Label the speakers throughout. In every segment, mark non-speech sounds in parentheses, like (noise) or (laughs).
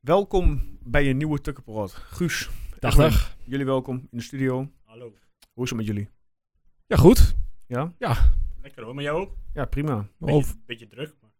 Speaker 1: Welkom bij een nieuwe Tukkenparad. Guus,
Speaker 2: Dag,
Speaker 1: Edwin,
Speaker 2: dag.
Speaker 1: jullie welkom in de studio.
Speaker 3: Hallo.
Speaker 1: Hoe is het met jullie?
Speaker 2: Ja, goed.
Speaker 1: Ja?
Speaker 3: Lekker hoor, maar jou ook?
Speaker 1: Ja, prima.
Speaker 3: Beetje,
Speaker 2: Over,
Speaker 3: beetje druk. Maar...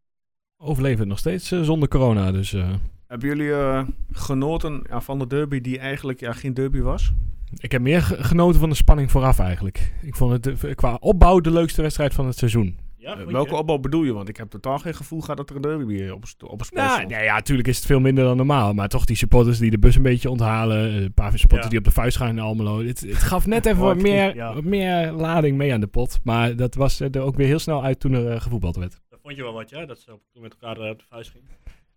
Speaker 2: overleven nog steeds eh, zonder corona, dus eh,
Speaker 1: Hebben jullie eh, genoten ja, van de derby die eigenlijk ja, geen derby was?
Speaker 2: ik heb meer ge- genoten van de spanning vooraf eigenlijk. Ik vond het eh, qua opbouw de leukste wedstrijd van het seizoen.
Speaker 3: Ja,
Speaker 1: Eh,
Speaker 3: vond je?
Speaker 1: welke opbouw bedoel je? Want ik heb totaal geen gevoel gehad dat er een derby hier op, op het spel
Speaker 2: Nou,
Speaker 1: stond.
Speaker 2: nee, ja, natuurlijk is het veel minder dan normaal, maar toch die supporters die de bus een beetje onthalen, eh, een paar supporters
Speaker 3: Ja.
Speaker 2: die op de vuist gaan in Almelo. Het, het gaf (laughs) net even
Speaker 1: Oh,
Speaker 2: wat
Speaker 1: ik-
Speaker 2: meer,
Speaker 3: ja.
Speaker 2: wat meer lading mee aan de pot, maar dat was eh, er ook weer heel snel uit toen er eh, gevoetbald werd.
Speaker 3: Dat vond je wel wat, ja? Dat ze op, toen met elkaar eh, op de vuist gingen.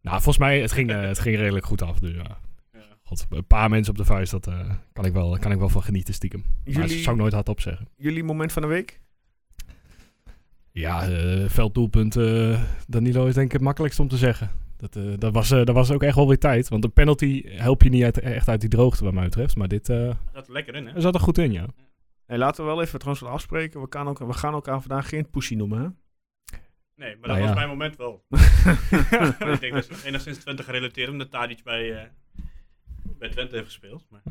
Speaker 2: Nou, volgens mij, het ging, eh, het ging redelijk goed af, dus ja.
Speaker 3: Ja.
Speaker 2: God, een paar mensen op de vuist, dat eh, kan, ik wel, kan ik wel van genieten stiekem. Maar dat
Speaker 1: jullie,
Speaker 2: zou ik nooit hardop zeggen.
Speaker 1: jullie moment van de week?
Speaker 2: Ja, eh, velddoelpunt. eh, Danilo is denk ik het makkelijkst om te zeggen. Dat, eh, dat, was, eh, dat was ook echt wel weer tijd. Want een penalty help je niet uit- echt uit die droogte, wat mij betreft. Maar dit eh
Speaker 3: Dat zat er lekker in, hè?
Speaker 2: zat er goed in, ja.
Speaker 1: Hey, laten we wel even trouwens wat afspreken. We, kan ook, we gaan elkaar vandaag geen pussy noemen, hè?
Speaker 3: Nee, maar dat
Speaker 2: Nou
Speaker 3: was
Speaker 2: ja.
Speaker 3: mijn moment
Speaker 1: (laughs)
Speaker 3: wel. (laughs) ik denk dat ze enigszins Twente gerelateerd omdat Tadic bij, eh, bij Twente heeft gespeeld. Maar...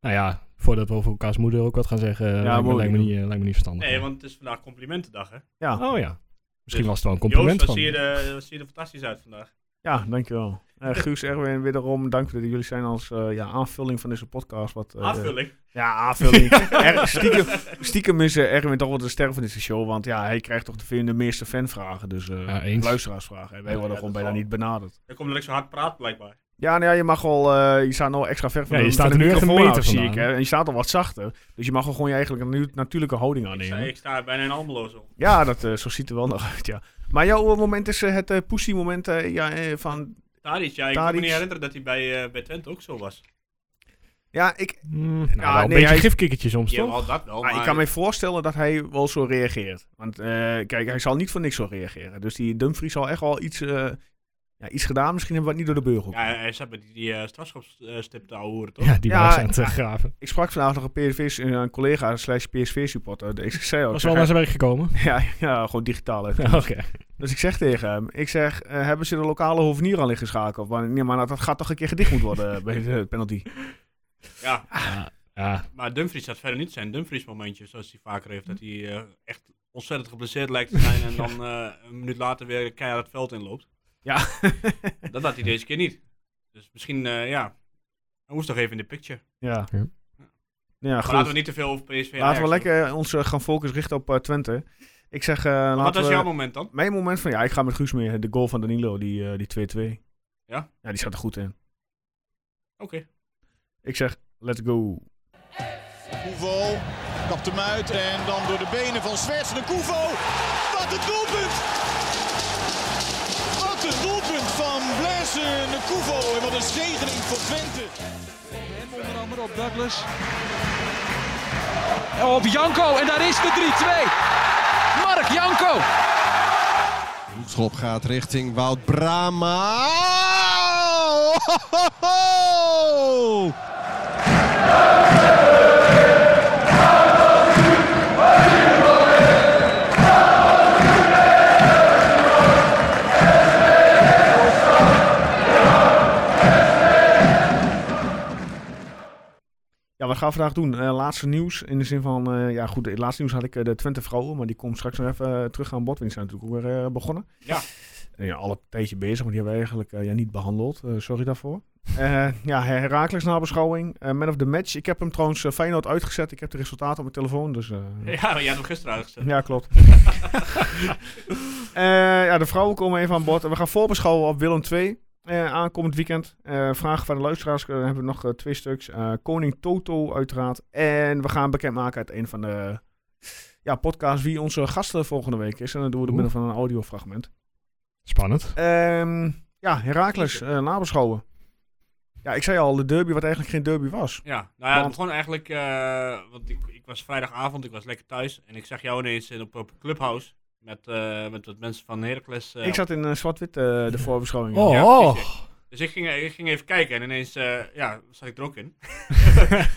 Speaker 2: Nou ja, voordat we over elkaars moeder ook wat gaan zeggen, eh, lijkt, me,
Speaker 1: mooi.
Speaker 2: lijkt, me niet, eh, lijkt me niet verstandig.
Speaker 3: Nee, want het is vandaag complimentendag, hè?
Speaker 1: ja.
Speaker 2: Oh ja. Misschien
Speaker 3: Dus,
Speaker 2: was het wel een
Speaker 3: Joost,
Speaker 2: compliment
Speaker 3: wat
Speaker 2: van
Speaker 3: zie, je
Speaker 2: me.
Speaker 3: er, wat zie je er fantastisch uit
Speaker 1: Eh,
Speaker 3: vandaag.
Speaker 1: Ja, dankjewel. Eh Guus, Erwin, wederom dank dat jullie zijn als eh, ja, aanvulling van deze podcast. Wat, eh,
Speaker 3: Aanvulling.
Speaker 1: Ja, aanvulling. Er, (laughs)
Speaker 3: (laughs)
Speaker 1: stiekem, stiekem is eh, Erwin toch wel de ster van deze show, want ja, hij krijgt toch de, veel- de meeste fanvragen, dus eh,
Speaker 2: Ja, eens.
Speaker 1: luisteraarsvragen. En wij
Speaker 3: Ja,
Speaker 1: worden
Speaker 3: ja,
Speaker 1: gewoon
Speaker 3: dat
Speaker 1: bijna
Speaker 3: wel.
Speaker 1: niet benaderd.
Speaker 3: Dan komt dat ik zo hard praat, blijkbaar.
Speaker 1: Ja, nou ja, je mag wel, eh, je staat nou extra ver van
Speaker 2: Ja,
Speaker 1: de,
Speaker 2: je staat
Speaker 1: van
Speaker 2: er
Speaker 1: de
Speaker 2: nu echt een
Speaker 1: microfoon
Speaker 2: meter
Speaker 1: af, zie ik.
Speaker 2: vandaan.
Speaker 1: Hè? En je staat al wat zachter, dus je mag wel gewoon je eigenlijk een nu- natuurlijke houding
Speaker 3: Ik, sta,
Speaker 1: aannemen.
Speaker 3: ik sta bijna in Almelo zo.
Speaker 1: Ja, dat, eh, zo ziet er wel nog uit, ja. Maar jouw eh, moment is eh, het eh pussy moment eh, ja, eh, van...
Speaker 3: Tadic, ja, ik kan
Speaker 1: Tadic.
Speaker 3: me niet herinneren dat hij bij, eh, bij Twente ook zo was.
Speaker 1: Ja, ik,
Speaker 2: Mm, nou,
Speaker 1: Ja,
Speaker 2: wel
Speaker 1: nee,
Speaker 2: een beetje
Speaker 1: hij-
Speaker 2: gifkikkertje soms,
Speaker 3: Ja,
Speaker 2: toch?
Speaker 3: wel dat wel,
Speaker 1: Maar
Speaker 3: maar...
Speaker 1: Ah, ik kan me voorstellen dat hij wel zo reageert. Want eh, kijk, hij zal niet voor niks zo reageren. Dus die Dumfries zal echt wel iets, eh, ja, iets gedaan. Misschien hebben we het niet door de beugel.
Speaker 3: Ja, hij zat met die, die eh, strafschopsstip te ouwehoeren, toch?
Speaker 2: Ja, die
Speaker 1: Ja,
Speaker 2: was aan het eh,
Speaker 1: ja.
Speaker 2: graven.
Speaker 1: Ik sprak vandaag nog een, PSV, een collega slash PSV supporter. Ik zei ook,
Speaker 2: Was
Speaker 1: ik
Speaker 2: wel
Speaker 1: zeg,
Speaker 2: naar zijn werk gekomen. (laughs)
Speaker 1: (laughs) ja, ja, gewoon digitaal. hè.
Speaker 2: Oké.
Speaker 1: Dus ik zeg tegen hem, ik zeg, eh, hebben ze de lokale hovenier al ingeschakeld? Want, nee, maar dat, dat gaat toch een keer gedicht moet worden eh, bij de penalty.
Speaker 3: Ja,
Speaker 2: Ja, ja.
Speaker 3: Maar Dumfries had verder niet zijn Dumfries-momentje, zoals hij vaker heeft.
Speaker 1: Hm.
Speaker 3: Dat hij eh, echt ontzettend geblesseerd lijkt te zijn
Speaker 1: (laughs)
Speaker 3: en dan eh, een minuut later weer keihard het veld inloopt.
Speaker 1: Ja.
Speaker 3: (laughs) Dat had hij deze keer niet. Dus misschien, eh, ja, hij moest toch even in de picture.
Speaker 1: ja.
Speaker 2: Ja.
Speaker 1: Ja,
Speaker 3: Maar
Speaker 1: goed.
Speaker 3: laten we niet te veel over PSV en Ajax
Speaker 1: Laten we
Speaker 3: doen.
Speaker 1: lekker ons eh, gaan focussen richten op eh, Twente. Ik zeg, eh,
Speaker 3: Maar Wat
Speaker 1: laten
Speaker 3: was
Speaker 1: we...
Speaker 3: jouw moment dan?
Speaker 1: Mijn moment van, ja, ik ga met Guus mee. De goal van Danilo, die eh, die 2-2.
Speaker 3: Ja?
Speaker 1: Ja, die zat er goed in.
Speaker 3: Oké. (laughs)
Speaker 1: Ik zeg, let's go.
Speaker 4: Koevo kapt hem uit en dan door de benen van Zwerts de Koevo. Wat een doelpunt! Wat een doelpunt van Blaise de Koevo en wat een zegening voor Twente.
Speaker 5: Hem onder andere op Douglas. En Op Janko en daar is de 3-2. Mark Janko.
Speaker 6: Hoekschop gaat richting Wout Brama.
Speaker 1: Ja, wat gaan we vandaag doen? Eh, laatste nieuws. In de zin van, eh, ja goed, het laatste nieuws had ik eh, de Twente vrouwen. Maar die komt straks nog even eh, terug aan bod. want Die zijn natuurlijk ook weer eh, begonnen.
Speaker 3: Ja.
Speaker 1: En ja, al een tijdje bezig, maar die hebben we eigenlijk eh, ja, niet behandeld. Eh, sorry daarvoor. Eh ja, Herakles nabeschouwing. Eh, man of the match. Ik heb hem trouwens eh, Feyenoord uitgezet. Ik heb de resultaten op mijn telefoon, dus... eh,
Speaker 3: Ja, je had hem gisteren uitgezet.
Speaker 1: Ja, klopt. Eh, ja, de vrouwen komen even aan bod. We gaan voorbeschouwen op Willem II. eh, aankomend weekend. Eh, vragen van de luisteraars. eh, Dan hebben we nog eh, twee stuks. Eh, Koning Toto, uiteraard. En we gaan bekendmaken uit een van de ja, podcasts wie onze gasten volgende week is. En dat doen we door middel van een audiofragment.
Speaker 2: Spannend.
Speaker 1: Ehm, ja, Herakles, eh, nabeschouwen. Ja, ik zei al, de derby wat eigenlijk geen derby was.
Speaker 3: Ja, nou ja, het
Speaker 1: Want-
Speaker 3: begon eigenlijk, eh, want ik, ik was vrijdagavond, ik was lekker thuis. En ik zag jou ineens in- op, op Clubhouse met, eh, met wat mensen van Heracles. eh,
Speaker 1: ik zat in eh, zwart-wit eh, de voorbeschouwing.
Speaker 2: Oh,
Speaker 3: Ja, precies, Dus ik ging, ik ging even kijken en ineens eh, ja, zat ik er ook in.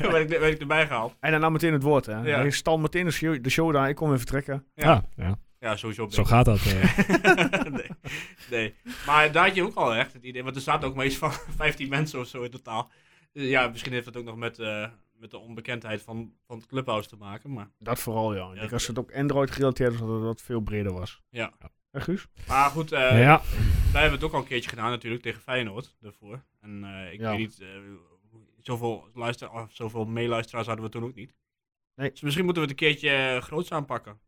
Speaker 3: Toen werd, ik, werd ik erbij gehaald.
Speaker 1: En dan nam meteen het woord. Hè.
Speaker 3: Ja.
Speaker 1: Hij stal meteen de show, de show daar. Ik kon weer vertrekken.
Speaker 3: Ja.
Speaker 2: Ah, ja. ja.
Speaker 3: Ja, Ja, sowieso. op
Speaker 2: Zo
Speaker 3: de-
Speaker 2: gaat dat. eh.
Speaker 3: (laughs) nee, nee. Maar daar had je ook al echt het idee. Want er zaten ook meestal (laughs) 15 mensen of zo in totaal. Dus ja, misschien heeft dat ook nog met, eh, met de onbekendheid van, van het clubhouse te maken. Maar,
Speaker 1: Dat vooral, ja. Ik
Speaker 3: Ja,
Speaker 1: denk als het ook Android gerelateerd was, dat het veel breder was.
Speaker 3: Ja.
Speaker 1: Eh, Guus?
Speaker 3: maar goed, eh,
Speaker 2: ja,
Speaker 3: wij hebben het ook al een keertje gedaan natuurlijk tegen Feyenoord daarvoor. En eh, ik
Speaker 1: Ja.
Speaker 3: weet niet, eh, zoveel, luister, of zoveel meeluisteraars hadden we toen ook niet.
Speaker 1: Nee.
Speaker 3: Dus misschien moeten we het een keertje eh, groots aanpakken.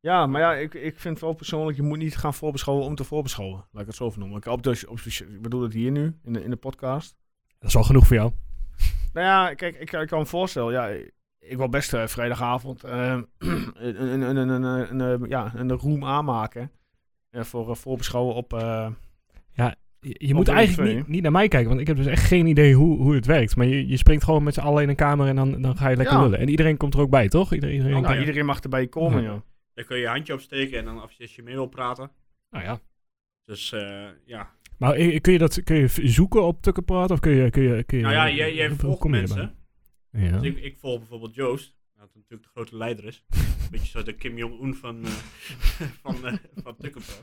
Speaker 1: Ja, maar ja, ik, ik vind wel persoonlijk, je moet niet gaan voorbeschouwen om te voorbeschouwen. Laat ik het zo vernoemen. Ik, op de, op, ik bedoel het hier nu, in de, in de podcast.
Speaker 2: dat is al genoeg voor jou.
Speaker 1: Nou ja, kijk, ik, ik kan me voorstellen, ja, ik- ik wil best eh, vrijdagavond eh, (clears throat) een, een, een, een, een, een, eh, ja, een room aanmaken eh, voor eh, voorbeschouwen op... eh,
Speaker 2: Je, je moet
Speaker 1: Op
Speaker 2: eigenlijk
Speaker 1: één,
Speaker 2: niet,
Speaker 1: twee.
Speaker 2: niet naar mij kijken, want ik heb dus echt geen idee hoe, hoe het werkt. Maar je, je springt gewoon met z'n allen in een kamer en dan, dan ga je lekker
Speaker 1: Ja.
Speaker 2: lullen. En iedereen komt er ook bij, toch? Iedereen, iedereen
Speaker 1: nou,
Speaker 3: ja.
Speaker 1: Iedereen mag erbij komen,
Speaker 2: Ja.
Speaker 1: joh.
Speaker 3: Daar kun je je handje op steken en dan als je- als je mee wil praten.
Speaker 2: Nou ja.
Speaker 3: Dus eh, ja.
Speaker 2: Maar eh, kun je dat kun je v- zoeken op Tukkenpraat? Of kun je, kun je, kun je,
Speaker 3: Nou ja, jij, jij
Speaker 2: hoe
Speaker 3: volgt
Speaker 2: kom je
Speaker 3: mensen.
Speaker 2: erbij? Ja.
Speaker 3: Dus ik, ik volg bijvoorbeeld Joost, wat natuurlijk de grote leider
Speaker 2: (laughs)
Speaker 3: is. Beetje zoals de Kim Jong-un van, eh (laughs) van, eh van Tukkenpro.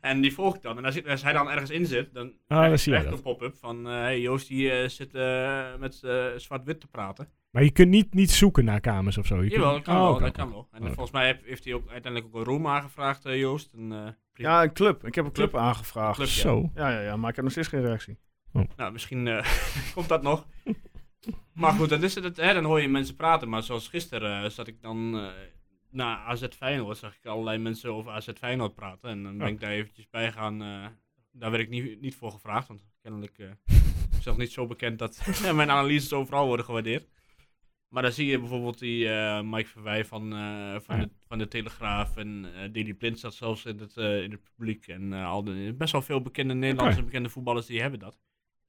Speaker 3: En die volg ik dan. En als, ik- als hij dan ergens in zit, dan
Speaker 2: Ah, dan
Speaker 3: krijg ik
Speaker 2: zie jij
Speaker 3: echt
Speaker 2: dat.
Speaker 3: een pop-up van... eh, hey, Joost die eh, zit eh, met eh, zwart-wit te praten.
Speaker 2: Maar je kunt niet, niet zoeken naar kamers of zo. Je
Speaker 3: Jawel, dat
Speaker 2: kunt...
Speaker 3: kan
Speaker 2: Oh,
Speaker 3: wel.
Speaker 2: oké,
Speaker 3: dat
Speaker 2: oké.
Speaker 3: kan wel. En
Speaker 2: Oké.
Speaker 3: volgens mij heeft, heeft hij ook uiteindelijk ook een room aangevraagd, eh, Joost. En, eh, prima.
Speaker 1: Ja, een club. Ik heb een club, aangevraagd.
Speaker 3: Club, ja.
Speaker 2: Zo.
Speaker 1: Ja, ja, ja, maar ik heb nog steeds geen reactie.
Speaker 3: Nou, misschien eh, (laughs) komt dat nog. Maar goed, dat is het, het, hè, dan hoor je mensen praten. Maar zoals gisteren eh, zat ik dan eh, na AZ Feyenoord, zag ik allerlei mensen over AZ Feyenoord praten. En dan ben
Speaker 2: Ja.
Speaker 3: ik daar eventjes bij gaan. eh, daar werd ik niet, niet voor gevraagd, want kennelijk eh is nog niet zo bekend dat (laughs) mijn analyses overal worden gewaardeerd. Maar dan zie je bijvoorbeeld die eh, Mike Verwij van, eh, van,
Speaker 2: Ja.
Speaker 3: de, van de Telegraaf en eh Didi Blind zat zelfs in het, eh, in het publiek. En eh, al de, best wel veel bekende Nederlandse en bekende voetballers die hebben dat.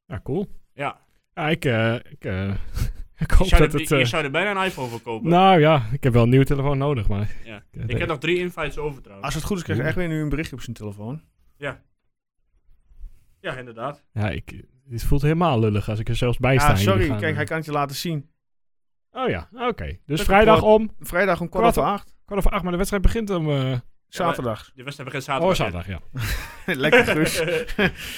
Speaker 2: Ja, cool.
Speaker 3: Ja,
Speaker 2: Ja, ik, eh, ik, eh, (laughs) ik hoop
Speaker 3: je, zou
Speaker 2: dat
Speaker 3: er,
Speaker 2: het...
Speaker 3: je
Speaker 2: eh,
Speaker 3: zou er bijna een iPhone voor kopen.
Speaker 2: nou ja, ik heb wel een nieuwe telefoon nodig, maar...
Speaker 3: ja.
Speaker 2: eh,
Speaker 3: Ik heb nog drie invites over trouwens.
Speaker 1: Als het goed is, krijg je
Speaker 2: Oeh.
Speaker 1: echt weer nu een berichtje op zijn telefoon.
Speaker 3: Ja, inderdaad.
Speaker 2: Ja, ik, dit voelt helemaal lullig als ik er zelfs bij sta.
Speaker 1: Ja,
Speaker 2: en jullie
Speaker 1: sorry.
Speaker 2: gaan,
Speaker 1: Kijk,
Speaker 2: eh,
Speaker 1: hij kan het je laten zien.
Speaker 2: Oh ja, oké. Dus
Speaker 1: Dat
Speaker 2: vrijdag
Speaker 1: wordt-
Speaker 2: om
Speaker 1: Vrijdag om kwart
Speaker 2: Kwart
Speaker 1: over acht.
Speaker 2: kwart over acht, maar de wedstrijd begint om... eh
Speaker 1: Zaterdag.
Speaker 3: De wedstrijd begint zaterdag.
Speaker 2: oh,
Speaker 3: (laughs)
Speaker 2: zaterdag, ja.
Speaker 1: (laughs) Lekker Guus.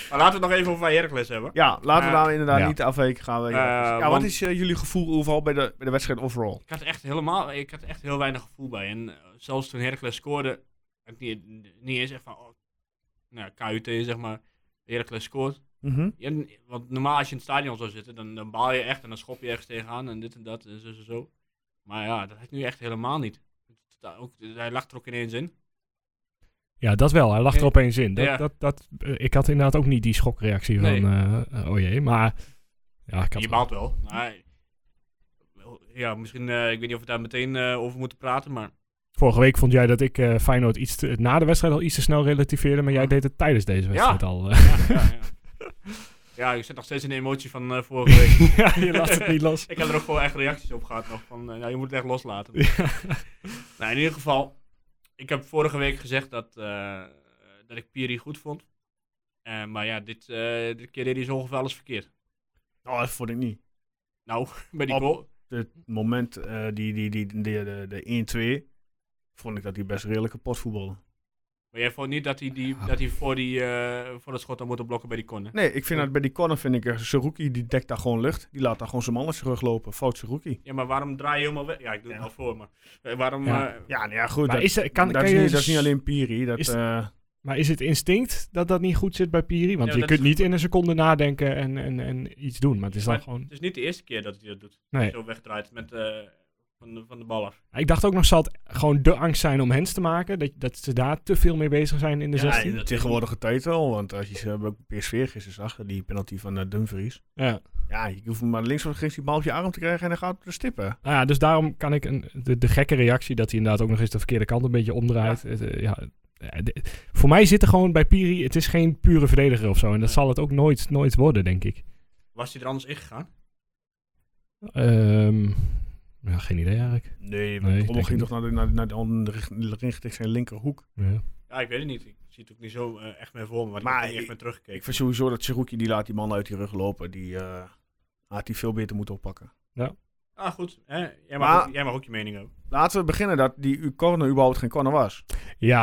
Speaker 3: maar laten we het nog even over Heracles hebben.
Speaker 1: Ja, Ehm, laten we
Speaker 3: Ja.
Speaker 1: daar inderdaad
Speaker 2: Ja.
Speaker 1: niet afweken gaan. We,
Speaker 3: Eh,
Speaker 1: ja, wat
Speaker 3: want-
Speaker 1: is eh, jullie gevoel overal bij de, bij de wedstrijd overall?
Speaker 3: Ik had echt helemaal, ik had echt heel weinig gevoel bij. En eh, zelfs toen Heracles scoorde, had ik niet, niet eens echt van, oh, nou, KUT zeg maar, Heracles scoort.
Speaker 1: Mhm.
Speaker 3: Je hebt- want normaal als je in het stadion zou zitten, dan, dan baal je echt en dan schop je ergens tegenaan en dit en dat en zo en zo. Maar ja, dat had ik nu echt helemaal niet. Ook, hij lag er ook ineens in.
Speaker 2: Ja, dat wel. Hij lag er
Speaker 3: Ja.
Speaker 2: opeens in. Dat,
Speaker 3: Ja.
Speaker 2: dat, dat, eh, ik had inderdaad ook niet die schokreactie
Speaker 3: Nee.
Speaker 2: van... eh, eh, oh jee, maar... Ja, ik had
Speaker 3: Je
Speaker 2: wel-
Speaker 3: baalt wel. Maar, ja, misschien, eh, ik weet niet of we daar meteen eh, over moeten praten, maar
Speaker 2: Vorige week vond jij dat ik eh, Feyenoord iets te- na de wedstrijd al iets te snel relativeerde, maar jij deed het tijdens deze wedstrijd al. eh.
Speaker 3: ja, ja, ja. Ja, ik zit nog steeds in de emotie van eh, vorige week.
Speaker 2: (laughs) ja, je laat het niet
Speaker 3: (laughs)
Speaker 2: los.
Speaker 3: Ik heb er ook gewoon echt reacties op gehad nog. Van, eh, nou, je moet het echt loslaten. (laughs) nou, in ieder geval, ik heb vorige week gezegd dat, eh, dat ik Piri goed vond. Eh, maar ja, dit, eh, dit keer deed hij zo ongeveer alles verkeerd. (laughs)
Speaker 1: Oh, dat vond ik niet.
Speaker 3: Nou, bij die
Speaker 1: Op-
Speaker 3: goal.
Speaker 1: Het moment, eh, die, die, die, die, de, de 1-2, vond ik dat hij best redelijk kapot voetbalde.
Speaker 3: Maar jij vond niet dat hij, die, dat hij voor, die, eh, voor dat schot had moeten blokken bij die corner?
Speaker 1: Nee, ik vind dat bij die corner, vind ik, eh, Saruki, die dekt daar gewoon lucht. Die laat daar gewoon zijn man teruglopen. Fout Saruki.
Speaker 3: Ja, maar waarom draai je helemaal weg? Ja, ik doe het
Speaker 1: Ja.
Speaker 3: al voor, maar eh, waarom...
Speaker 2: Ja.
Speaker 3: eh,
Speaker 1: Ja, nou ja, goed.
Speaker 2: Maar
Speaker 1: Dat,
Speaker 2: is, er- kan,
Speaker 1: dat
Speaker 2: kan
Speaker 1: is
Speaker 2: je
Speaker 1: niet, dat
Speaker 2: s-
Speaker 1: is niet alleen Piri. Dat,
Speaker 2: is-
Speaker 1: eh,
Speaker 2: Maar is het instinct dat dat niet goed zit bij Piri? Want
Speaker 3: Ja,
Speaker 2: je
Speaker 3: dat
Speaker 2: kunt
Speaker 3: is-
Speaker 2: niet in een seconde nadenken en, en, en iets doen, maar het is dan
Speaker 3: Maar-
Speaker 2: gewoon...
Speaker 3: Het is niet de eerste keer dat hij dat doet.
Speaker 2: Nee.
Speaker 3: Zo wegdraait met, eh, van, de, van de bal af.
Speaker 2: Ik dacht ook nog, zal het gewoon de angst zijn om hens te maken? Dat, dat ze daar te veel mee bezig zijn in de
Speaker 3: Ja,
Speaker 2: 16?
Speaker 3: dat-
Speaker 1: tegenwoordige tijd wel. Want als je ze bij PSV gisteren zag, die penalty van eh, Dumfries.
Speaker 2: Ja.
Speaker 1: Ja, je hoeft maar links of rechts die bal op je arm te krijgen en dan gaat het er stippen.
Speaker 2: Nou ja, dus daarom kan ik een, de, de gekke reactie dat hij inderdaad ook nog eens de verkeerde kant een beetje omdraait. Het, eh, Ja. eh, de- voor mij zit er gewoon bij Piri, het is geen pure verdediger of zo. En dat
Speaker 3: Nee.
Speaker 2: zal het ook nooit, nooit worden, denk ik.
Speaker 3: Was hij er anders in gegaan?
Speaker 2: Ehm, ja, geen idee eigenlijk.
Speaker 1: Nee,
Speaker 2: Nee,
Speaker 1: want
Speaker 2: ik
Speaker 1: Rommel
Speaker 2: denk
Speaker 1: ging toch naar, de- naar, naar de andere richt- ingericht zijn linkerhoek.
Speaker 2: Ja.
Speaker 3: Ja, ik weet het niet. Ik zie het ook niet zo eh, echt meer voor me, want
Speaker 1: Maar
Speaker 3: ik heb er niet echt
Speaker 1: ik-
Speaker 3: meer
Speaker 1: Ik
Speaker 3: teruggekeken.
Speaker 1: vind sowieso dat Saruki, die laat die man uit die rug lopen. Die eh, had die veel beter moeten oppakken.
Speaker 3: Ah, goed. Hè? Jij, mag
Speaker 1: Maar-
Speaker 3: ook, jij mag ook je mening hebben.
Speaker 1: Laten we beginnen dat die corner überhaupt geen corner was.
Speaker 2: Ja.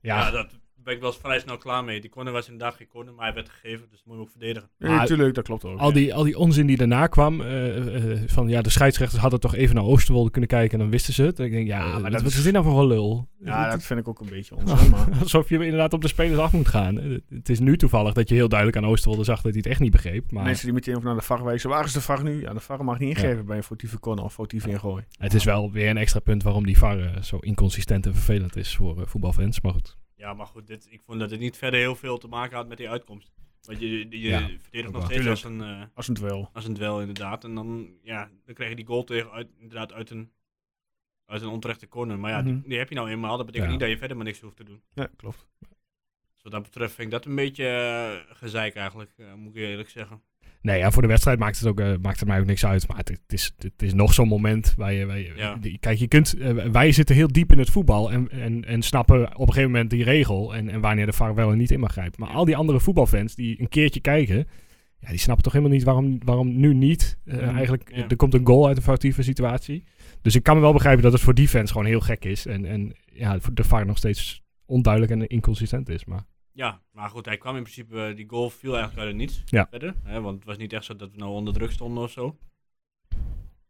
Speaker 3: Ja,
Speaker 2: Ja,
Speaker 3: dat ben ik wel eens vrij snel klaar mee. Die corner was inderdaad geen corner, maar hij werd gegeven, dus dat moet je ook verdedigen.
Speaker 1: Ja,
Speaker 2: Maar-
Speaker 1: Natuurlijk, dat klopt ook.
Speaker 2: al,
Speaker 1: ja.
Speaker 2: die, al die onzin die daarna kwam, eh, eh, van ja, de scheidsrechters hadden toch even naar Oosterwolde kunnen kijken en dan wisten ze het. En ik denk, ja,
Speaker 1: Ja, maar
Speaker 2: maar
Speaker 1: dat
Speaker 2: wat
Speaker 1: is-
Speaker 2: is dit nou voor een lul?
Speaker 1: Ja,
Speaker 2: Het-
Speaker 1: dat vind ik ook een
Speaker 2: (laughs)
Speaker 1: beetje onzin. Maar...
Speaker 2: Alsof je inderdaad op de spelers af moet gaan. Eh, Het is nu toevallig dat je heel duidelijk aan Oosterwolde zag dat hij het echt niet begreep. Maar
Speaker 1: Mensen die meteen ook naar de VAR wijzen, waar is de VAR nu? Ja, de VAR mag niet ingeven bij een foutieve corner of foutieve ingooi.
Speaker 2: het is wel weer een extra punt waarom die VAR eh, zo inconsistent en vervelend is voor eh, voetbalfans. Maar goed,
Speaker 3: Ja, maar goed, dit, ik vond dat het niet verder heel veel te maken had met die uitkomst. Want je, je
Speaker 2: Ja,
Speaker 3: verdedigt
Speaker 2: ook
Speaker 3: nog
Speaker 2: waar.
Speaker 3: steeds als een, eh,
Speaker 1: Als het wel.
Speaker 3: als een dwel, inderdaad. En dan, ja, dan kreeg je die goal tegen, uit, inderdaad, uit een, uit een onterechte corner. Maar ja,
Speaker 1: Mhm.
Speaker 3: die, die heb je nou eenmaal. Dat betekent
Speaker 2: Ja.
Speaker 3: niet dat je verder maar niks hoeft te doen.
Speaker 1: Ja, klopt.
Speaker 3: Dus wat dat betreft vind ik dat een beetje eh, gezeik eigenlijk, eh, moet ik eerlijk zeggen.
Speaker 2: Nee, ja, voor de wedstrijd maakt het, ook, eh, maakt het mij ook niks uit. Maar het, het is, het is nog zo'n moment waar je... Waar je-
Speaker 3: Ja.
Speaker 2: die- Kijk, je kunt, eh, wij zitten heel diep in het voetbal en, en, en snappen op een gegeven moment die regel. En, en wanneer de VAR wel en niet in mag grijpen. Maar al die andere voetbalfans die een keertje kijken... Ja, die snappen toch helemaal niet waarom, waarom nu niet. Eh,
Speaker 1: Mhm.
Speaker 2: Eigenlijk,
Speaker 3: Mm-hmm. Ja.
Speaker 2: er komt een goal uit een foutieve situatie. Dus ik kan me wel begrijpen dat het voor die fans gewoon heel gek is. En, en ja, voor de VAR nog steeds onduidelijk en inconsistent is. Maar
Speaker 3: Ja, maar goed, hij kwam in principe, eh, die goal viel eigenlijk uit het niets
Speaker 2: Ja.
Speaker 3: verder. Hè, want het was niet echt zo dat we nou onder druk stonden of zo.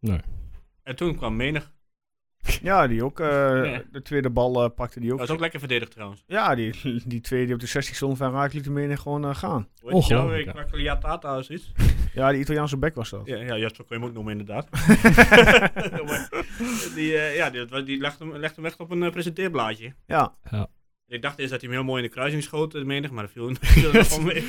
Speaker 2: Nee.
Speaker 3: En toen kwam Menig.
Speaker 1: Ja, die ook. eh,
Speaker 3: (laughs) Ja.
Speaker 1: De tweede bal eh, pakte die
Speaker 3: Dat
Speaker 1: ook.
Speaker 3: was ook lekker verdedigd trouwens.
Speaker 1: Ja, die, die twee die op de 16 stonden van Raak lieten meer gewoon eh, gaan.
Speaker 3: Hoe heet die nou?
Speaker 2: Ongelooflijk,
Speaker 3: Eh,
Speaker 2: ja.
Speaker 3: Quagliatata of zoiets.
Speaker 1: Ja, die Italiaanse bek was dat.
Speaker 3: (laughs)
Speaker 1: (laughs)
Speaker 3: Ja, ja, ja, zo kun je hem ook noemen inderdaad. (laughs) die, eh, ja, die, dat- die legde, hem, legde hem echt op een eh, presenteerblaadje.
Speaker 1: Ja.
Speaker 3: Ik dacht eerst dat hij hem heel mooi in de kruising schoot, eh, Menig, maar
Speaker 2: (laughs)
Speaker 3: dat viel (laughs) viel er gewoon mee.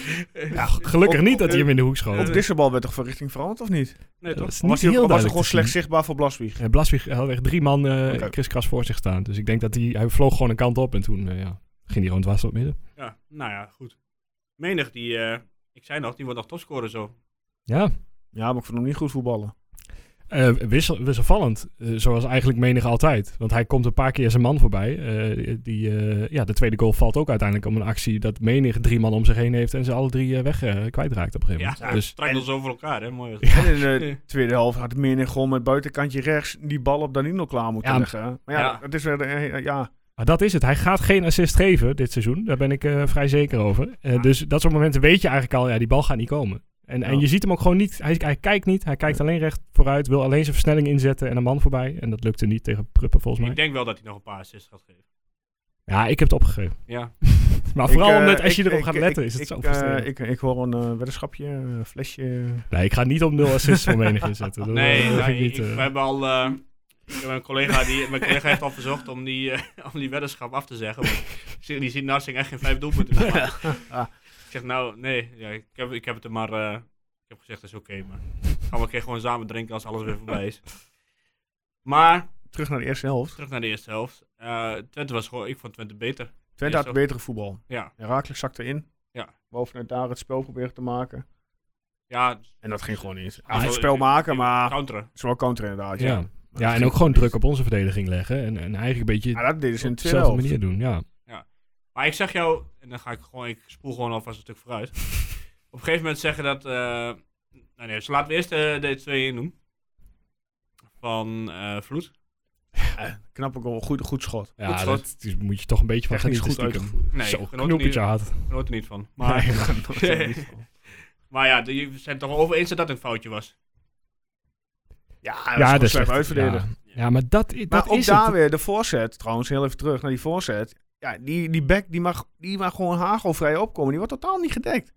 Speaker 2: ja, gelukkig
Speaker 1: Op-
Speaker 2: niet
Speaker 1: op-
Speaker 2: dat hij hem in de hoek schoot.
Speaker 1: Op deze bal werd toch van richting veranderd, of niet?
Speaker 3: Nee,
Speaker 2: Dat
Speaker 3: toch?
Speaker 2: is
Speaker 1: Of
Speaker 2: niet
Speaker 1: was hij
Speaker 2: heel
Speaker 1: ook- of was hij
Speaker 2: duidelijk te
Speaker 1: gewoon slecht
Speaker 2: zien.
Speaker 1: zichtbaar voor Blaswieg?
Speaker 2: Eh, Blaswig had echt drie man eh
Speaker 1: Oké.
Speaker 2: kriskras voor zich staan. Dus ik denk dat hij, hij vloog gewoon een kant op en toen eh, ja, ging hij gewoon dwars op midden.
Speaker 3: Ja, nou ja, goed. Menig, die, eh, ik zei nog, die wordt nog topscorer zo.
Speaker 2: Ja,
Speaker 1: Ja, maar ik vond hem niet goed voetballen.
Speaker 2: eh, wissel, wisselvallend. Eh, zoals eigenlijk menig altijd. Want hij komt een paar keer zijn man voorbij. Eh, die, eh, ja, de tweede goal valt ook uiteindelijk om een actie dat menig drie man om zich heen heeft en ze alle drie eh, weg eh, kwijtraakt op een gegeven
Speaker 3: Ja,
Speaker 2: moment.
Speaker 3: ja
Speaker 2: dus,
Speaker 3: strak zo voor elkaar, hè? Mooi. was het.
Speaker 1: En in de
Speaker 3: Ja.
Speaker 1: tweede helft had Menig gewoon met buitenkantje rechts die bal op Danilo klaar moeten
Speaker 2: Ja, maar-
Speaker 1: leggen. Maar ja,
Speaker 3: Ja.
Speaker 1: dat is weer... de- eh, ja.
Speaker 2: maar dat is het. Hij gaat geen assist geven dit seizoen. Daar ben ik eh, vrij zeker over. Eh, Dus dat soort momenten weet je eigenlijk al, ja, die bal gaat niet komen. En, en
Speaker 1: Ja.
Speaker 2: je ziet hem ook gewoon niet. Hij, hij kijkt niet. Hij kijkt alleen recht vooruit. Wil alleen zijn versnelling inzetten en een man voorbij. En dat lukte niet tegen Pruppen volgens mij.
Speaker 3: Ik denk wel dat hij nog een paar assists gaat geven.
Speaker 2: Ja, ik heb het opgegeven.
Speaker 3: Ja.
Speaker 2: Maar
Speaker 1: Ik,
Speaker 2: vooral
Speaker 1: eh,
Speaker 2: omdat als je
Speaker 1: ik-
Speaker 2: erop
Speaker 1: ik-
Speaker 2: gaat
Speaker 1: ik-
Speaker 2: letten,
Speaker 1: ik-
Speaker 2: is het
Speaker 1: ik,
Speaker 2: zo
Speaker 1: eh,
Speaker 2: frustrerend.
Speaker 1: ik, ik hoor een eh, weddenschapje, een flesje.
Speaker 2: Nee, ik ga niet op nul assists voor
Speaker 1: (laughs)
Speaker 2: menig inzetten. Dat,
Speaker 3: Nee,
Speaker 2: dat
Speaker 3: nou,
Speaker 2: vind ik
Speaker 3: ik-
Speaker 2: niet,
Speaker 3: we
Speaker 2: eh.
Speaker 3: hebben al. eh, ik heb een collega die, mijn collega heeft al verzocht om die, eh, om die weddenschap af te zeggen. want die- die ziet Narsing echt geen vijf doelpunten meer maken. Ik zeg nou, nee, ja, ik, heb, ik heb het er maar. eh, ik heb gezegd, dat is oké, maar. Gaan we een keer gewoon samen drinken als alles weer voorbij is. Maar
Speaker 1: Terug naar de eerste helft.
Speaker 3: terug naar de eerste helft. Eh, Twente was gewoon, ik vond Twente beter.
Speaker 1: Twente had
Speaker 3: Eerste
Speaker 1: betere voetbal.
Speaker 3: Ja,
Speaker 1: Herakles zakte in.
Speaker 3: Ja.
Speaker 1: Bovenuit daar het spel proberen te maken.
Speaker 3: ja
Speaker 1: En dat ging gewoon niet.
Speaker 3: Ah,
Speaker 1: Hij het
Speaker 3: ik-
Speaker 1: spel
Speaker 3: ik-
Speaker 1: maken,
Speaker 3: ik-
Speaker 1: maar
Speaker 3: counteren.
Speaker 1: het is wel counter inderdaad. Ja,
Speaker 2: ja.
Speaker 1: Maar dat
Speaker 2: ja, en ook
Speaker 1: ging
Speaker 2: gewoon
Speaker 1: niet.
Speaker 2: druk op onze verdediging leggen. En, en eigenlijk een beetje
Speaker 1: Maar dat deden ze in
Speaker 2: op
Speaker 1: de tweede
Speaker 2: dezelfde
Speaker 1: helft.
Speaker 2: manier doen. Ja.
Speaker 3: Maar ik zeg jou, en dan ga ik gewoon, ik spoel gewoon alvast een stuk
Speaker 1: (laughs)
Speaker 3: vooruit. Op een gegeven moment zeggen dat. eh, nou nee, dus laten we eerst eh, de 2 in doen. Van eh Vloed.
Speaker 1: Knappe goal, goed, goed schot.
Speaker 3: Goed
Speaker 2: Ja,
Speaker 3: schot.
Speaker 2: dat is- moet je toch een beetje van
Speaker 1: Technisch
Speaker 2: genieten,
Speaker 1: goed
Speaker 2: stiekem.
Speaker 3: Nee,
Speaker 2: Zo,
Speaker 3: genoten niet,
Speaker 2: knoepertje had.
Speaker 3: genoten er niet van. Maar,
Speaker 1: Maar (laughs)
Speaker 3: (laughs) maar ja, de- jullie zijn het toch wel over eens dat dat een foutje was.
Speaker 1: ja, dat
Speaker 2: Ja,
Speaker 1: ja,
Speaker 2: dat is
Speaker 1: slecht
Speaker 2: echt-
Speaker 1: uitverdedigen.
Speaker 2: Ja, ja maar dat, i-
Speaker 1: Maar
Speaker 2: dat
Speaker 1: ook
Speaker 2: is
Speaker 1: daar
Speaker 2: het.
Speaker 1: weer, de voorzet, trouwens, heel even terug naar die voorzet. Ja, die, die back, die mag, die mag gewoon hagelvrij opkomen. Die wordt totaal niet gedekt.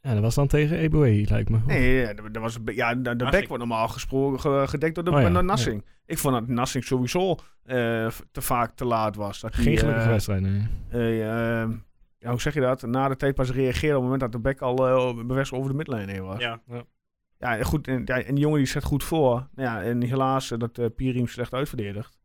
Speaker 2: Ja, dat was dan tegen Eboe, lijkt me.
Speaker 1: Nee, ja, dat dat was, een be- ja, de, de back
Speaker 3: Nassing.
Speaker 1: wordt normaal gesproken ge- gedekt door, de,
Speaker 2: Oh ja,
Speaker 1: door Nassing. Ik vond dat Nassing sowieso eh, f- te vaak te laat was. Dat die,
Speaker 2: Geen gelukkige
Speaker 1: eh,
Speaker 2: wedstrijd, nee.
Speaker 1: eh, eh, ja, hoe zeg je dat? Na de tape pas reageren op het moment dat de back al eh, bewust over de midlijn heen was. Ja,
Speaker 3: Ja.
Speaker 1: goed. En, ja, en die jongen die zet goed voor. Nou Ja, en helaas eh, dat eh Pierim slecht uitverdedigt.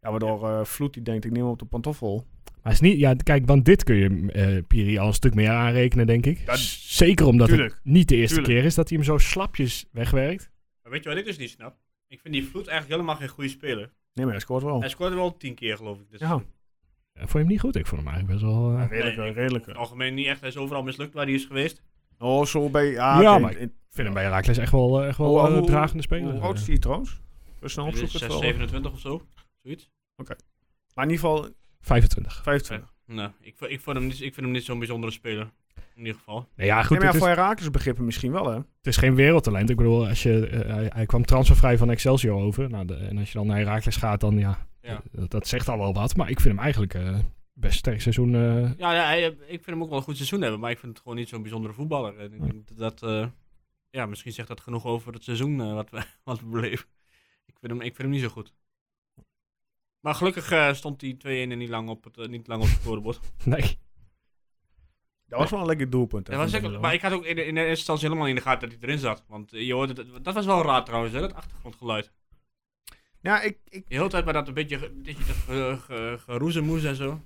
Speaker 1: Ja, waardoor eh Vloed die denkt, ik neem hem op de pantoffel.
Speaker 2: Maar is niet, ja, kijk, want dit kun je eh Piri al een stuk meer aanrekenen, denk ik.
Speaker 1: Ja,
Speaker 2: Z- Zeker omdat
Speaker 1: tuurlijk.
Speaker 2: het niet de eerste
Speaker 1: Tuurlijk.
Speaker 2: keer is dat hij hem zo slapjes wegwerkt.
Speaker 3: Maar weet je wat ik dus niet snap? Ik vind die Vloed eigenlijk helemaal geen goede speler.
Speaker 1: Nee, maar hij scoort wel.
Speaker 3: Hij scoorde wel tien keer, geloof ik. Dus
Speaker 1: Oh. Ja.
Speaker 2: Ja, vond je hem niet goed? Ik vond hem eigenlijk best wel... eh,
Speaker 1: redelijk,
Speaker 3: Nee, ik-
Speaker 1: redelijk.
Speaker 3: in het algemeen niet echt. Hij is overal mislukt waar hij is geweest.
Speaker 1: Oh, zo bij... Ja,
Speaker 2: Ja,
Speaker 1: oké.
Speaker 2: maar-
Speaker 1: In-
Speaker 2: Ik vind hem bij Herakles echt wel, eh, echt wel
Speaker 1: Hoe-
Speaker 2: een
Speaker 1: hoe-
Speaker 2: dragende speler. eh.
Speaker 1: Hoe oud is die trouwens? We snel
Speaker 3: Hij is
Speaker 1: opzoeken. het
Speaker 3: 6,
Speaker 1: wel.
Speaker 3: 27 of zo. Zoiets.
Speaker 1: Maar in ieder geval
Speaker 2: 25.
Speaker 1: 25.
Speaker 3: Nee, Nou, ik, vo- ik, vond hem niet, ik vind hem niet zo'n bijzondere speler. In ieder geval.
Speaker 2: Nee, ja, goed,
Speaker 1: Nee, maar
Speaker 2: het,
Speaker 1: ja,
Speaker 2: is,
Speaker 1: voor Herakles begrippen misschien wel, hè?
Speaker 2: het is geen wereldtalent. Ik bedoel, als je, eh, hij, hij kwam transfervrij van Excelsior over. Nou, de- en als je dan naar Herakles gaat, dan ja,
Speaker 3: Ja.
Speaker 2: Dat, dat zegt al wel wat. Maar ik vind hem eigenlijk eh, best sterk seizoen. eh, (laughs)
Speaker 3: Ja, ja, hij- ik vind hem ook wel een goed seizoen hebben, maar ik vind het gewoon niet zo'n bijzondere voetballer. En ik denk dat, dat, eh, ja, misschien zegt dat genoeg over het seizoen eh, wat, we, (laughs) wat we beleven. Ik vind, hem, ik vind hem niet zo goed. Maar gelukkig eh, stond die 2-1 er niet lang op het, eh, niet lang op het scorebord.
Speaker 2: nee.
Speaker 1: Dat was wel een lekker doelpunt. hè,
Speaker 3: Dat was
Speaker 1: van
Speaker 3: ik,
Speaker 1: Danilo.
Speaker 3: maar ik had ook in, de- in de eerste instantie helemaal niet in de gaten dat hij erin zat. Want eh, je hoorde, dat, dat was wel raar trouwens, hè, dat achtergrondgeluid.
Speaker 1: Ja, ik, ik,
Speaker 3: De hele tijd maar dat een beetje, ge- een beetje ge- ge- ge- geroezemoes en zo.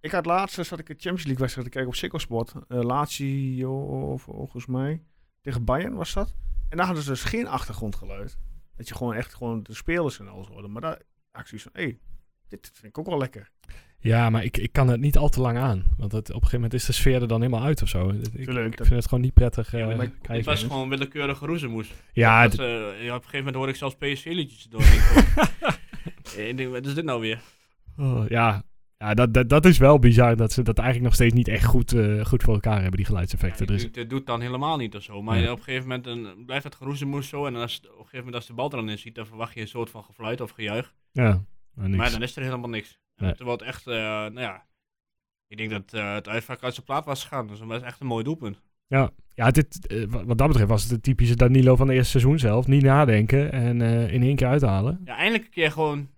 Speaker 1: ik had laatst, eh, zat ik een Champions League wedstrijd te kijken op Sikkel Sport. Eh, Lazio, volgens mij. Tegen Bayern was dat. En daar hadden ze dus geen achtergrondgeluid. Dat je gewoon echt gewoon de spelers en alles hoorde. Maar daar acties van, hé, hey, dit vind ik ook wel lekker.
Speaker 2: Ja, maar ik, ik kan het niet al te lang aan. Want het, op een gegeven moment is de sfeer er dan helemaal uit of zo. Ik, ik
Speaker 1: Tuurlijk, dat-
Speaker 2: vind het gewoon niet prettig. eh,
Speaker 1: Ja, maar
Speaker 2: kijken.
Speaker 3: Het was gewoon willekeurig geroezemoes.
Speaker 2: ja,
Speaker 3: Dat,
Speaker 2: het-
Speaker 3: eh, ja, op een gegeven moment hoor ik zelfs PSV-liedjes doorheen komen. (laughs) Eh, ik denk, wat is dit nou weer?
Speaker 2: oh, ja, ja dat, dat, dat is wel bizar dat ze dat eigenlijk nog steeds niet echt goed, eh, goed voor elkaar hebben, die
Speaker 3: Ja,
Speaker 2: geluidseffecten.
Speaker 3: ik-
Speaker 2: dus,
Speaker 3: ik- dit doet dan helemaal niet of zo. Maar
Speaker 2: Ja.
Speaker 3: op een gegeven moment dan blijft het geroezemoes zo. En als, op een gegeven moment als de bal er dan in ziet, dan verwacht je een soort van gefluit of gejuich.
Speaker 2: ja, maar niks.
Speaker 3: Maar dan is er helemaal niks. En
Speaker 2: Nee.
Speaker 3: Terwijl het echt, eh, nou ja... Ik denk dat eh, het uitvak uit zijn plaat was gegaan. Dus dat was echt een mooi doelpunt.
Speaker 2: Ja, dit, eh, wa- wat dat betreft was het het typische Danilo van het eerste seizoen zelf. Niet nadenken en eh, in één keer uithalen.
Speaker 3: Ja, eindelijk een keer gewoon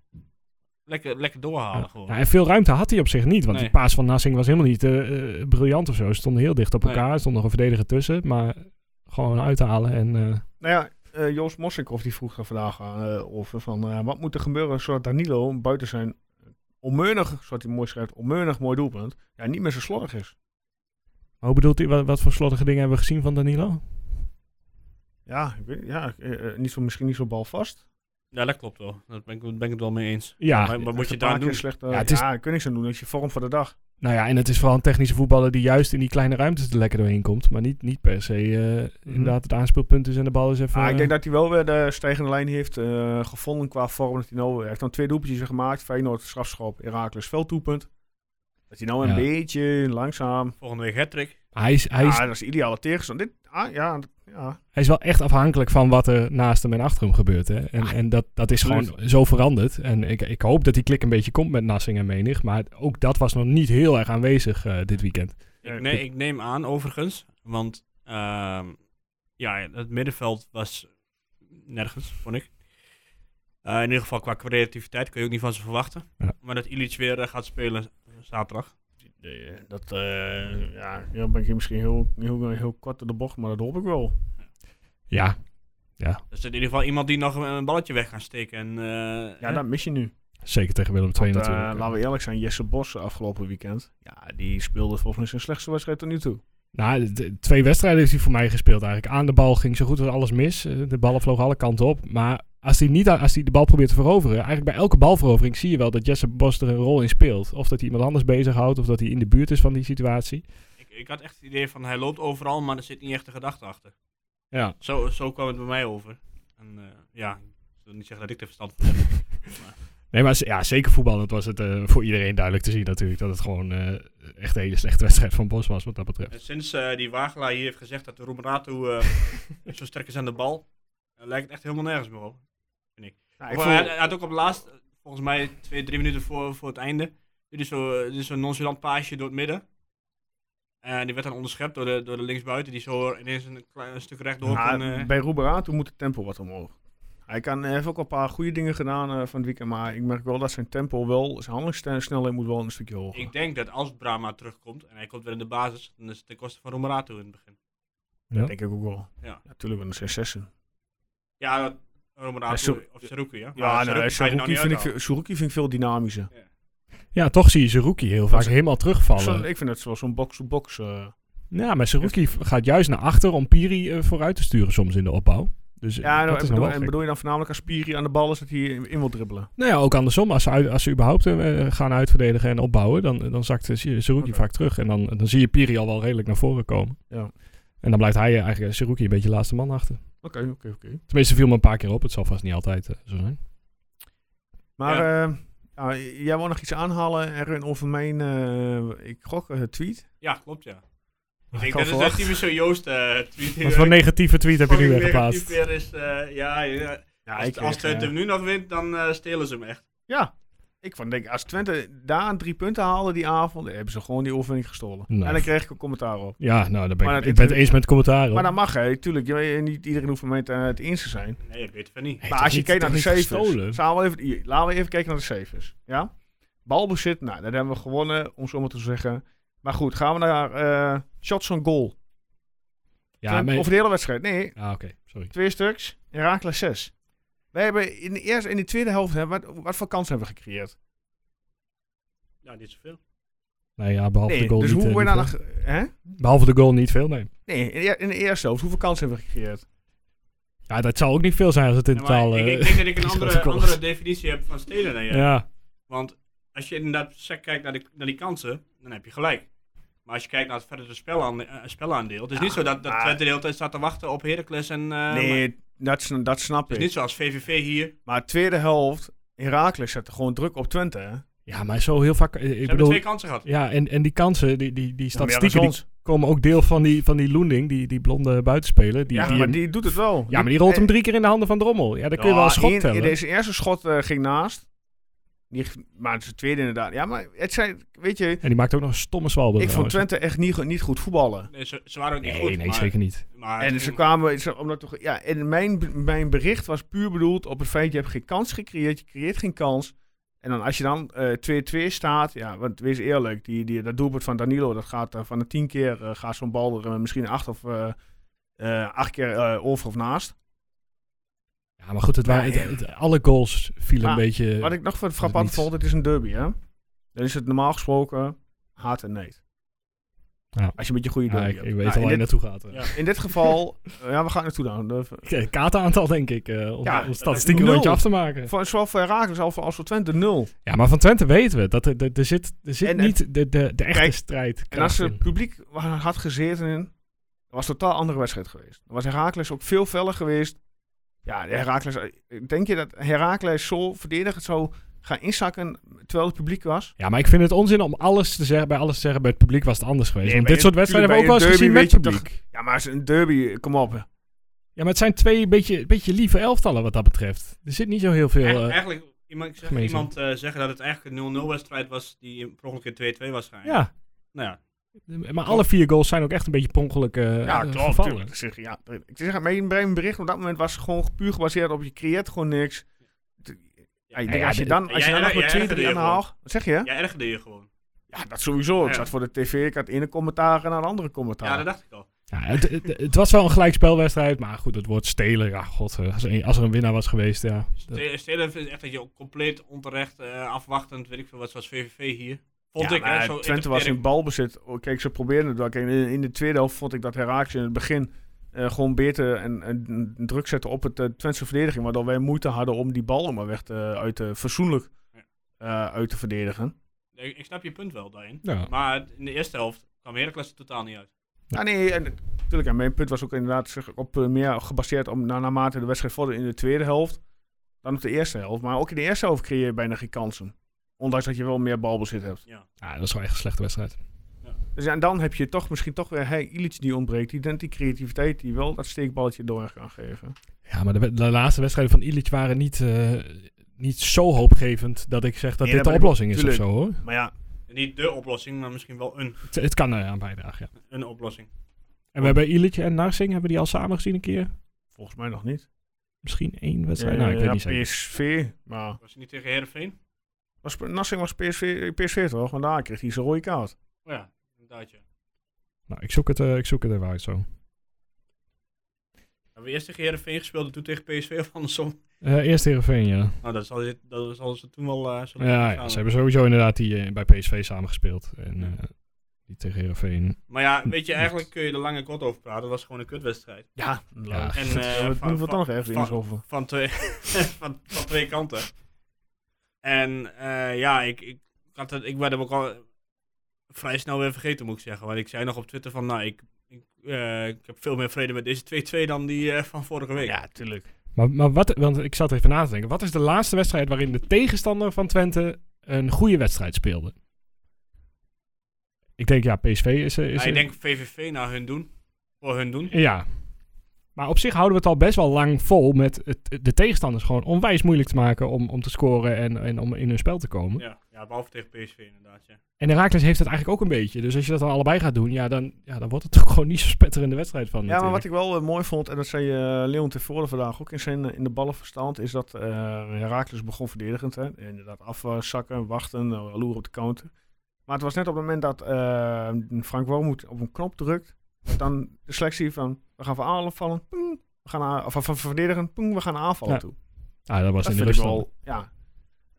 Speaker 3: lekker, lekker doorhalen.
Speaker 2: Ja.
Speaker 3: Gewoon.
Speaker 2: Ja, en veel ruimte had hij op zich niet. Want
Speaker 3: Nee.
Speaker 2: die paas van Nassing was helemaal niet eh, eh, briljant of zo. Ze stonden heel dicht op
Speaker 3: Nee.
Speaker 2: elkaar. Er stond nog een verdediger tussen. Maar gewoon uithalen. En, eh,
Speaker 1: Nou ja, eh, Joost Mossikoff die vroeg er vandaag aan, eh, over van eh, wat moet er gebeuren zodat Danilo buiten zijn onmeunig, zoals hij mooi schrijft, onmeunig mooi doelpunt, ja, niet meer zo slordig is.
Speaker 2: hoe bedoelt hij? Wat, wat voor slottige dingen hebben we gezien van Danilo?
Speaker 1: Ja, ik weet, ja eh, eh, niet zo, misschien niet zo balvast.
Speaker 3: Ja, dat klopt wel. Daar ben ik, ben ik het wel mee eens.
Speaker 2: Ja,
Speaker 3: maar, maar
Speaker 1: Hij
Speaker 3: moet
Speaker 1: heeft
Speaker 3: je
Speaker 1: een paar
Speaker 3: daar
Speaker 1: keer
Speaker 3: doen?
Speaker 1: Slecht, eh,
Speaker 2: Ja,
Speaker 1: ja,
Speaker 2: het is-
Speaker 1: daar kun je niks aan doen. Dat is je vorm van de dag.
Speaker 2: nou ja, en het is vooral een technische voetballer die juist in die kleine ruimtes er lekker doorheen komt. Maar niet, niet per se eh, inderdaad het aanspeelpunt is en de bal is even...
Speaker 1: Maar Mhm. Ah, ik denk dat hij wel weer de stijgende lijn heeft eh, gevonden qua vorm. Dat hij nou, hij heeft dan twee doelpuntjes weer gemaakt. Feyenoord, strafschop, Heracles, veldtoepunt. Dat hij nou een
Speaker 2: Ja.
Speaker 1: beetje langzaam...
Speaker 3: Volgende week hat
Speaker 2: eh, hij, is, hij,
Speaker 1: Ja,
Speaker 2: is,
Speaker 1: dat is de ideale tegenstander. Dit, ah, ja, dat- ja.
Speaker 2: hij is wel echt afhankelijk van wat er naast hem en achter hem gebeurt. Hè?
Speaker 1: Ah.
Speaker 2: En, en dat, dat is gewoon zo veranderd. En ik, ik hoop dat die klik een beetje komt met Nassing en Menig. Maar ook dat was nog niet heel erg aanwezig eh, dit weekend.
Speaker 1: Ja,
Speaker 3: Ik, nee, ik neem aan overigens, want ehm, ja, het middenveld was nergens, vond ik. Eh, in ieder geval qua creativiteit kun je ook niet van ze verwachten.
Speaker 2: Ja.
Speaker 3: Maar dat Illich weer eh, gaat spelen zaterdag.
Speaker 1: Nee, dat, eh, ja, dan ben ik hier misschien heel, heel, heel kort door de bocht, maar dat hoop ik wel.
Speaker 2: Ja,
Speaker 3: Dus in ieder geval iemand die nog een, een balletje weg gaat steken. En, eh,
Speaker 1: Ja,
Speaker 3: hè?
Speaker 1: dat mis je nu.
Speaker 2: zeker tegen Willem II
Speaker 1: Want, eh,
Speaker 2: natuurlijk.
Speaker 1: laten we eerlijk zijn, Jesse Bos eh, afgelopen weekend, ja, die speelde volgens mij zijn slechtste wedstrijd tot nu toe.
Speaker 2: Nou, de- de- twee wedstrijden heeft hij voor mij gespeeld eigenlijk. Aan de bal ging zo goed als alles mis. Eh, De ballen vlogen alle kanten op. Maar als hij, niet, a- als hij de bal probeert te veroveren... Eigenlijk bij elke balverovering zie je wel dat Jesse Bos er een rol in speelt. Of dat hij iemand anders bezighoudt. Of dat hij in de buurt is van die situatie.
Speaker 3: ik, ik had echt het idee van hij loopt overal, maar er zit niet echt de gedachte achter.
Speaker 2: Ja.
Speaker 3: Zo, zo kwam het bij mij over. En eh, ja, ik wil niet zeggen dat ik er verstand van heb.
Speaker 2: Nee, maar z- ja, zeker voetballend was het eh, voor iedereen duidelijk te zien natuurlijk. Dat het gewoon eh, echt een hele slechte (laughs) wedstrijd van Bos was wat dat betreft.
Speaker 3: En sinds eh, die Wagelaar hier heeft gezegd dat de Roemerato zo sterk is aan de bal, eh, lijkt het echt helemaal nergens meer op.
Speaker 1: Nou,
Speaker 3: Of, eh, hij, hij had ook op het laatst, eh, volgens mij twee, drie minuten voor, voor het einde, dit is zo- eh, dit is zo'n nonchalant paasje door het midden. En die werd dan onderschept door de, door de linksbuiten, die zo ineens een, klein, een stuk rechtdoor
Speaker 1: Maar
Speaker 3: kon. eh,
Speaker 1: bij Roeberato moet het tempo wat omhoog. Hij kan, hij heeft ook al een paar goede dingen gedaan eh, van het weekend, maar ik merk wel dat zijn tempo wel, zijn handelingssnelheid moet wel een stukje hoger.
Speaker 3: ik denk dat als Brahma terugkomt en hij komt weer in de basis, dan is het ten koste van Roemerato in het begin.
Speaker 2: Ja.
Speaker 1: denk ik ook wel.
Speaker 3: Ja.
Speaker 1: Natuurlijk, want dat zijn zessen.
Speaker 3: Ja, dat-
Speaker 1: Ja,
Speaker 3: Roemerato
Speaker 1: Sor-
Speaker 3: of Seruku, ja.
Speaker 1: Ja,
Speaker 3: Seruku
Speaker 1: nou,
Speaker 3: ga je er nou
Speaker 1: Suruki
Speaker 3: niet
Speaker 1: vind, ik,
Speaker 3: uithalen.
Speaker 1: veel- Suruki vind ik veel dynamischer.
Speaker 2: Ja, toch zie je Zerouki heel vaak helemaal
Speaker 1: Zo'n-
Speaker 2: terugvallen.
Speaker 1: ik vind het wel zo'n box-to-box. eh,
Speaker 2: Ja, maar Zerouki gaat juist naar achter om Piri eh, vooruit te sturen soms in de opbouw. Dus eh,
Speaker 1: Ja, nou, en,
Speaker 2: dat is nog
Speaker 1: bedoel,
Speaker 2: wel
Speaker 1: en
Speaker 2: gek.
Speaker 1: bedoel je dan voornamelijk als Spiri aan de bal is dat hij in in wil dribbelen?
Speaker 2: Nou ja, ook andersom. Als ze, uit- als ze überhaupt eh, gaan uitverdedigen en opbouwen, dan, dan zakt eh, Zerouki
Speaker 1: Oké.
Speaker 2: vaak terug. En dan, dan zie je Piri al wel redelijk naar voren komen.
Speaker 1: Ja.
Speaker 2: En dan blijft hij eh, eigenlijk eh, Seruki een beetje de laatste man achter.
Speaker 1: Oké, oké, oké.
Speaker 2: Tenminste, viel me een paar keer op. Het zal vast niet altijd eh, zo zijn.
Speaker 1: Maar eh, nou, jij wou nog iets aanhalen, Erwin, over mijn, eh, ik gok, eh, tweet.
Speaker 3: Ja, klopt, ja. Ik
Speaker 1: had
Speaker 3: denk, dat is
Speaker 1: verwacht.
Speaker 3: een typisch zo Joost eh tweet.
Speaker 2: Wat voor negatieve tweet
Speaker 1: Oh,
Speaker 2: heb je nu weer
Speaker 3: Fucking negatief
Speaker 2: geplaatst?
Speaker 3: weer is, eh, ja, ja.
Speaker 1: Ja,
Speaker 3: Als, als
Speaker 1: eh,
Speaker 3: Twente hem nu nog wint, dan eh, stelen ze hem echt.
Speaker 1: Ja. Ik van denk, als Twente daar drie punten haalde die avond, dan hebben ze gewoon die overwinning gestolen.
Speaker 2: Nee.
Speaker 1: En dan kreeg ik een commentaar op.
Speaker 2: Ja, nou, daar ben
Speaker 1: Maar dat
Speaker 2: ik, ik ben het
Speaker 1: interview-
Speaker 2: eens met commentaar.
Speaker 1: Maar dat mag, hè. Tuurlijk, je weet- niet iedereen hoeft met eh, het eens te zijn.
Speaker 3: Nee, ik weet het van niet.
Speaker 1: maar als je kijkt naar de
Speaker 2: gestolen?
Speaker 1: cijfers. Zal we even, hier, laten we even kijken naar de cijfers. Ja? Balbezit, nou, dat hebben we gewonnen, om zo maar te zeggen. Maar goed, gaan we naar eh, shots on goal.
Speaker 2: Ja,
Speaker 1: Twente-
Speaker 2: maar...
Speaker 1: Over de hele wedstrijd. Nee,
Speaker 2: Ah, oké, sorry.
Speaker 1: twee stuks. Herakles zes. Wij hebben in de eerste en de tweede helft, hè, wat, wat voor kansen hebben we gecreëerd?
Speaker 3: Nou, niet zoveel.
Speaker 2: Nee, ja, behalve
Speaker 1: Nee,
Speaker 2: de goal
Speaker 1: dus
Speaker 2: niet,
Speaker 1: hoe
Speaker 2: eh,
Speaker 1: we
Speaker 2: niet
Speaker 1: dan...
Speaker 2: veel.
Speaker 1: achter- Hè?
Speaker 2: Behalve de goal niet veel, nee.
Speaker 1: Nee, in de, eer- in de eerste helft. Hoeveel kansen hebben we gecreëerd?
Speaker 2: Ja, dat zal ook niet veel zijn als het in
Speaker 3: Ja, maar
Speaker 2: totaal...
Speaker 3: ik, ik
Speaker 2: eh,
Speaker 3: denk dat ik een
Speaker 2: is
Speaker 3: andere,
Speaker 2: grote goal.
Speaker 3: andere definitie heb van stelen dan jij.
Speaker 2: ja.
Speaker 3: Want als je inderdaad sec kijkt naar, de, naar die kansen, dan heb je gelijk. Maar als je kijkt naar het verdere spelaande- eh, spelaandeel, het is niet zo dat, dat
Speaker 1: maar-
Speaker 3: Twente de hele tijd staat te wachten op Heracles en... eh, maar
Speaker 1: nee, dat, sn- dat snap
Speaker 3: het
Speaker 1: ik.
Speaker 3: is niet zoals VVV hier.
Speaker 1: Maar tweede helft, Herakles zette gewoon druk op Twente. Hè?
Speaker 2: ja, maar zo heel vaak... eh,
Speaker 3: Ze
Speaker 2: Ik
Speaker 3: hebben
Speaker 2: bedoel...
Speaker 3: twee kansen gehad.
Speaker 2: Ja, en, en die kansen, die, die, die statistieken, die
Speaker 1: Ja,
Speaker 2: komen ook deel van die, van die Loending, die, die blonde buitenspeler. Die,
Speaker 1: ja,
Speaker 2: die
Speaker 1: maar die doet het wel.
Speaker 2: ja, maar die rolt hem
Speaker 1: Eh,
Speaker 2: drie keer in de handen van Drommel. Ja, dan kun je wel
Speaker 1: ja,
Speaker 2: een schot
Speaker 1: één-
Speaker 2: tellen.
Speaker 1: Deze eerste schot eh, ging naast. Die, g- maar het is de tweede inderdaad. Ja, maar het zijn, weet je,
Speaker 2: En die maakt ook nog een stomme zwalbe.
Speaker 1: ik vond
Speaker 2: trouwens.
Speaker 1: Twente echt niet, go- niet goed voetballen.
Speaker 3: Nee, ze, ze waren ook niet
Speaker 2: Nee,
Speaker 3: goed.
Speaker 2: nee,
Speaker 3: maar,
Speaker 2: zeker niet.
Speaker 3: Maar
Speaker 1: En ze kwamen, ze- omdat toch, ja, en mijn, b- mijn bericht was puur bedoeld op het feit, je hebt geen kans gecreëerd, je creëert geen kans. En dan als je dan eh, 2-2 staat, ja, want wees eerlijk, die, die, dat doelpunt van Danilo, dat gaat eh, van de tien keer, eh, gaat zo'n bal er eh, misschien acht of eh, eh, acht keer eh, over of naast.
Speaker 2: Ja, maar goed, het waren, het- het- alle goals vielen
Speaker 1: Maar
Speaker 2: een beetje...
Speaker 1: Wat ik nog van
Speaker 2: dat
Speaker 1: frappant
Speaker 2: niet.
Speaker 1: vond, het is een derby, hè. Dan is het normaal gesproken haat en nee.
Speaker 2: Ja.
Speaker 1: Als je met je goede
Speaker 2: Ja,
Speaker 1: derby
Speaker 2: ik,
Speaker 1: hebt.
Speaker 2: ik weet
Speaker 1: Nou,
Speaker 2: al
Speaker 1: in,
Speaker 2: waar je
Speaker 1: dit,
Speaker 2: naartoe gaat. eh. (laughs)
Speaker 3: Ja.
Speaker 1: in dit geval, (laughs) eh, ja, we gaan naartoe dan. De-
Speaker 2: Ja. Kaartaantal, denk ik, eh, om,
Speaker 1: Ja,
Speaker 2: om statistiek een
Speaker 1: nul.
Speaker 2: rondje af te maken.
Speaker 1: Van, zowel voor Herakles als voor, als voor Twente, nul.
Speaker 2: Ja, maar van Twente weten we dat er, er, er zit, er zit
Speaker 1: En- en-
Speaker 2: niet de, de, de echte
Speaker 1: Kijk,
Speaker 2: strijd.
Speaker 1: En als het publiek wa- had gezeten in, was het een totaal andere wedstrijd geweest. Dan was Herakles ook veel feller geweest. Ja, Herakles, eh, denk je dat Herakles zo verdedigend zou gaan inzakken terwijl het publiek was?
Speaker 2: Ja, maar ik vind het onzin om alles te zeggen, bij alles te zeggen. Bij het publiek was het anders geweest.
Speaker 1: Nee,
Speaker 2: Want
Speaker 1: bij
Speaker 2: dit
Speaker 1: een-
Speaker 2: soort wedstrijden hebben we ook wel eens
Speaker 1: tuurlijk,
Speaker 2: gezien
Speaker 1: bij
Speaker 2: met
Speaker 1: een derby
Speaker 2: publiek.
Speaker 1: Ja, maar het is een derby, kom op.
Speaker 2: Ja, maar het zijn twee beetje, beetje lieve elftallen wat dat betreft. Er zit niet zo heel veel...
Speaker 3: Eigen-
Speaker 2: eh,
Speaker 3: eigenlijk, iemand, ik zag
Speaker 2: gemeen zijn.
Speaker 3: iemand eh, zeggen dat het eigenlijk een 0-0 wedstrijd was die per ongeluk een 2-2 was gegaan.
Speaker 2: ja,
Speaker 3: Nou ja,
Speaker 2: maar alle vier goals zijn ook echt een beetje per ongeluk eh,
Speaker 1: Ja,
Speaker 2: eh,
Speaker 1: klopt.
Speaker 2: gevallen.
Speaker 1: tuurlijk. Ik zeg, ja, ik zeg, mijn mijn bericht op dat moment was gewoon puur gebaseerd op je creëert gewoon niks. Ja, ik denk,
Speaker 2: ja,
Speaker 1: als je
Speaker 2: dit-
Speaker 1: dan, als je dan
Speaker 3: Jij-
Speaker 1: nog
Speaker 3: jij
Speaker 1: met 2
Speaker 3: ergerde
Speaker 1: 3
Speaker 3: je
Speaker 1: aan de
Speaker 3: gewoon.
Speaker 1: haal... Wat zeg je?
Speaker 3: jij ergerde je gewoon.
Speaker 1: Ja, dat sowieso. Ik
Speaker 3: Ja.
Speaker 1: zat voor de tv, ik had de ene commentaar en een andere commentaar.
Speaker 3: Ja, dat dacht ik al.
Speaker 2: Ja, het, het, het was wel een gelijkspelwedstrijd, maar goed, het wordt stelen. Ja, god, eh, als er, een- als er een winnaar was geweest, ja. Dat-
Speaker 3: Ste- Stelen vindt echt dat je ook compleet onterecht eh, afwachtend, weet ik veel wat, zoals VVV hier. Vond
Speaker 1: Ja,
Speaker 3: ik,
Speaker 1: maar
Speaker 3: hè, zo
Speaker 1: Twente was in
Speaker 3: interpreteer
Speaker 1: balbezit. Oh, Kijk, ze probeerden het wel. Kijk, in, in de tweede helft vond ik dat Herakles in het begin eh, gewoon beter en, en druk zette op het eh, Twentse verdediging. Waardoor wij moeite hadden om die bal maar weg te, eh, uit te, verzoenlijk
Speaker 3: Ja.
Speaker 1: eh, uit te verdedigen.
Speaker 3: ik. ik. Ik snap je punt wel daarin.
Speaker 2: ja.
Speaker 3: Maar in de eerste helft kwam Heracles er totaal niet uit.
Speaker 1: Ja, Ah, nee, en natuurlijk. En mijn punt was ook inderdaad zeg, op, eh, meer gebaseerd om na, naarmate de wedstrijd vorderde in de tweede helft dan op de eerste helft. Maar ook in de eerste helft creëer je bijna geen kansen. Ondanks dat je wel meer balbezit hebt.
Speaker 2: Ja, Ah, dat is wel echt een slechte wedstrijd.
Speaker 1: Dus ja, en dan heb je toch misschien toch weer hey, Illich die ontbreekt. Die, die creativiteit die wel dat steekballetje door kan geven.
Speaker 2: Ja, maar de, we- de laatste wedstrijden van Illich waren niet, eh, niet zo hoopgevend dat ik zeg dat
Speaker 1: Nee,
Speaker 2: dit de
Speaker 1: dat ben ik-
Speaker 2: oplossing is
Speaker 1: tuurlijk.
Speaker 2: of zo, hoor.
Speaker 1: Maar ja,
Speaker 3: Niet de oplossing, maar misschien wel een,
Speaker 2: Het, het kan er aan bijdragen, ja.
Speaker 3: een oplossing.
Speaker 2: En we hebben Illich en Narsing, hebben we die al samen gezien een keer?
Speaker 1: volgens mij nog niet.
Speaker 2: Misschien één wedstrijd?
Speaker 1: Eh,
Speaker 2: nou, ik weet
Speaker 1: ja,
Speaker 2: niet zeker.
Speaker 1: PSV. Maar
Speaker 3: Was het niet tegen Herenveen?
Speaker 1: was, Nassing was PSV, PSV toch? Want daar kreeg hij zijn rode kaart.
Speaker 3: Oh ja, inderdaad ja.
Speaker 2: Nou, ik zoek het, eh, ik zoek het even uit zo.
Speaker 3: Hebben we eerst tegen Herenveen gespeeld en toen tegen PSV of andersom?
Speaker 2: Eh, eerst Heerenveen, ja.
Speaker 3: Nou, dat zal, dit- dat zal ze toen wel... eh, zullen
Speaker 2: Ja,
Speaker 3: gaan.
Speaker 2: ja, ze hebben sowieso inderdaad die eh, bij PSV samengespeeld. En
Speaker 3: Ja.
Speaker 2: eh, die tegen Heerenveen.
Speaker 3: Maar ja, weet je,
Speaker 2: Niet.
Speaker 3: eigenlijk kun je er lang en kort over praten. Het was gewoon een kutwedstrijd.
Speaker 1: Ja,
Speaker 2: Ja,
Speaker 1: en
Speaker 3: En,
Speaker 1: we
Speaker 3: eh,
Speaker 1: doen
Speaker 3: van-
Speaker 1: we het dan nog even
Speaker 3: van-
Speaker 1: eens over.
Speaker 3: Van twee, (laughs) van, van twee kanten. En eh, ja, ik, ik, had het, ik werd hem ook al vrij snel weer vergeten, moet ik zeggen. Want ik zei nog op Twitter van, nou, ik, ik eh, ik heb veel meer vrede met deze 2-2 dan die eh, van vorige week.
Speaker 1: Ja, tuurlijk.
Speaker 2: Maar, maar wat, want ik zat even na te denken. Wat is de laatste wedstrijd waarin de tegenstander van Twente een goede wedstrijd speelde? Ik denk, ja, PSV is... eh, is
Speaker 3: Ja, ik denk VVV naar hun doen. Voor hun doen.
Speaker 2: Ja. Maar op zich houden we het al best wel lang vol met het, de tegenstanders gewoon onwijs moeilijk te maken om, om te scoren en, en om in hun spel te komen.
Speaker 3: Ja, ja behalve tegen PSV inderdaad. Ja.
Speaker 2: En Herakles heeft het eigenlijk ook een beetje. Dus als je dat dan allebei gaat doen, ja, dan, ja, dan wordt het (laughs) ook gewoon niet zo spetterende wedstrijd van.
Speaker 1: Ja, maar wat
Speaker 2: natuurlijk.
Speaker 1: ik wel eh, mooi vond, en dat zei eh, Leon tevoren vandaag ook in zijn eh, in de ballenverstand, is dat eh Herakles begon verdedigend. Hè? Inderdaad, afzakken, wachten, eh, loeren op de counter. Maar het was net op het moment dat eh, Frank Wormoed op een knop drukt, dan de selectie van we gaan voor aanvallen, ping, we gaan aan- of van van verdedigen, ping, we gaan naar aanvallen
Speaker 2: Ja,
Speaker 1: toe.
Speaker 2: Ah, dat was
Speaker 1: Dat
Speaker 2: in de
Speaker 1: vind ik
Speaker 2: rust.
Speaker 1: wel, ja.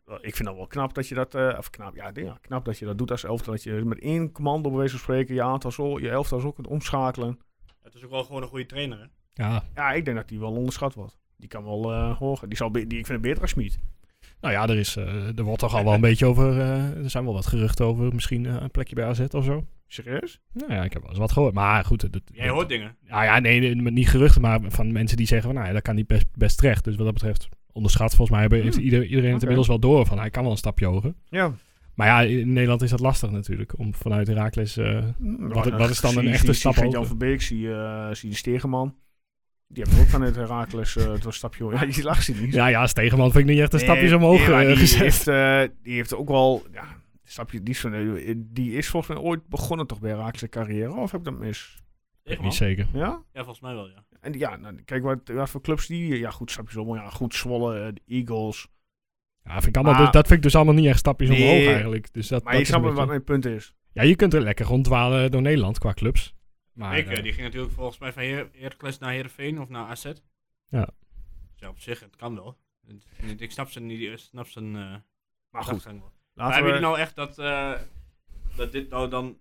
Speaker 1: Wel, Ik vind dat wel knap dat je dat, eh, of knap, ja, ja, knap dat je dat doet als elftal. Dat je met één commando bij wijze van spreken je aantal zo, je elftal zo kunt omschakelen.
Speaker 3: Het is ook wel gewoon een goede trainer. Hè?
Speaker 2: dan. Ja.
Speaker 1: Ja, ik denk dat die wel onderschat wordt. Die kan wel eh hoger. Die, zal be- die, ik vind het beter als Schmid.
Speaker 2: Nou ja, er, is, eh, er wordt toch
Speaker 1: (laughs)
Speaker 2: al wel een beetje over. eh, er zijn wel wat geruchten over misschien eh, een plekje bij AZ of zo.
Speaker 1: Serieus?
Speaker 2: Nou ja, ik heb wel eens wat gehoord. Maar goed, het- het-
Speaker 3: Jij hoort dingen.
Speaker 2: Nou ja, nee, nee, maar niet geruchten, maar van mensen die zeggen van, nou ja, dat kan niet best, best terecht. Dus wat dat betreft, onderschat volgens mij, hebben, heeft ieder, iedereen het
Speaker 1: Hmm. oké.
Speaker 2: inmiddels wel door van, hij kan wel een stapje hoger.
Speaker 1: Ja.
Speaker 2: Maar ja, in Nederland is dat lastig natuurlijk, om vanuit Herakles... eh, Wat- wat is dan een echte stap
Speaker 1: Zie Jan
Speaker 2: hoger?
Speaker 1: Verbeek, zie, eh zie de Stegeman. Die hebben ook vanuit Herakles eh, het een stapje hoger. Ja, die lag ze niet.
Speaker 2: ja, ja, Stegeman vind ik niet echt een
Speaker 1: Nee,
Speaker 2: stapjes omhoog
Speaker 1: nee, maar
Speaker 2: eh,
Speaker 1: die
Speaker 2: gezet.
Speaker 1: Heeft, eh, die heeft ook wel... Ja, een stapje, die, is van- eh, die is volgens mij ooit begonnen toch bij Herakles carrière. Of heb ik dat mis?
Speaker 2: Ik
Speaker 3: Echt,
Speaker 2: niet
Speaker 3: man?
Speaker 2: zeker.
Speaker 1: Ja?
Speaker 3: Ja, volgens mij wel, ja.
Speaker 1: En die- ja, nou, kijk wat, wat voor clubs die... Ja, goed, stapjes omhoog. Ja, goed, Zwolle, eh, de Eagles.
Speaker 2: Ja, vind ik allemaal,
Speaker 1: Maar-
Speaker 2: dus, dat vind ik dus allemaal niet echt stapjes
Speaker 1: Nee,
Speaker 2: omhoog eigenlijk. Dus dat,
Speaker 1: Maar je
Speaker 2: dat is
Speaker 1: snapt
Speaker 2: een
Speaker 1: wel wat
Speaker 2: beetje-
Speaker 1: mijn punt is.
Speaker 2: Ja, je kunt er lekker ronddwalen door Nederland qua clubs. Maar,
Speaker 3: Ik, eh,
Speaker 2: eh,
Speaker 3: die ging natuurlijk volgens mij van Her- Heracles naar Heerenveen of naar AZ.
Speaker 2: Ja.
Speaker 3: Dus ja, op zich, het kan wel. Het- Ik snap ze niet, ik snap zijn eh
Speaker 1: Maar goed,
Speaker 3: gedachtegang wel. Maar
Speaker 1: laten
Speaker 3: hebben
Speaker 1: we...
Speaker 3: jullie nou echt dat, eh, dat dit nou dan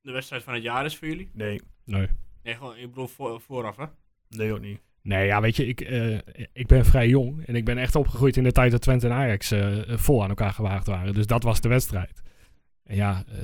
Speaker 3: de wedstrijd van het jaar is voor jullie?
Speaker 1: Nee,
Speaker 2: nee.
Speaker 3: Nee, gewoon, ik bedoel voor- vooraf, hè?
Speaker 1: nee ook niet.
Speaker 2: Nee, ja, weet je, ik, eh, ik ben vrij jong. En ik ben echt opgegroeid in de tijd dat Twente en Ajax eh, vol aan elkaar gewaagd waren. Dus dat was de wedstrijd. En ja, eh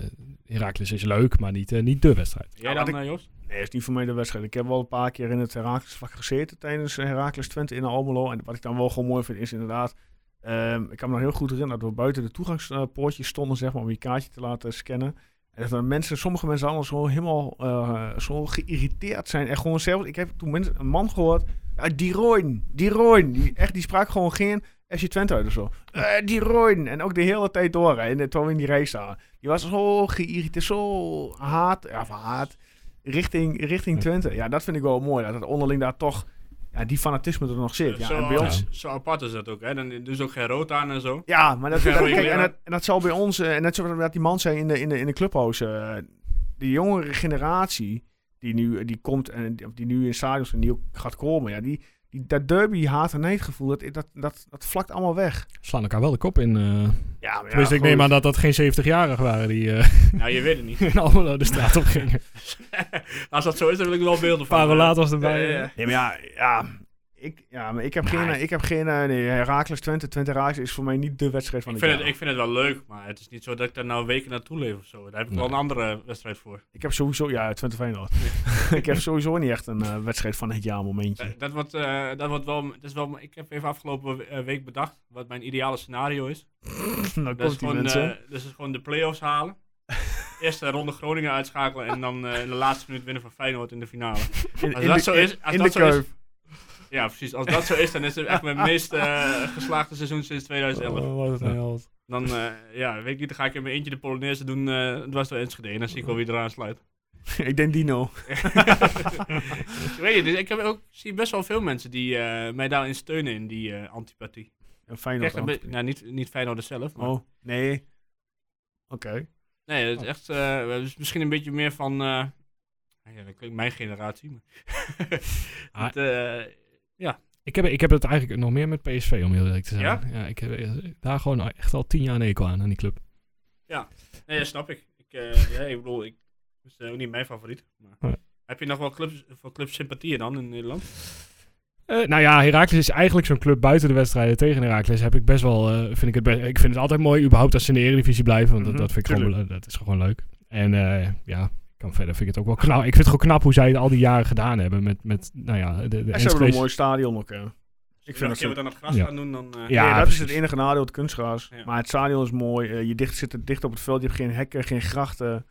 Speaker 2: Heracles is leuk, maar niet, eh, niet de wedstrijd.
Speaker 3: Jij
Speaker 1: wat
Speaker 3: dan,
Speaker 1: ik-
Speaker 3: eh, Joost?
Speaker 1: Nee, is niet voor mij de wedstrijd. Ik heb wel een paar keer in het Herakles vak gezeten tijdens eh, Heracles Twente in Almelo. En wat ik dan wel gewoon mooi vind is inderdaad... ehm, ik kan me nog heel goed herinneren dat we buiten de toegangspoortjes stonden zeg maar, om je kaartje te laten scannen. En dat er mensen, sommige mensen allemaal zo helemaal eh, zo geïrriteerd zijn. En gewoon zelfs, ik heb toen mensen, een man gehoord... Ja, die Rooien, die Rooien. Die, echt, die sprak gewoon geen FC Twente uit of zo. Eh, die Rooien. En ook de hele tijd door. hè, En eh, terwijl we in die race staan. Die was zo geïrriteerd, zo haat. Ja, of haat richting, richting Twente. Ja, dat vind ik wel mooi. Dat het onderling daar toch ja, die fanatisme er nog zit. Ja,
Speaker 3: zo,
Speaker 1: en bij ons.
Speaker 3: zo apart is dat ook, hè? Dan doen ze ook geen rood aan en
Speaker 1: (laughs)
Speaker 3: zo.
Speaker 1: Ja, maar dat,
Speaker 3: Ja,
Speaker 1: dat-
Speaker 3: goeie
Speaker 1: kijk, en,
Speaker 3: kleren.
Speaker 1: dat, en dat zal bij ons, eh, en net zoals dat die man zei in de, in de, in de clubhouse, eh, de jongere generatie die nu, eh, die komt en die, of die nu in stadions en die ook gaat komen, ja, die, die, dat derby haat en neidgevoel, dat, dat, dat, dat vlakt allemaal weg.
Speaker 2: Slaan elkaar wel de kop in. eh
Speaker 1: Ja, maar
Speaker 2: dus ik neem aan dat dat geen 70-jarigen waren die eh, (laughs)
Speaker 3: nou, je weet het niet. (laughs)
Speaker 2: in Almelo de straat op gingen. Een
Speaker 3: Als dat zo is, dan wil ik er wel beelden van.
Speaker 2: paar uur
Speaker 3: eh.
Speaker 2: later was het erbij.
Speaker 3: Ja, ja, ja.
Speaker 2: eh.
Speaker 1: Nee, maar ja, ja, ik, ja, maar ik heb geen, eh, ik heb geen, eh, nee, Heracles Twente, Twente Raakles is voor mij niet de wedstrijd van
Speaker 3: Ik
Speaker 1: het
Speaker 3: vind,
Speaker 1: jaar.
Speaker 3: het, ik vind het wel leuk, maar het is niet zo dat ik daar nou weken naartoe leef of zo. Daar heb ik wel
Speaker 2: Nee.
Speaker 3: een andere wedstrijd voor.
Speaker 1: Ik heb sowieso, ja, Twente Feyenoord. (laughs) ik heb sowieso niet echt een eh, wedstrijd van het jaar momentje. (laughs)
Speaker 3: Eh, Dat wordt, eh, dat wordt wel, dat is wel... Ik heb even afgelopen we- eh, week bedacht wat mijn ideale scenario is.
Speaker 1: nou, komt
Speaker 3: Dat is,
Speaker 1: die
Speaker 3: gewoon,
Speaker 1: mensen.
Speaker 3: eh, dat is gewoon de play-offs
Speaker 1: (laughs)
Speaker 3: halen. Eerste ronde Groningen uitschakelen en dan eh, in de laatste minuut winnen van Feyenoord in de finale.
Speaker 1: in,
Speaker 3: als
Speaker 1: in
Speaker 3: dat
Speaker 1: de,
Speaker 3: zo
Speaker 1: in-
Speaker 3: is- als
Speaker 1: in
Speaker 3: dat
Speaker 1: de
Speaker 3: zo is-
Speaker 1: Kuip.
Speaker 3: Ja, precies. Als dat zo is, dan is het echt mijn meest eh, geslaagde seizoen sinds 2011.
Speaker 2: Oh, wat een
Speaker 1: Ja.
Speaker 2: held.
Speaker 3: Dan, eh, ja, weet ik niet, dan ga ik in mijn eentje de Polonaise doen. eh dwars door Enschede en dan zie ik wel wie eraan sluit.
Speaker 1: (laughs) ik denk
Speaker 2: (laughs)
Speaker 1: Dino.
Speaker 3: Ik weet je, dus ik heb ook, zie best wel veel mensen die eh, mij daarin steunen in die eh, antipathie.
Speaker 1: En
Speaker 3: Ik
Speaker 1: Feyenoord
Speaker 3: krijg een
Speaker 1: dan.
Speaker 3: be- nou, niet, niet Feyenoord zelf, maar...
Speaker 1: Oh, nee. Oké.
Speaker 3: Nee,
Speaker 2: Oh.
Speaker 3: het is echt... eh, het is misschien een beetje meer van... eh, ja, dat klinkt mijn generatie, maar... (laughs)
Speaker 2: Ah.
Speaker 3: Het, eh,
Speaker 2: Ik heb, ik heb het eigenlijk nog meer met PSV, om heel eerlijk te zijn.
Speaker 3: Ja?
Speaker 2: ik heb eh, daar gewoon echt al tien jaar een ekel aan, aan die club.
Speaker 3: nee, dat snap ik. Ik, eh, ja, ik bedoel, ik, het is eh, ook niet mijn favoriet, maar...
Speaker 2: Nee.
Speaker 3: Heb je nog wel clubs, voor clubs sympathieën dan in Nederland?
Speaker 2: Eh, nou ja, Heracles is eigenlijk zo'n club buiten de wedstrijden tegen Heracles. Heb ik best wel, eh, vind ik het best, ik vind het altijd mooi überhaupt dat ze in de Eredivisie blijven, want dat-
Speaker 1: Mhm,
Speaker 2: dat, vind ik gewoon, dat is gewoon leuk. En eh, ja, kan verder vind ik het ook wel knap. Ik vind het gewoon knap hoe zij het al die jaren gedaan hebben met, met nou ja, de,
Speaker 1: En ze
Speaker 2: de
Speaker 1: hebben
Speaker 2: handspace.
Speaker 1: een mooi stadion ook. hè.
Speaker 3: Ik
Speaker 1: vind
Speaker 3: vind
Speaker 1: dat
Speaker 3: dat
Speaker 1: zo-
Speaker 3: we dan het gras
Speaker 2: Ja.
Speaker 3: gaan doen, dan... eh,
Speaker 2: Ja,
Speaker 1: Ja, dat is
Speaker 2: precies.
Speaker 1: het enige nadeel, het kunstgras.
Speaker 3: Ja.
Speaker 1: Maar het stadion is mooi. eh, je dicht, zit dicht op het veld. Je hebt geen hekken, geen grachten.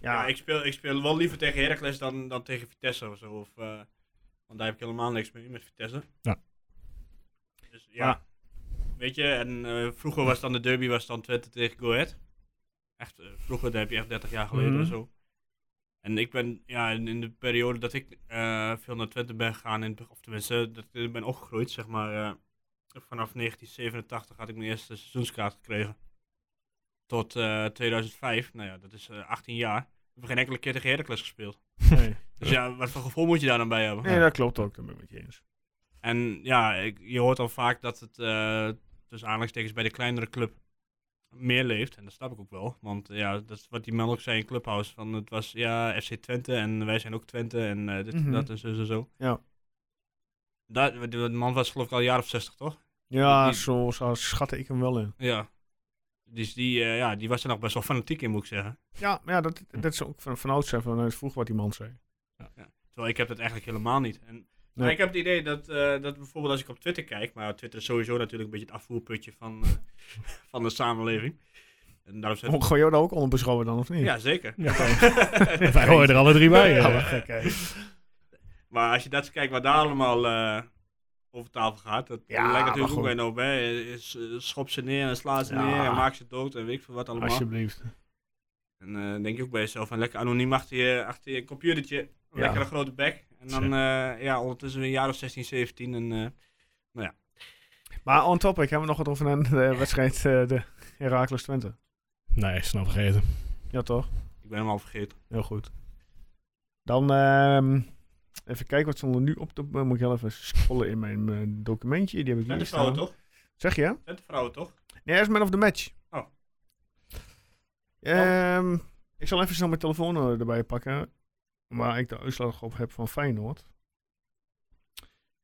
Speaker 1: Ja,
Speaker 3: Ja, ik, speel, ik speel wel liever tegen Heracles dan, dan tegen Vitesse of zo. Of, eh, want daar heb ik helemaal niks mee met Vitesse.
Speaker 2: Ja.
Speaker 3: Dus ja.
Speaker 1: Maar-
Speaker 3: Weet je, en eh, vroeger was dan de derby was dan Twente tegen Go Ahead. Echt, eh, vroeger, dat heb je echt 30 jaar geleden
Speaker 1: Mhm.
Speaker 3: en zo. En ik ben, ja, in, in de periode dat ik eh, veel naar Twente ben gegaan, in, het be- of tenminste, dat ik ben opgegroeid, zeg maar, eh, vanaf 1987 had ik mijn eerste seizoenskaart gekregen. Tot eh, 2005, nou ja, dat is eh, 18 jaar. Ik heb geen enkele keer tegen Heracles gespeeld.
Speaker 1: nee.
Speaker 3: Dus ja, wat voor gevoel moet je daar dan bij hebben?
Speaker 1: nee, dat klopt ook. Dat ben ik met je eens.
Speaker 3: En ja, ik- je hoort al vaak dat het eh tussen aanhalingstekens bij de kleinere club meer leeft. En dat snap ik ook wel. Want eh, ja, dat is wat die man ook zei in Clubhouse. Van het was ja, FC Twente en wij zijn ook Twente en eh, dit en
Speaker 1: Mhm.
Speaker 3: dat en zo zo zo.
Speaker 1: Ja.
Speaker 3: Dat, de man was geloof ik al een jaar of 60, toch?
Speaker 1: Ja,
Speaker 3: Die-
Speaker 1: zo, zo schatte ik hem wel in.
Speaker 3: Ja. Dus die, eh, ja, die was er nog best wel fanatiek in, moet ik zeggen.
Speaker 1: Ja, maar ja dat,
Speaker 3: Hm.
Speaker 1: dat is ook van, van oudsher, vanuit vroeg wat die man zei.
Speaker 3: Terwijl ik heb dat eigenlijk helemaal niet. En, maar
Speaker 1: Nee.
Speaker 3: ik heb het idee dat, eh, dat bijvoorbeeld als ik op Twitter kijk, maar Twitter is sowieso natuurlijk een beetje het afvoerputje van, eh, (laughs) van de samenleving. En daarom zet...
Speaker 1: Oh, gooi jou daar ook onder beschouwen dan, of niet?
Speaker 3: Ja, zeker. (laughs)
Speaker 2: Ja. (laughs)
Speaker 1: (laughs)
Speaker 2: Wij horen er alle drie bij.
Speaker 1: Ja,
Speaker 2: eh.
Speaker 1: maar gek, hè.
Speaker 3: Maar als je dat eens kijkt wat daar allemaal eh, over tafel gaat, dat
Speaker 1: Ja,
Speaker 3: lijkt
Speaker 1: maar
Speaker 3: natuurlijk
Speaker 1: goed.
Speaker 3: ook weer op. Hè. Is, eh, Schop ze neer en sla ze
Speaker 1: Ja.
Speaker 3: neer en maak ze dood en weet ik veel wat allemaal.
Speaker 1: Alsjeblieft.
Speaker 3: En eh, denk je ook bij jezelf, van lekker anoniem achter je, achter je computertje,
Speaker 1: Ja.
Speaker 3: lekker een grote bek. En dan eh, ja, ondertussen weer een jaar of 16, 17 en... eh,
Speaker 1: Maar on topic, hebben we nog wat over een eh, wedstrijd, eh, de Heracles Twente.
Speaker 2: Nee, snel vergeten.
Speaker 1: Ja, toch?
Speaker 3: Ik ben hem al vergeten.
Speaker 1: Heel goed. Dan ehm, even kijken wat stond er nu op. De, moet ik heel even scrollen in mijn eh, documentje. Die heb ik
Speaker 3: Twente
Speaker 1: hier
Speaker 3: vrouwen
Speaker 1: staan.
Speaker 3: toch?
Speaker 1: Zeg je?
Speaker 3: Twente vrouwen toch?
Speaker 1: Nee, hij is man of the match.
Speaker 3: Oh.
Speaker 1: Ehm, Ik zal even snel mijn telefoon eh, erbij pakken. Waar ik de uitslag op heb van Feyenoord.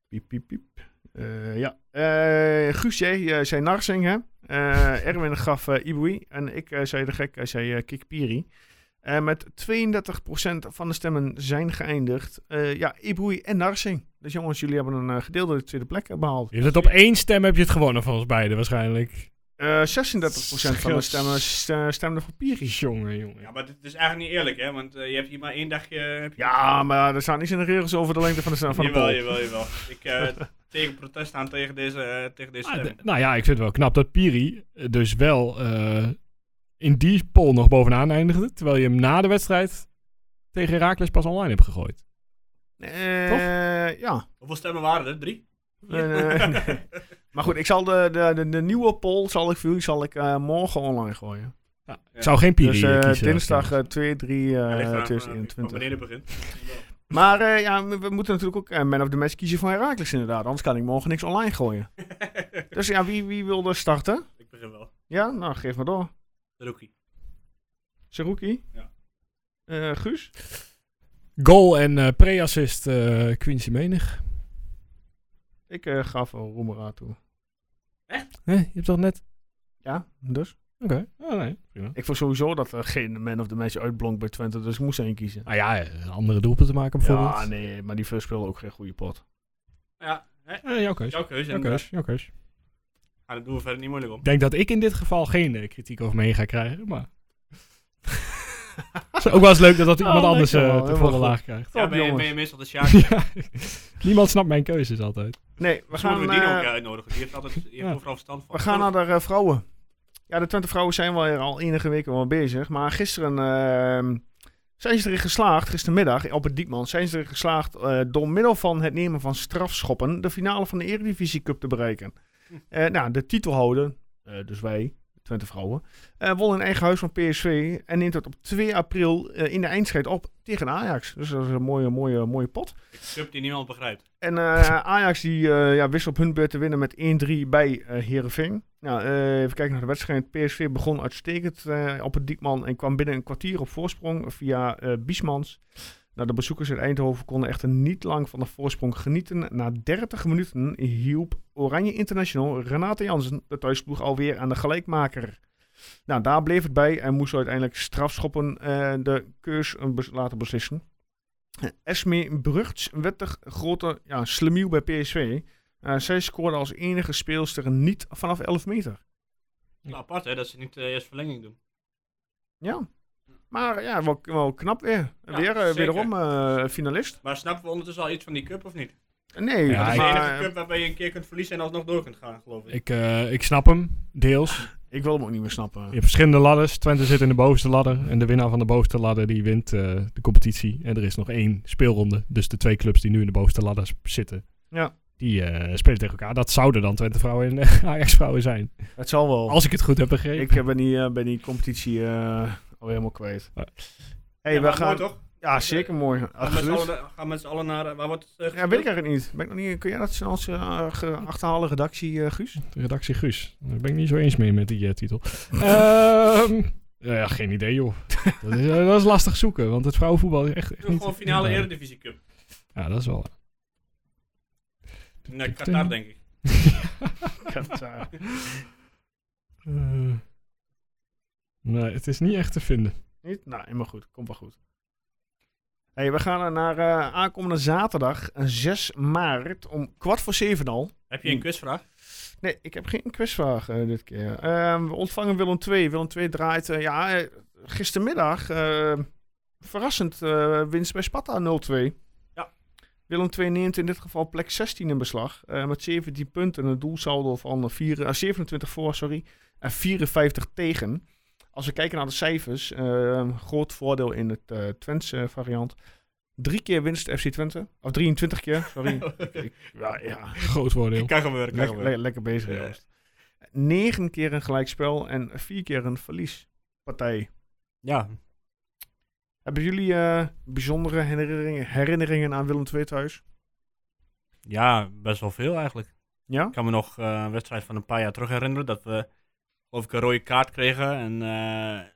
Speaker 1: Piep, piep, piep. Eh, ja. Eh Guus, jij eh, zei Narsing, hè? Eh, Erwin gaf eh Ibui. En ik eh, zei de gek, hij zei eh Kikpiri. Eh, met 32% van de stemmen zijn geëindigd. Eh, ja, Ibui en Narsing. Dus jongens, jullie hebben een eh, gedeelde tweede plek eh, behaald.
Speaker 2: Je hebt het op één stem heb je het gewonnen van ons beiden waarschijnlijk.
Speaker 1: Eh 36% van de
Speaker 2: Schils.
Speaker 1: stemmen st- stemden voor Piri.
Speaker 2: Jongen, jongen.
Speaker 3: Ja, maar dit is eigenlijk niet eerlijk, hè? Want eh, je hebt hier maar één dagje. eh, Heb je
Speaker 1: Ja, maar er staan niets in de regels over de lengte van de stem van de
Speaker 3: jawel,
Speaker 1: poll.
Speaker 3: jawel, jawel. Ik
Speaker 1: (laughs)
Speaker 3: eh, tegen protest aan tegen deze, eh, tegen deze
Speaker 2: Ah,
Speaker 3: stem.
Speaker 2: d- nou ja, ik vind het wel knap dat Piri eh, dus wel eh, in die poll nog bovenaan eindigde. Terwijl je hem na de wedstrijd tegen Herakles pas online hebt gegooid.
Speaker 1: Eh, ja.
Speaker 3: Hoeveel stemmen waren er? Drie?
Speaker 1: Eh, (laughs)
Speaker 3: (laughs)
Speaker 1: nee. Maar goed, ik zal de, de, de, de nieuwe poll zal ik voor jullie zal ik, eh, morgen online gooien.
Speaker 2: Ja,
Speaker 3: Ja.
Speaker 2: Ik zou geen Piri
Speaker 1: dus eh,
Speaker 2: eh, kiezen.
Speaker 1: dinsdag eh, 2, 3, eh
Speaker 3: Ja, ligt eraan, eh, van
Speaker 1: 2021.
Speaker 3: Wanneer het begint.
Speaker 1: maar eh, ja, we, we moeten natuurlijk ook eh, man of the match kiezen voor Herakles inderdaad. Anders kan ik morgen niks online
Speaker 3: (laughs)
Speaker 1: gooien. dus ja, wie, wie wilde starten?
Speaker 3: ik begin wel.
Speaker 1: Ja, nou geef maar door.
Speaker 3: De rookie.
Speaker 1: Seruki?
Speaker 3: Ja.
Speaker 1: Eh, Guus?
Speaker 2: Goal en eh, pre-assist eh, Quincy Menig.
Speaker 1: Ik eh, gaf Roemera toe.
Speaker 2: Hè, je hebt toch net...
Speaker 1: Ja, dus?
Speaker 2: Oké. Oh, nee. Prima.
Speaker 1: Ik vond sowieso dat er geen man of the match uitblonk bij Twente, dus ik moest er één kiezen.
Speaker 2: Nou ja, eh, andere doelpunten maken bijvoorbeeld.
Speaker 1: Ja, nee, maar die speelde ook geen goede pot.
Speaker 3: Ja, hè?
Speaker 2: Eh, jouw keus.
Speaker 3: jouw keuze.
Speaker 2: Jouw
Speaker 3: inderdaad.
Speaker 2: keus. Jouw keus.
Speaker 3: Ah, daar doen we verder niet moeilijk om.
Speaker 2: Ik denk dat ik in dit geval geen eh, kritiek over mee ga krijgen, maar... Het is ook wel eens leuk dat, dat iemand
Speaker 1: Oh,
Speaker 2: anders
Speaker 1: lekker
Speaker 2: eh,
Speaker 1: wel,
Speaker 2: de
Speaker 1: helemaal
Speaker 2: volle
Speaker 1: goed.
Speaker 2: laag krijgt. (laughs)
Speaker 3: Ja,
Speaker 1: Top,
Speaker 3: ben, je, ben
Speaker 1: jongens.
Speaker 3: je meestal de Sjaak. We
Speaker 2: Ja. Niemand snapt mijn keuzes altijd.
Speaker 1: Nee, we
Speaker 3: gaan
Speaker 1: gaan,
Speaker 3: moeten we die
Speaker 1: eh,
Speaker 3: ook uitnodigen. Die heeft altijd die heeft
Speaker 2: Ja.
Speaker 3: overal verstand van.
Speaker 1: we gaan naar de eh, vrouwen. Ja, de Twente vrouwen zijn wel hier al enige weken wel bezig, maar gisteren ehm, zijn ze erin geslaagd, gistermiddag op het Diepman, zijn ze erin geslaagd eh, door middel van het nemen van strafschoppen de finale van de Eredivisie Cup te bereiken. Eh, nou, de titelhouder, eh, dus wij, Twente vrouwen, eh, won in eigen huis van PSV en neemt het op 2 april eh, in de eindstrijd op tegen Ajax. Dus dat is een mooie, mooie, mooie pot.
Speaker 3: Ik sub die niemand begrijpt.
Speaker 1: En eh, Ajax die, eh, ja, wist op hun beurt te winnen met 1-3 bij eh Heerenveen. Nou, eh, even kijken naar de wedstrijd. PSV begon uitstekend eh, op het Diepman en kwam binnen een kwartier op voorsprong via eh Biesmans. Nou, de bezoekers uit Eindhoven konden echter niet lang van de voorsprong genieten. Na 30 minuten hielp Oranje International Renate Jansen de thuisploeg alweer aan de gelijkmaker. Nou, daar bleef het bij en moesten uiteindelijk strafschoppen eh, de keus eh, bes- laten beslissen. Eh, Esme Brugts werd de g- grote ja, slemiel bij PSV. Eh, zij scoorde als enige speelster niet vanaf 11 meter.
Speaker 3: Nou, apart hè, dat ze niet eh, eerst verlenging doen.
Speaker 1: Ja. Maar ja, wel, wel knap weer.
Speaker 3: Ja,
Speaker 1: weer eh,
Speaker 3: zeker.
Speaker 1: wederom eh, finalist.
Speaker 3: Maar snappen we ondertussen al iets van die cup of niet?
Speaker 1: Nee,
Speaker 2: Ja,
Speaker 3: Het is de
Speaker 1: maar,
Speaker 3: enige cup waarbij je een keer kunt verliezen en alsnog door kunt gaan, geloof ik.
Speaker 2: Ik, eh, ik snap hem, deels.
Speaker 3: (laughs)
Speaker 1: ik wil hem ook niet meer snappen.
Speaker 2: Je hebt verschillende ladders. Twente zit in de bovenste ladder. En de winnaar van de bovenste ladder die wint eh, de competitie. En er is nog één speelronde. Dus de twee clubs die nu in de bovenste ladder s- zitten,
Speaker 1: Ja.
Speaker 2: die eh, spelen tegen elkaar. Dat zouden dan Twente vrouwen en (laughs) eh, Ajax vrouwen zijn.
Speaker 1: Het zal wel.
Speaker 2: Als ik het goed heb begrepen.
Speaker 1: Ik eh, ben die, eh, ben die competitie eh, al helemaal kwijt.
Speaker 2: Ah.
Speaker 1: Hey,
Speaker 3: Ja,
Speaker 1: we
Speaker 3: maar
Speaker 1: gaan...
Speaker 3: mooi, toch?
Speaker 1: Ja, zeker mooi.
Speaker 3: Gaan met z'n
Speaker 1: Absoluut.
Speaker 3: allen- Gaan met z'n allen naar... eh, Waar wordt het eh,
Speaker 1: Ja,
Speaker 3: gespeeld?
Speaker 1: weet ik eigenlijk niet. Ben ik nog niet kun jij dat snel als eh, ge- achterhalen redactie, eh, Guus?
Speaker 2: De redactie Guus. Daar ben ik niet zo eens mee met die eh, titel. (laughs) Ehm, ja, geen idee joh. dat, is, eh, dat is lastig zoeken. Want het vrouwenvoetbal is echt, echt
Speaker 3: Doe
Speaker 2: niet...
Speaker 3: gewoon finale Eredivisie Cup.
Speaker 2: Ja, dat is wel...
Speaker 3: Naar Qatar, denk ik.
Speaker 2: Eh, nee, het is niet echt te vinden.
Speaker 1: Niet? Nou, helemaal goed. Komt wel goed. Hey, we gaan er naar eh, aankomende zaterdag, eh, 6 maart, om kwart voor zeven al.
Speaker 3: Heb je een quizvraag?
Speaker 1: Nee, ik heb geen quizvraag eh, dit keer. Ehm, we ontvangen Willem II. Willem II draait, eh, ja, eh, gistermiddag eh, verrassend eh, winst bij Sparta 0-2.
Speaker 3: Ja.
Speaker 1: Willem II neemt in dit geval plek 16 in beslag. eh, met 17 punten en een doelsaldo van vier, eh, 27 voor sorry, en 54 tegen. Als we kijken naar de cijfers, eh, groot voordeel in het eh Twentse variant. Drie keer winst FC Twente. Of 23 keer,
Speaker 3: (laughs)
Speaker 1: sorry. (laughs) ja, ja.
Speaker 2: Groot voordeel.
Speaker 3: Kan gebeuren, kan
Speaker 1: Lekker,
Speaker 3: gebeuren.
Speaker 1: le- lekker bezig,
Speaker 3: Ja.
Speaker 1: Joost. Negen keer een gelijkspel en vier keer een verliespartij.
Speaker 3: Ja.
Speaker 1: Hebben jullie eh, bijzondere herinneringen, herinneringen aan Willem II thuis?
Speaker 3: ja, best wel veel eigenlijk.
Speaker 1: Ja?
Speaker 3: Ik kan me nog eh, een wedstrijd van een paar jaar terug herinneren. Dat we, geloof ik, een rode kaart kregen. En eh,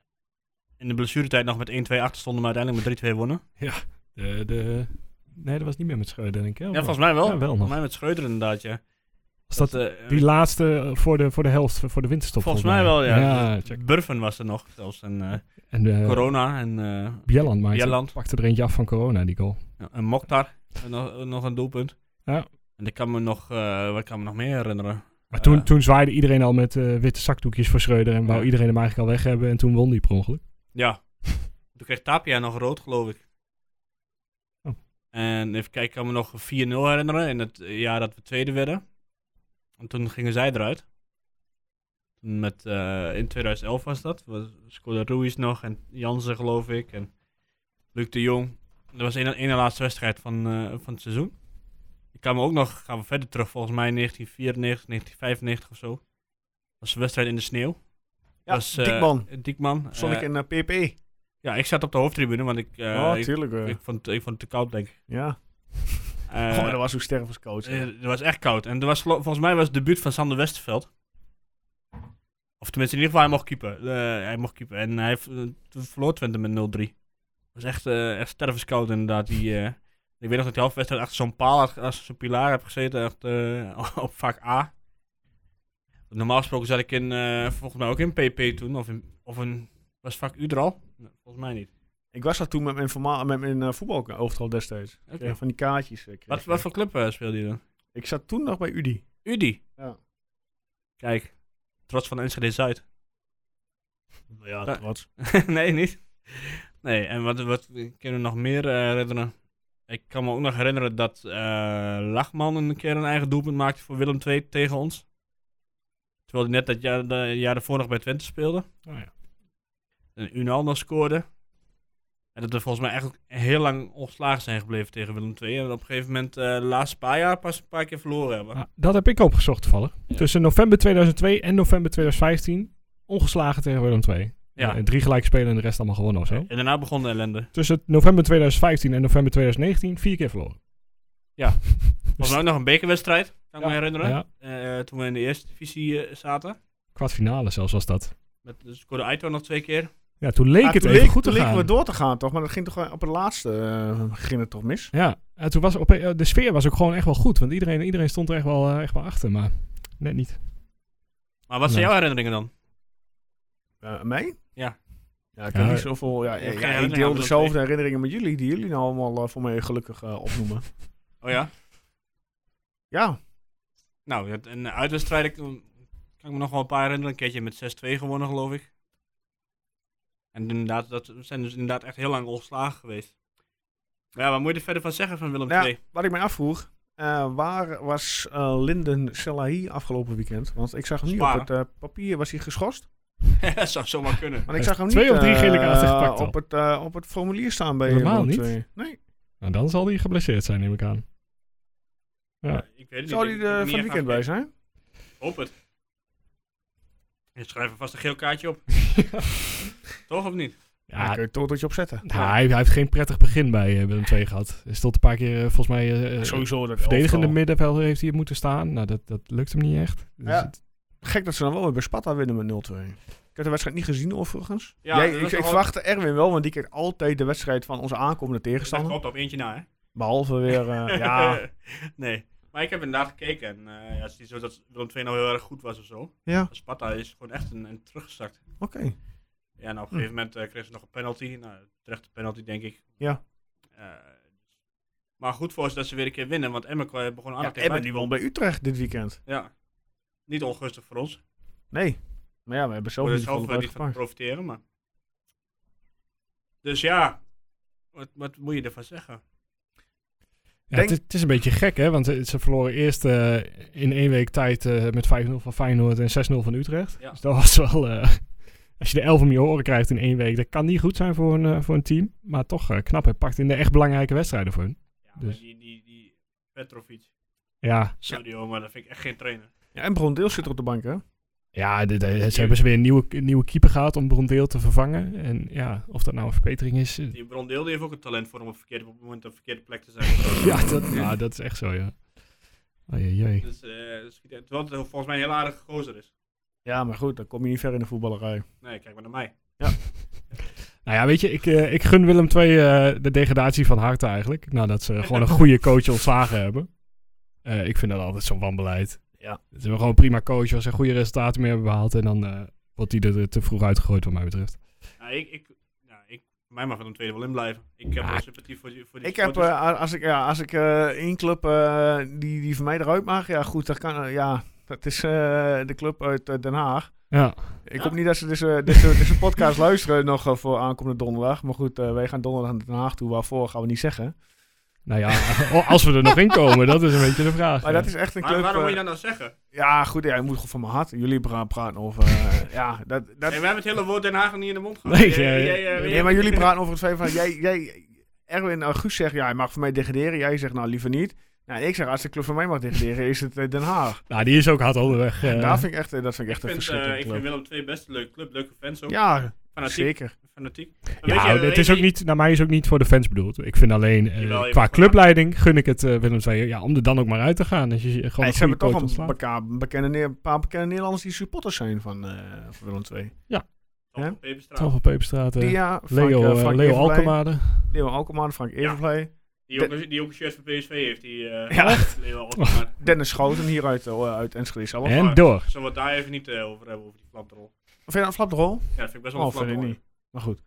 Speaker 3: in de blessuretijd nog met 1-2 achter stonden, maar uiteindelijk met 3-2 wonnen.
Speaker 2: Oh, De, de, nee, dat was niet meer met Schreuder, denk ik. hè,
Speaker 3: Ja,
Speaker 2: of
Speaker 3: volgens
Speaker 2: wel?
Speaker 3: mij wel.
Speaker 2: Ja, wel nog.
Speaker 3: Volgens mij met Schreuder inderdaad, ja.
Speaker 2: Was dat,
Speaker 3: eh,
Speaker 2: die laatste eh, voor de, voor de helft, voor de winterstop?
Speaker 3: Volgens mij wel, ja.
Speaker 2: check.
Speaker 3: Burven was er nog zelfs. En eh,
Speaker 2: En eh,
Speaker 3: Corona en, eh
Speaker 2: Bjelland maakte,
Speaker 3: Bjelland.
Speaker 2: pakte er eentje af van corona, die goal.
Speaker 3: ja, en Mokhtar. En nog, nog een doelpunt.
Speaker 2: Ja.
Speaker 3: En ik kan me nog, eh, wat kan me nog meer herinneren?
Speaker 2: Maar toen,
Speaker 3: Eh,
Speaker 2: toen zwaaide iedereen al met eh, witte zakdoekjes voor Schreuder en wou
Speaker 3: Ja.
Speaker 2: iedereen hem eigenlijk al weg hebben. En toen won die per ongeluk.
Speaker 3: Ja. (laughs) Toen kreeg Tapia nog rood, geloof ik.
Speaker 2: Oh.
Speaker 3: En even kijken, ik kan me nog 4-0 herinneren in het eh, jaar dat we tweede werden. En toen gingen zij eruit. Toen met, eh, in 2011 was dat. We scoorde Ruiz nog en Jansen, geloof ik. En Luc de Jong. Dat was een ene laatste wedstrijd van, eh, van het seizoen. Ik kan me ook nog, gaan we verder terug, volgens mij 1994, 1995 of zo. Dat was een wedstrijd in de sneeuw.
Speaker 1: Ja,
Speaker 3: was, eh,
Speaker 1: Diekman.
Speaker 3: Diekman.
Speaker 1: Stond
Speaker 3: eh,
Speaker 1: ik in eh, PP?
Speaker 3: ja, ik zat op de hoofdtribune, want ik, eh,
Speaker 1: oh,
Speaker 3: ik,
Speaker 1: tuurlijk. eh.
Speaker 3: ik vond, ik vond het te koud, denk ik.
Speaker 1: ja. (laughs)
Speaker 3: Eh,
Speaker 1: Goh, dat was hoe sterf als coach.
Speaker 3: eh, het was echt koud. En er was, gelo- volgens mij was het debuut van Sander Westerveld. Of tenminste, in ieder geval, hij mocht keeper. Eh, hij mocht keeper. En hij v- toen verloor Twente met 0-3. Het was echt, eh echt stervenskoud, inderdaad. Die, eh, ik weet nog dat die halfwedstrijd achter zo'n paal, achter achter zo'n pilaar heb gezeten. Echt, eh, (laughs) op vak A. Normaal gesproken zat ik in, eh, volgens mij ook in PP toen. Of, in, of een, was vak U er al? Nee, Volgens mij niet.
Speaker 1: Ik was dat toen met mijn, forma- met mijn eh, voetbalovertal destijds. Ik
Speaker 3: Oké.
Speaker 1: kreeg Van die kaartjes. eh, kreeg
Speaker 3: Wat,
Speaker 1: ik.
Speaker 3: wat voor club eh, speelde je dan?
Speaker 1: Ik zat toen nog bij Udi.
Speaker 3: Udi.
Speaker 1: Ja.
Speaker 3: Kijk, trots van Enschede Zuid. (laughs)
Speaker 1: Ja,
Speaker 3: Ja.
Speaker 1: trots.
Speaker 3: nee, niet. Nee, en wat, wat kunnen we nog meer eh, herinneren? Ik kan me ook nog herinneren dat eh, Lachman een keer een eigen doelpunt maakte voor Willem II tegen ons. Terwijl hij net dat jaar, de, jaar daarvoor nog bij Twente speelde.
Speaker 2: Oh ja.
Speaker 3: En Unal nog scoorde. En dat we volgens mij eigenlijk heel lang ongeslagen zijn gebleven tegen Willem II. En op een gegeven moment eh, de laatste paar jaar pas een paar keer verloren hebben.
Speaker 2: Ah, dat heb ik opgezocht toevallig.
Speaker 3: Ja.
Speaker 2: Tussen november 2002 en november 2015 ongeslagen tegen Willem II.
Speaker 3: Ja.
Speaker 2: Eh, drie gelijk spelen en de rest allemaal gewonnen of zo.
Speaker 3: En daarna begon de ellende.
Speaker 2: Tussen november 2015 en november 2019 vier keer verloren.
Speaker 3: Ja.
Speaker 2: Dus-
Speaker 3: Was nou ook nog een bekerwedstrijd, kan ik
Speaker 2: Ja.
Speaker 3: me herinneren.
Speaker 2: Ja,
Speaker 3: Eh, toen we in de eerste divisie eh, zaten.
Speaker 2: kwartfinale zelfs was dat.
Speaker 3: Met, dus scoorde Aito nog twee keer.
Speaker 2: Ja, toen leek
Speaker 1: Ah,
Speaker 2: het
Speaker 1: toen
Speaker 2: even
Speaker 1: leek-
Speaker 2: goed te
Speaker 1: toen leken
Speaker 2: gaan.
Speaker 1: we door te gaan, toch? Maar dat ging toch eh, op het laatste eh, ging het toch mis?
Speaker 2: Ja, en toen was op, eh, de sfeer was ook gewoon echt wel goed. Want iedereen, iedereen stond er echt wel, eh, echt wel achter, maar net niet.
Speaker 3: Maar wat zijn
Speaker 2: Nee.
Speaker 3: jouw herinneringen dan?
Speaker 1: Eh, Eh, mij?
Speaker 3: Ja.
Speaker 1: Ja, ik heb
Speaker 2: Ja,
Speaker 1: niet zoveel... Ja,
Speaker 3: geen
Speaker 1: ja, ik
Speaker 3: herinnering
Speaker 1: deel
Speaker 3: aan dat
Speaker 1: dezelfde herinneringen met jullie, die jullie nou allemaal eh, voor mij gelukkig eh, opnoemen. (laughs)
Speaker 3: Oh ja?
Speaker 1: Ja,
Speaker 3: Nou, dat- een uitwedstrijd, ik- kan ik me nog wel een paar herinneren. Een keertje met 6-2 gewonnen, geloof ik. En inderdaad, dat we zijn dus inderdaad echt heel lang ongeslagen geweest. Maar ja, wat moet je er verder van zeggen van Willem
Speaker 1: Ja.
Speaker 3: II?
Speaker 1: wat ik mij afvroeg... eh, waar was eh, Linden Selahi afgelopen weekend? Want ik zag hem niet
Speaker 3: Sparen.
Speaker 1: op het eh, papier. Was hij geschorst?
Speaker 3: (laughs) dat zou zomaar kunnen.
Speaker 1: Want ik
Speaker 2: Hij
Speaker 1: zag hem
Speaker 2: heeft twee
Speaker 1: niet
Speaker 2: of drie
Speaker 1: eh,
Speaker 2: gele kaarten gepakt al.
Speaker 1: op, het, eh, op het formulier staan bij
Speaker 2: Normaal
Speaker 1: Willem
Speaker 2: niet.
Speaker 1: II. Nee.
Speaker 2: Nou, dan zal hij geblesseerd zijn, neem ik aan. Ja.
Speaker 3: Ik weet het
Speaker 1: Zou
Speaker 3: niet.
Speaker 1: hij
Speaker 3: Ik- ik heb
Speaker 1: er van het
Speaker 3: niet echt
Speaker 1: weekend bij
Speaker 3: aangekeken.
Speaker 1: zijn?
Speaker 3: Hoop
Speaker 2: (laughs)
Speaker 3: het. Je schrijft er vast een geel kaartje
Speaker 2: (laughs)
Speaker 3: op. Toch of niet?
Speaker 1: Ja, dan kun je toch dat je opzetten.
Speaker 2: Nou, hij, hij heeft geen prettig begin bij eh Willem II gehad. Hij stond een paar keer, eh, volgens mij, eh,
Speaker 1: Sowieso dat
Speaker 2: verdedigende
Speaker 1: elftal.
Speaker 2: middenvelder heeft hij moeten staan. Nou, dat, dat lukt hem niet echt. Dus
Speaker 1: Ja.
Speaker 2: het-
Speaker 1: Gek dat ze dan wel weer bij Sparta winnen met 0-2. Ik heb de wedstrijd niet gezien overigens.
Speaker 3: Ja,
Speaker 1: Jij,
Speaker 3: dat
Speaker 1: ik
Speaker 3: was
Speaker 1: ik
Speaker 3: wel-
Speaker 1: verwachtte Erwin wel, want die kijkt altijd de wedstrijd van onze aankomende
Speaker 3: Dat
Speaker 1: tegenstander.
Speaker 3: klopt op eentje na, hè?
Speaker 1: Behalve weer,
Speaker 3: (laughs)
Speaker 1: eh, ja.
Speaker 3: nee. Maar ik heb inderdaad gekeken. En eh, ja, het is niet zo dat Willem II nou heel erg goed was of zo.
Speaker 1: Ja,
Speaker 3: Sparta is gewoon echt een, een teruggezakt.
Speaker 1: oké.
Speaker 3: Ja,
Speaker 1: Hm.
Speaker 3: nou, op een gegeven moment eh, kreeg ze nog een penalty. Nou, terechte penalty, denk ik.
Speaker 1: Ja.
Speaker 3: Eh, maar goed voor ze dat ze weer een keer winnen, want Emmen eh, begon aan
Speaker 1: Ja, Emmen die won bij Utrecht dit weekend.
Speaker 3: Ja. Niet ongunstig voor ons.
Speaker 1: Nee. Maar ja, we hebben zelf
Speaker 3: Voor
Speaker 1: niet
Speaker 3: de
Speaker 1: van
Speaker 3: zelf eh, niet van
Speaker 1: gepakt.
Speaker 3: profiteren, maar... Dus ja, wat, wat moet je ervan zeggen?
Speaker 2: ja,
Speaker 1: Denk-
Speaker 2: het, is- het is een beetje gek, hè? Want eh, ze verloren eerst eh, in één week tijd eh, met 5-0 van Feyenoord en 6-0 van Utrecht.
Speaker 3: Ja.
Speaker 2: Dus dat was wel... eh, (laughs) als je de 11 om je oren krijgt in één week, dat kan niet goed zijn voor een, eh, voor een team. Maar toch eh, knap, hij pakt in de echt belangrijke wedstrijden voor hun.
Speaker 3: Ja, maar
Speaker 2: Dus-
Speaker 3: die, die, die Petrovic,
Speaker 2: Ja,
Speaker 3: sorry hoor, maar dat vind ik echt geen trainer.
Speaker 1: Ja, en Bron Deels zit er op de bank, hè?
Speaker 2: Ja, de, de- ze hebben ze weer een nieuwe, een nieuwe keeper gehad om Brondeel te vervangen. En ja, of dat nou een verbetering is. eh,
Speaker 3: Die Brondeel die heeft ook een talent voor om op, verkeerde, op het moment op de verkeerde plek
Speaker 1: (laughs)
Speaker 3: te zijn.
Speaker 2: Ja, dat, ja, dat is echt zo, ja. Oh jee, jee.
Speaker 3: dus, eh, dat schiet echt- terwijl het volgens mij een heel aardige gozer is.
Speaker 1: Ja, maar goed, dan kom je niet ver in de voetballerij.
Speaker 3: Nee, kijk maar naar mij.
Speaker 2: Nou ja, weet je, ik, eh, ik gun Willem II eh, de degradatie van harte eigenlijk. Nadat ze gewoon een goede coach ontslagen hebben. Eh, ik vind dat altijd zo'n wanbeleid.
Speaker 1: Ja.
Speaker 2: Ze hebben gewoon een prima coach waar ze goede resultaten mee hebben behaald. En dan eh, wordt die er te vroeg uitgegooid wat mij betreft.
Speaker 3: Nou, ik, ik, nou, ik, mij mag van de tweede wel in blijven. Ik heb
Speaker 2: Ja.
Speaker 3: wel sympathie voor die, voor die
Speaker 1: Ik heb,
Speaker 3: supporters.
Speaker 1: eh, a- als ik, ja, als ik eh, één club eh, die, die van mij eruit mag, ja goed, dat kan, eh, ja, dat is eh, de club uit eh, Den Haag.
Speaker 2: Ja,
Speaker 1: Ik hoop niet dat ze deze, deze, deze podcast (laughs) luisteren nog eh, voor aankomende donderdag. Maar goed, eh, wij gaan donderdag naar Den Haag toe. Waarvoor gaan we niet zeggen.
Speaker 2: nou ja, (laughs) als we er nog in komen, dat is een beetje de vraag.
Speaker 1: Maar dat is echt een
Speaker 3: Maar
Speaker 1: club...
Speaker 3: waarom moet je
Speaker 1: eh,
Speaker 3: dat nou zeggen?
Speaker 1: Ja, goed, ja, je moet gewoon van mijn hart. Jullie pra- praten over...
Speaker 3: (laughs)
Speaker 1: eh, ja, dat, dat,
Speaker 3: Hey, we hebben het hele woord Den Haag niet in de mond gehad.
Speaker 2: Nee,
Speaker 3: Jij-
Speaker 2: eh,
Speaker 3: jij, eh,
Speaker 1: nee,
Speaker 3: jij-
Speaker 1: maar
Speaker 3: (laughs)
Speaker 1: jullie praten over het feit van... Jij, jij, Erwin August zegt, ja, hij mag voor mij degraderen. Jij zegt, nou, liever niet. Nou, ik zeg, als de club van mij mag degraderen, is het eh, Den Haag.
Speaker 2: Nou, die is ook hard onderweg. eh.
Speaker 1: En daar vind ik echt, eh, dat vind ik echt
Speaker 3: Ik
Speaker 1: een
Speaker 3: vind, eh,
Speaker 1: verschrikkelijke
Speaker 3: ik
Speaker 1: club.
Speaker 3: vind Willem II best een leuke club, leuke fans ook.
Speaker 1: Ja,
Speaker 3: fanatiek.
Speaker 1: zeker.
Speaker 3: fanatiek.
Speaker 2: Ja, het is ook niet, naar mij is ook niet voor de fans bedoeld. Ik vind alleen, eh,
Speaker 3: Jawel, je
Speaker 2: qua
Speaker 3: mag-
Speaker 2: clubleiding gun ik het eh, Willem II ja, om er dan ook maar uit te gaan. Als je gewoon
Speaker 1: En
Speaker 2: een
Speaker 1: ze
Speaker 2: goede
Speaker 1: hebben
Speaker 2: coach
Speaker 1: toch een
Speaker 2: ontslaat.
Speaker 1: beka- bekende, Neer- een paar bekende Nederlanders die supporters zijn van, eh van Willem II. hè?
Speaker 2: Tal van Peperstraat, eh,
Speaker 1: Dia, Frank,
Speaker 2: Leo,
Speaker 1: eh,
Speaker 2: eh,
Speaker 1: Frank
Speaker 2: Leo
Speaker 1: Evenblij.
Speaker 2: Alkemaade.
Speaker 1: Leo Alkemaar, Frank Evenblij.
Speaker 3: Die ook, een- die ook een shirt van PSV heeft. Die, eh,
Speaker 1: Ja.
Speaker 3: (laughs)
Speaker 1: (laughs)
Speaker 3: Leo Ottomaar.
Speaker 1: Dennis Schouten hier uit, eh, uit Enschede zelf.
Speaker 2: En door.
Speaker 3: Zullen we het daar even niet eh, over hebben, over die flantrol?
Speaker 1: Vind je dat een flapdrol?
Speaker 3: Ja, dat vind ik best wel
Speaker 1: Oh,
Speaker 3: een
Speaker 1: vind ik
Speaker 3: flantrol.
Speaker 1: niet. Maar goed.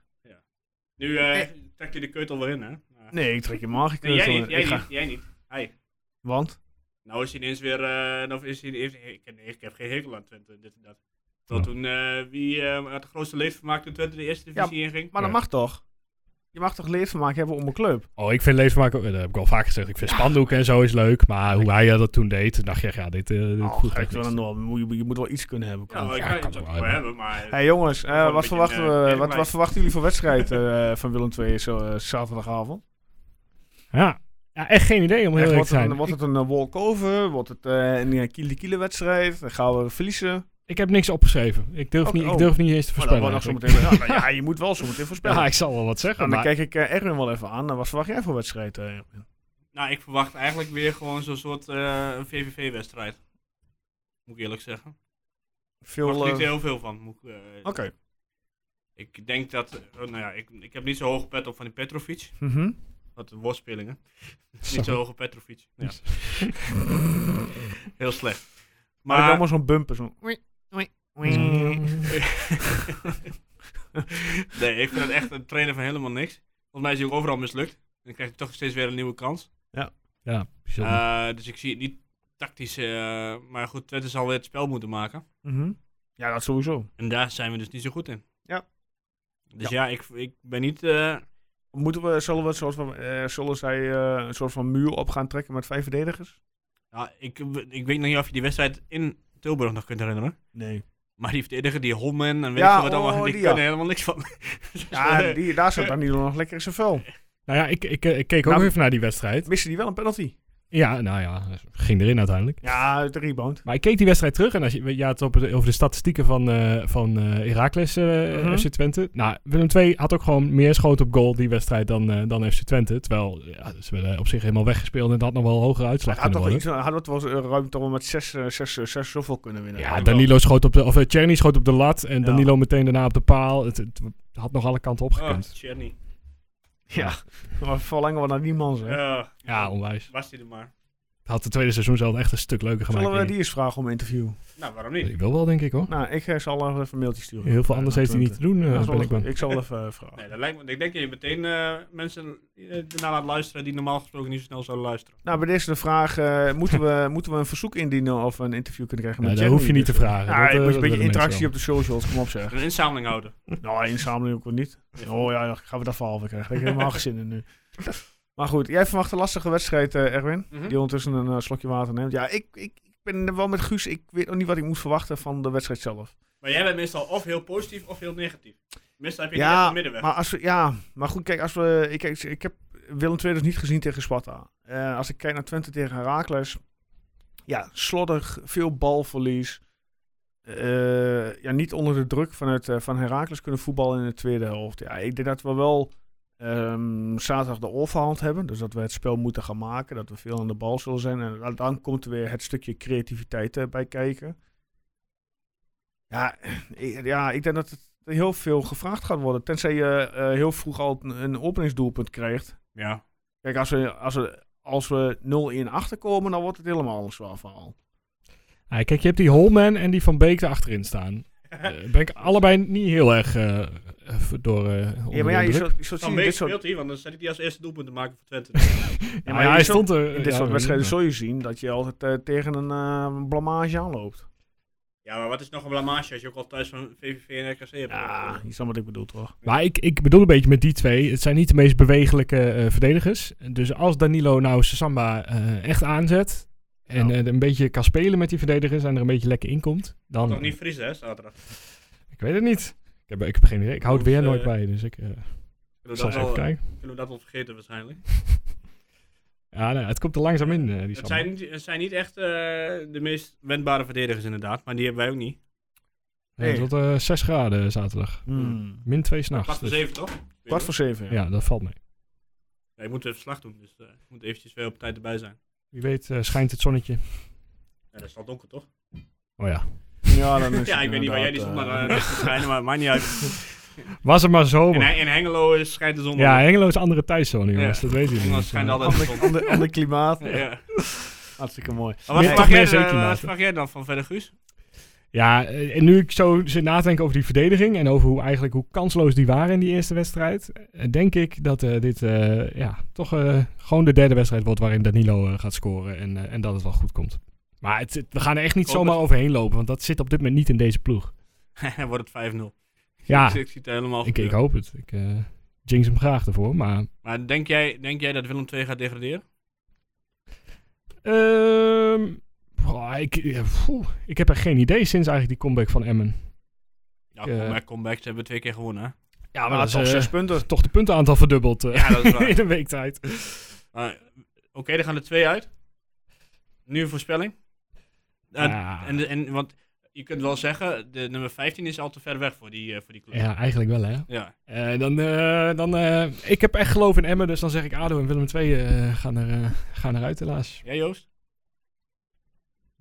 Speaker 3: Nu eh, trekt hij de keutel wel in, hè? Maar-
Speaker 1: Nee, ik eh, trek je magisch.
Speaker 3: Nee, jij niet, jij niet, jij niet. Hij.
Speaker 1: Want?
Speaker 3: Nou is hij ineens weer, eh nou is hij, heeft, ik, heb, ik heb geen hekel aan Twente, dit en dat. Terwijl toen, eh, wie eh had de grootste leedvermaak toen Twente de eerste divisie inging?
Speaker 1: Maar dat
Speaker 2: Ja.
Speaker 1: mag toch? Je mag toch leedvermaak hebben om een club?
Speaker 2: Oh, ik vind Leefmaak, dat heb ik al vaak gezegd, ik vind spandoeken en zo is leuk. Maar hoe hij eh, dat toen deed, toen dacht je, ja, dit, eh dit
Speaker 1: Oh,
Speaker 2: voegt
Speaker 1: gek,
Speaker 2: echt
Speaker 1: wel
Speaker 2: niks.
Speaker 1: een norm. Je, moet- je moet wel iets kunnen hebben.
Speaker 3: Ja, maar ik
Speaker 2: Ja,
Speaker 3: kan
Speaker 2: kan
Speaker 3: het ook
Speaker 2: wel,
Speaker 3: wel
Speaker 2: hè.
Speaker 3: hebben, maar...
Speaker 1: hey jongens, eh,
Speaker 3: Gewoon een
Speaker 1: wat,
Speaker 3: beetje
Speaker 1: verwachten
Speaker 3: een, eh,
Speaker 1: we, wat,
Speaker 3: eerlijkheid.
Speaker 1: wat verwachten jullie voor wedstrijd eh, van Willem II zo, eh, zaterdagavond?
Speaker 2: Ja. ja, echt geen idee om heel
Speaker 1: Echt,
Speaker 2: eerlijk
Speaker 1: wordt,
Speaker 2: te
Speaker 1: het
Speaker 2: zijn.
Speaker 1: een, wordt het een eh, walkover? Wordt het eh, een kiele-kiele wedstrijd? Dan gaan we verliezen?
Speaker 2: Ik heb niks opgeschreven. Ik durf,
Speaker 1: Oh,
Speaker 2: niet,
Speaker 1: oh.
Speaker 2: ik durf niet eens te
Speaker 1: Oh, dan
Speaker 2: voorspellen.
Speaker 1: wordt nog
Speaker 2: eigenlijk.
Speaker 1: zometeen. Ja, nou ja, je moet wel zometeen voorspellen.
Speaker 2: (laughs) ja, ik zal wel wat zeggen.
Speaker 1: Nou, dan
Speaker 2: maar
Speaker 1: kijk ik eh, Erwin wel even aan. Eh, Wat verwacht jij voor wedstrijd? eh, Erwin?
Speaker 3: Nou, ik verwacht eigenlijk weer gewoon zo'n soort eh VVV-wedstrijd. Moet ik eerlijk zeggen. Ik
Speaker 1: Veel.
Speaker 3: verwacht er niet
Speaker 1: eh,
Speaker 3: heel veel van. Moet, ik, eh,
Speaker 1: Oké.
Speaker 3: Ik denk dat, eh, nou ja, ik, ik heb niet zo hoge pet op van die Petrovic.
Speaker 1: Mhm.
Speaker 3: Wat een woordspelingen.
Speaker 2: Zo.
Speaker 3: (laughs) Niet zo hoge Petrovic. Ja. (laughs) heel slecht.
Speaker 1: Maar
Speaker 3: Maar,
Speaker 1: allemaal zo'n bumper. Zo'n...
Speaker 2: Mm.
Speaker 3: (laughs) nee, ik vind het echt een trainer van helemaal niks. Volgens mij is hij ook overal mislukt. En dan krijgt hij toch steeds weer een nieuwe kans.
Speaker 2: Ja, bijzonder.
Speaker 3: Eh, dus ik zie het niet tactisch. eh, maar goed, Twente zal weer het spel moeten maken.
Speaker 1: Mhm. Ja, dat sowieso.
Speaker 3: En daar zijn we dus niet zo goed in.
Speaker 1: Ja.
Speaker 3: Dus ja, ik, ik ben niet... eh,
Speaker 1: Moeten we, zullen, we een soort van, eh, zullen zij eh, een soort van muur op gaan trekken met vijf verdedigers?
Speaker 3: nou, ik, ik weet nog niet of je die wedstrijd in Tilburg nog kunt herinneren.
Speaker 1: Nee.
Speaker 3: Maar die verdediger, die Holman en weet
Speaker 1: Ja,
Speaker 3: je wat allemaal,
Speaker 1: oh,
Speaker 3: die
Speaker 1: die,
Speaker 3: kunnen
Speaker 1: ja.
Speaker 3: helemaal niks van.
Speaker 1: Ja, die, daar zat dan niet nog lekker in zijn vel.
Speaker 2: nou ja, ik, ik, eh, ik keek ook
Speaker 1: Nou,
Speaker 2: even naar die wedstrijd.
Speaker 1: Miste die wel een penalty?
Speaker 2: Ja, nou ja, ging erin uiteindelijk.
Speaker 1: Ja, de rebound.
Speaker 2: Maar ik keek die wedstrijd terug en als je, je had het op, het- over de statistieken van, eh van eh Heracles eh,
Speaker 1: Mhm.
Speaker 2: FC Twente. Nou, Willem II had ook gewoon meer schoten op goal die wedstrijd dan, eh, dan FC Twente. Terwijl ja, ze werden op zich helemaal weggespeeld en het had nog wel een hogere uitslag
Speaker 1: Had
Speaker 2: kunnen
Speaker 1: toch
Speaker 2: worden.
Speaker 1: iets, had het wel eens, eh, ruim toch wel met zes, eh, zes, eh, zes zoveel kunnen winnen.
Speaker 2: Ja, Danilo schoot op de, of eh, Czerny schoot op de lat en
Speaker 1: Ja.
Speaker 2: Danilo meteen daarna op de paal. Het, het had nog alle kanten
Speaker 3: Oh,
Speaker 1: Ah.
Speaker 2: opgekund.
Speaker 3: Tjerny.
Speaker 1: Ja, maar verlangen we naar die man. zeg.
Speaker 3: Ja,
Speaker 2: Ja, onwijs.
Speaker 3: Eh, was hij er maar.
Speaker 2: Het had het tweede seizoen zelf echt een stuk leuker gemaakt.
Speaker 1: Zullen we
Speaker 2: denk
Speaker 1: die
Speaker 2: ik.
Speaker 1: eens vragen om een interview?
Speaker 3: Nou, waarom niet?
Speaker 2: Ik wil wel, denk ik hoor.
Speaker 1: Nou, ik eh, zal er even een mailtje sturen.
Speaker 2: Heel veel
Speaker 1: Eh,
Speaker 2: anders
Speaker 1: naar
Speaker 2: heeft hij niet te
Speaker 1: Twente.
Speaker 2: doen, eh,
Speaker 1: Ja, zal
Speaker 2: ben ik
Speaker 1: ik,
Speaker 2: bang.
Speaker 1: ik zal even eh, vragen.
Speaker 3: Nee, dat lijkt me, ik denk dat je meteen eh, mensen eh, ernaar laat luisteren die normaal gesproken niet zo snel zouden luisteren.
Speaker 1: Nou, bij deze de vraag, eh, moeten, we, moeten we een verzoek indienen of we een interview kunnen krijgen
Speaker 2: Ja,
Speaker 1: met
Speaker 2: dat
Speaker 1: Jerry?
Speaker 2: hoef je niet te vragen.
Speaker 1: Nou,
Speaker 2: Dat,
Speaker 1: je moet
Speaker 2: eh,
Speaker 1: een
Speaker 2: dat
Speaker 1: beetje
Speaker 2: willen
Speaker 1: interactie
Speaker 2: mensen
Speaker 1: op de socials, kom op
Speaker 2: (laughs)
Speaker 1: zeg.
Speaker 3: Een inzameling houden.
Speaker 1: Nou, inzameling ook wel niet. Oh ja, ja, gaan we dat verhaal weer krijgen. Ik heb
Speaker 2: (laughs)
Speaker 1: helemaal geen zin in nu. Maar goed, jij verwacht een lastige wedstrijd, eh, Erwin.
Speaker 3: Mhm.
Speaker 1: Die ondertussen een eh, slokje water neemt. Ja, ik, ik, ik ben er wel met Guus. Ik weet nog niet wat ik moet verwachten van de wedstrijd zelf.
Speaker 3: Maar jij bent meestal of heel positief of heel negatief. Meestal heb je niet echt
Speaker 1: Ja
Speaker 3: een middenweg.
Speaker 1: maar, als we, ja, maar goed, kijk, als we, ik, ik, ik heb Willem II dus niet gezien tegen Sparta. Eh, als ik kijk naar Twente tegen Herakles. Ja, slordig, veel balverlies. Eh, ja, niet onder de druk van, het, eh, van Herakles kunnen voetballen in de tweede helft. Ja, ik denk dat we wel ehm, zaterdag de overhand hebben. Dus dat we het spel moeten gaan maken. Dat we veel aan de bal zullen zijn. En dan- dan komt er weer het stukje creativiteit eh, bij kijken. Ja, ik, ja, ik denk dat het heel veel gevraagd gaat worden. Tenzij je eh, heel vroeg al een, een openingsdoelpunt krijgt.
Speaker 3: Ja.
Speaker 1: Kijk, als we, als we, als we 0-1 achterkomen, dan wordt het helemaal een zwaar verhaal.
Speaker 2: Ja, Ah, kijk, je hebt die Holman en die Van Beek erachterin
Speaker 1: (laughs)
Speaker 2: staan.
Speaker 3: (laughs)
Speaker 2: Eh, ben ik allebei niet heel erg eh, eh, door. eh, onder
Speaker 1: Ja, maar ja,
Speaker 2: de
Speaker 1: je
Speaker 2: indruk.
Speaker 1: zult, je zult zien,
Speaker 3: Van
Speaker 1: in
Speaker 3: Beek
Speaker 1: dit soort,
Speaker 3: speelt hij, want dan zet ik die als eerste doelpunt te maken voor Twente.
Speaker 1: (laughs) ja,
Speaker 2: Ah, Ja,
Speaker 1: maar
Speaker 2: maar hij
Speaker 1: je zult-
Speaker 2: stond er.
Speaker 1: in dit
Speaker 2: ja,
Speaker 1: soort
Speaker 2: ja,
Speaker 1: wedstrijden
Speaker 2: ja.
Speaker 1: zul je zien dat je altijd eh, tegen een eh, blamage aanloopt.
Speaker 3: ja, maar wat is nog een blamage als je ook al thuis van VVV en RKC hebt? Eh,
Speaker 1: Ja, je snapt wat ik bedoel, toch?
Speaker 2: Maar ik, ik bedoel een beetje met die twee. Het zijn niet de meest bewegelijke eh, verdedigers. Dus als Danilo nou Samba echt aanzet. En
Speaker 1: Ja.
Speaker 2: eh, een beetje kan spelen met die verdedigers. En er een beetje lekker in komt. Dan.
Speaker 3: Toch niet fris, hè, zaterdag. Ik
Speaker 2: Ik weet het niet. Ik heb, ik heb geen idee. Ik hou het
Speaker 3: Dus,
Speaker 2: weer
Speaker 3: eh,
Speaker 2: nooit bij. Dus ik eh,
Speaker 3: Kunnen
Speaker 2: zal
Speaker 3: we, dat
Speaker 2: eens
Speaker 3: wel,
Speaker 2: even
Speaker 1: eh,
Speaker 2: kijken.
Speaker 3: kunnen we dat wel vergeten waarschijnlijk.
Speaker 2: Ja, nou, het komt er langzaam in, eh, die
Speaker 3: Het
Speaker 2: Samba.
Speaker 3: zijn, niet- het zijn niet echt eh, de meest wendbare verdedigers inderdaad, maar die hebben wij ook niet.
Speaker 2: Ja, het wordt eh, 6 graden zaterdag.
Speaker 1: Hmm.
Speaker 2: Min 2 s'nachts. dus-
Speaker 3: Kwart voor zeven, toch? Ik weet
Speaker 1: Kwart
Speaker 3: het.
Speaker 1: voor zeven, ja.
Speaker 2: Ja, dat valt mee.
Speaker 3: Ja, ik moet even slag doen, dus eh, ik moet eventjes weer op tijd erbij zijn.
Speaker 2: Wie weet eh, schijnt het zonnetje.
Speaker 3: Ja, dat is al donker, toch?
Speaker 2: Oh ja.
Speaker 1: Ja, dan is
Speaker 3: (laughs) Ja,
Speaker 1: het
Speaker 3: ik weet niet waar jij die zon
Speaker 1: inderdaad,
Speaker 3: naar
Speaker 1: eh,
Speaker 3: eh, ligt te schijnen, maar maakt niet uit.
Speaker 2: Was het maar
Speaker 3: In,
Speaker 2: zomer.
Speaker 3: He- in Hengelo is- schijnt de zon.
Speaker 2: Oh. ja,
Speaker 3: wel.
Speaker 2: Hengelo is andere tijdzone, jongens.
Speaker 3: Ja.
Speaker 2: Dat weet je
Speaker 3: Hengelo
Speaker 2: niet.
Speaker 3: schijnt altijd
Speaker 2: (laughs)
Speaker 3: de (laughs)
Speaker 1: ander,
Speaker 3: zon.
Speaker 1: ander, ander klimaat.
Speaker 3: eh, Ja.
Speaker 1: (laughs) Hartstikke mooi.
Speaker 3: Maar wat
Speaker 2: Meer-
Speaker 3: vraag
Speaker 2: toch
Speaker 3: jij,
Speaker 2: meer
Speaker 3: eh,
Speaker 2: zeekimaat,
Speaker 3: wat
Speaker 2: hè?
Speaker 3: vraag jij dan van verder, Guus? (laughs)
Speaker 2: Ja, eh, en nu ik zo zit na te denken over die verdediging en over hoe, eigenlijk, hoe kansloos die waren in die eerste wedstrijd, eh, denk ik dat eh, dit eh, ja, toch eh, gewoon de derde wedstrijd wordt waarin Danilo eh, gaat scoren en, eh, en dat het wel goed komt. Maar het, het- we gaan er echt niet
Speaker 3: Ik hoop
Speaker 2: zomaar
Speaker 3: het.
Speaker 2: overheen lopen, want dat zit op dit moment niet in deze ploeg.
Speaker 3: Dan wordt het 5-0.
Speaker 2: Ja,
Speaker 3: (laughs) Ik, ik zie het helemaal
Speaker 2: ik, ik
Speaker 3: gebeuren.
Speaker 2: hoop het. Ik eh jinx hem graag ervoor, maar
Speaker 3: Maar denk jij, denk jij dat Willem II gaat degraderen?
Speaker 2: Ehm, oh, ik, eh, poeh, ik heb er geen idee sinds eigenlijk die comeback van Emmen.
Speaker 3: Ja,
Speaker 2: Ik, eh,
Speaker 3: comeback, comeback. Ze hebben twee keer
Speaker 2: (laughs)
Speaker 3: gewonnen, hè?
Speaker 2: Ja,
Speaker 1: Maar
Speaker 2: dat
Speaker 1: toch
Speaker 2: is eh,
Speaker 1: zes punten.
Speaker 2: toch de puntenaantal verdubbeld eh,
Speaker 3: Ja, dat is waar.
Speaker 2: in een week tijd.
Speaker 3: (laughs) Maar, Oké, er gaan er twee uit. Nieuwe voorspelling. Eh,
Speaker 2: Ja.
Speaker 3: en, en, want je kunt wel zeggen, de nummer 15 is al te ver weg voor die, eh, voor die club.
Speaker 2: Ja, eigenlijk wel hè.
Speaker 3: Ja.
Speaker 2: Eh, dan, eh, dan, eh, ik heb echt geloof in Emmen, dus dan zeg ik ADO en Willem II eh, gaan, er, eh, gaan eruit helaas.
Speaker 3: Jij, Joost?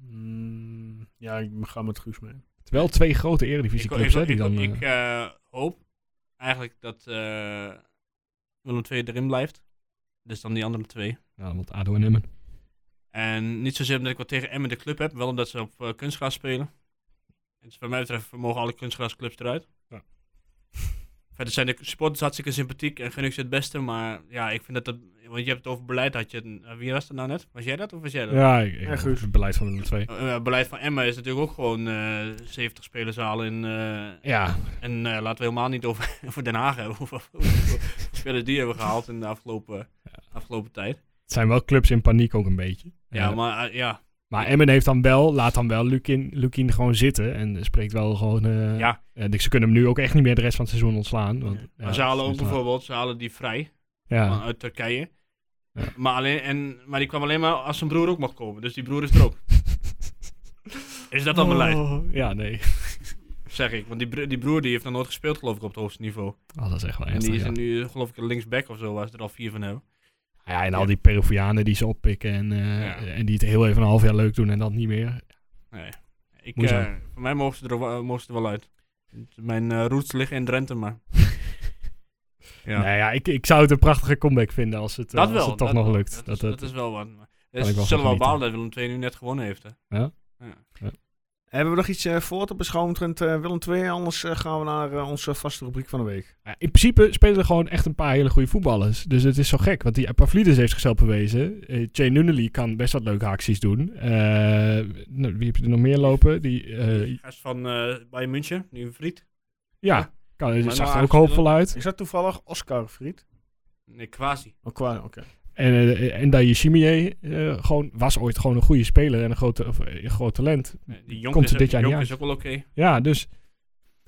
Speaker 1: Hmm, ja, ik ga met Guus mee.
Speaker 2: Terwijl twee grote eredivisieclubs hè, die
Speaker 3: ik,
Speaker 2: dan... eh,
Speaker 3: ik, eh, hoop eigenlijk dat eh Willem II erin blijft. Dus dan die andere twee.
Speaker 2: ja, want ADO en Emmen.
Speaker 3: En niet zozeer omdat ik wat tegen Emmen de club heb, wel omdat ze op eh, kunstgras spelen. En dus wat mij betreft mogen alle kunstgrasclubs eruit.
Speaker 2: Ja.
Speaker 3: (laughs) Verder zijn de supporters hartstikke sympathiek en gun ik ze het beste. Maar ja, ik vind dat dat... Want je hebt het over beleid. Had je, het- eh, wie was dat nou net? Was jij dat of was jij dat?
Speaker 2: Ja, ik, ik-
Speaker 1: Ja, Guus.
Speaker 2: het beleid van nummer 2.
Speaker 3: Eh, eh, beleid van Emma is natuurlijk ook gewoon eh, 70 spelerszalen in, eh,
Speaker 2: Ja,
Speaker 3: En eh, laten we helemaal niet over, (laughs) over Den Haag hebben. Hoeveel hoeveel spelers die hebben gehaald in de afgelopen, afgelopen tijd.
Speaker 2: het zijn wel clubs in paniek ook een beetje.
Speaker 3: Ja,
Speaker 2: Eh,
Speaker 3: maar eh, ja.
Speaker 2: Maar Emmen heeft dan wel, laat dan wel Lukin, Lukin gewoon zitten en spreekt wel gewoon... eh,
Speaker 3: Ja.
Speaker 2: eh, dus ze kunnen hem nu ook echt niet meer de rest van het seizoen ontslaan. Want, ja, dus
Speaker 3: maar ze halen
Speaker 2: dat
Speaker 3: ook
Speaker 2: is waar.
Speaker 3: bijvoorbeeld, Oh, ze halen die vrij van-
Speaker 2: Ja,
Speaker 3: uit Turkije.
Speaker 2: Ja.
Speaker 3: Maar, alleen, en, maar die kwam alleen maar als zijn broer ook mag komen. Dus die broer is
Speaker 2: (laughs)
Speaker 3: er ook. is dat dan beleid,
Speaker 2: Oh, ja, nee. (laughs)
Speaker 3: zeg ik. Want die, bro- die broer die heeft nog nooit gespeeld, geloof ik, op het hoogste niveau.
Speaker 2: Oh, dat is echt wel
Speaker 3: en
Speaker 2: echt.
Speaker 3: die is
Speaker 2: ja.
Speaker 3: er nu, eh, geloof ik, een linksback of zo, waar ze er al vier van hebben.
Speaker 2: Ja, en al die Peruvianen die ze oppikken en, eh,
Speaker 3: Ja.
Speaker 2: en die het heel even een half jaar leuk doen en dan niet meer.
Speaker 3: Nee. Ik,
Speaker 2: Moeizaam.
Speaker 3: eh, voor mij mogen ze er, wel- mogen ze er wel uit. Mijn eh, roots liggen in Drenthe, maar... Ja.
Speaker 2: Nou ja, ik, ik zou het een prachtige comeback vinden als het, eh,
Speaker 3: dat
Speaker 2: als
Speaker 3: wel.
Speaker 2: het toch
Speaker 3: dat
Speaker 2: nog
Speaker 3: wel.
Speaker 2: lukt.
Speaker 3: Dat,
Speaker 2: Dat,
Speaker 3: is,
Speaker 2: het-
Speaker 3: dat is wel wat.
Speaker 2: ik
Speaker 3: Ze
Speaker 2: wel van
Speaker 3: zullen wel
Speaker 2: genieten.
Speaker 3: balen dat Willem II nu net gewonnen heeft. Hè.
Speaker 1: Hebben we nog iets eh, voor te beschouwen omtrent eh, Willem II? Anders eh, gaan we naar eh, onze vaste rubriek van de week.
Speaker 2: Ja, In principe spelen er gewoon echt een paar hele goede voetballers. Dus het is zo gek, want die Pavlidis heeft zichzelf bewezen. Eh Jay Nunnally kan best wat leuke acties doen. Eh, nou, wie heb je er nog meer lopen? Die, eh,
Speaker 3: Gast van eh Bayern München, nu een vriend.
Speaker 2: ja, kan,
Speaker 3: nou
Speaker 2: zag er ook
Speaker 3: aangespeeld.
Speaker 2: hoopvol uit.
Speaker 1: Is dat toevallig Oscar Fried?
Speaker 3: Nee, quasi.
Speaker 1: Oh, qua, oké.
Speaker 2: En, eh, en Daye Chimier eh, gewoon, was ooit gewoon een goede speler en een, grote, of, eh, een groot talent.
Speaker 3: Nee, Die jongen
Speaker 2: Komt
Speaker 3: is,
Speaker 2: er dit jaar
Speaker 3: die
Speaker 2: niet
Speaker 3: jongen is ook wel oké.
Speaker 2: Ja, dus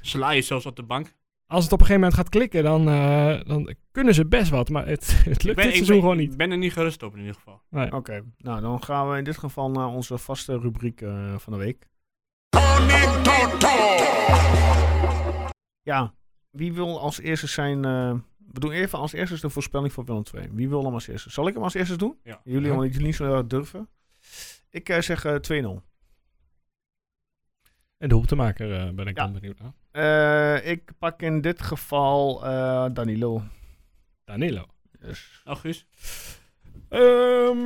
Speaker 3: Sla is zelfs op de bank.
Speaker 2: als het op een gegeven moment gaat klikken, dan, eh, dan kunnen ze best wat. Maar het, (laughs) het lukt
Speaker 3: Ik ben,
Speaker 2: dit
Speaker 3: ik
Speaker 2: seizoen
Speaker 3: ben,
Speaker 2: gewoon
Speaker 3: ik
Speaker 2: niet.
Speaker 3: ben er niet gerust op in ieder geval.
Speaker 2: Nee.
Speaker 1: Oké, nou dan gaan we in dit geval naar onze vaste rubriek eh, van de week. Ja, wie wil als eerste zijn... eh, we doen even als eerste de voorspelling voor Willem II. Wie wil hem als eerste? Zal ik hem als eerste doen?
Speaker 3: Ja.
Speaker 1: Jullie,
Speaker 2: Ja.
Speaker 1: want jullie niet zo heel erg durven. Ik eh, zeg eh, 2-0.
Speaker 2: En de hoeptemaker maken ben ik
Speaker 1: Ja.
Speaker 2: dan benieuwd naar.
Speaker 1: Eh, ik pak in dit geval eh, Danilo.
Speaker 2: Danilo.
Speaker 1: Dus,
Speaker 3: Nou, Guus.
Speaker 2: Ehm,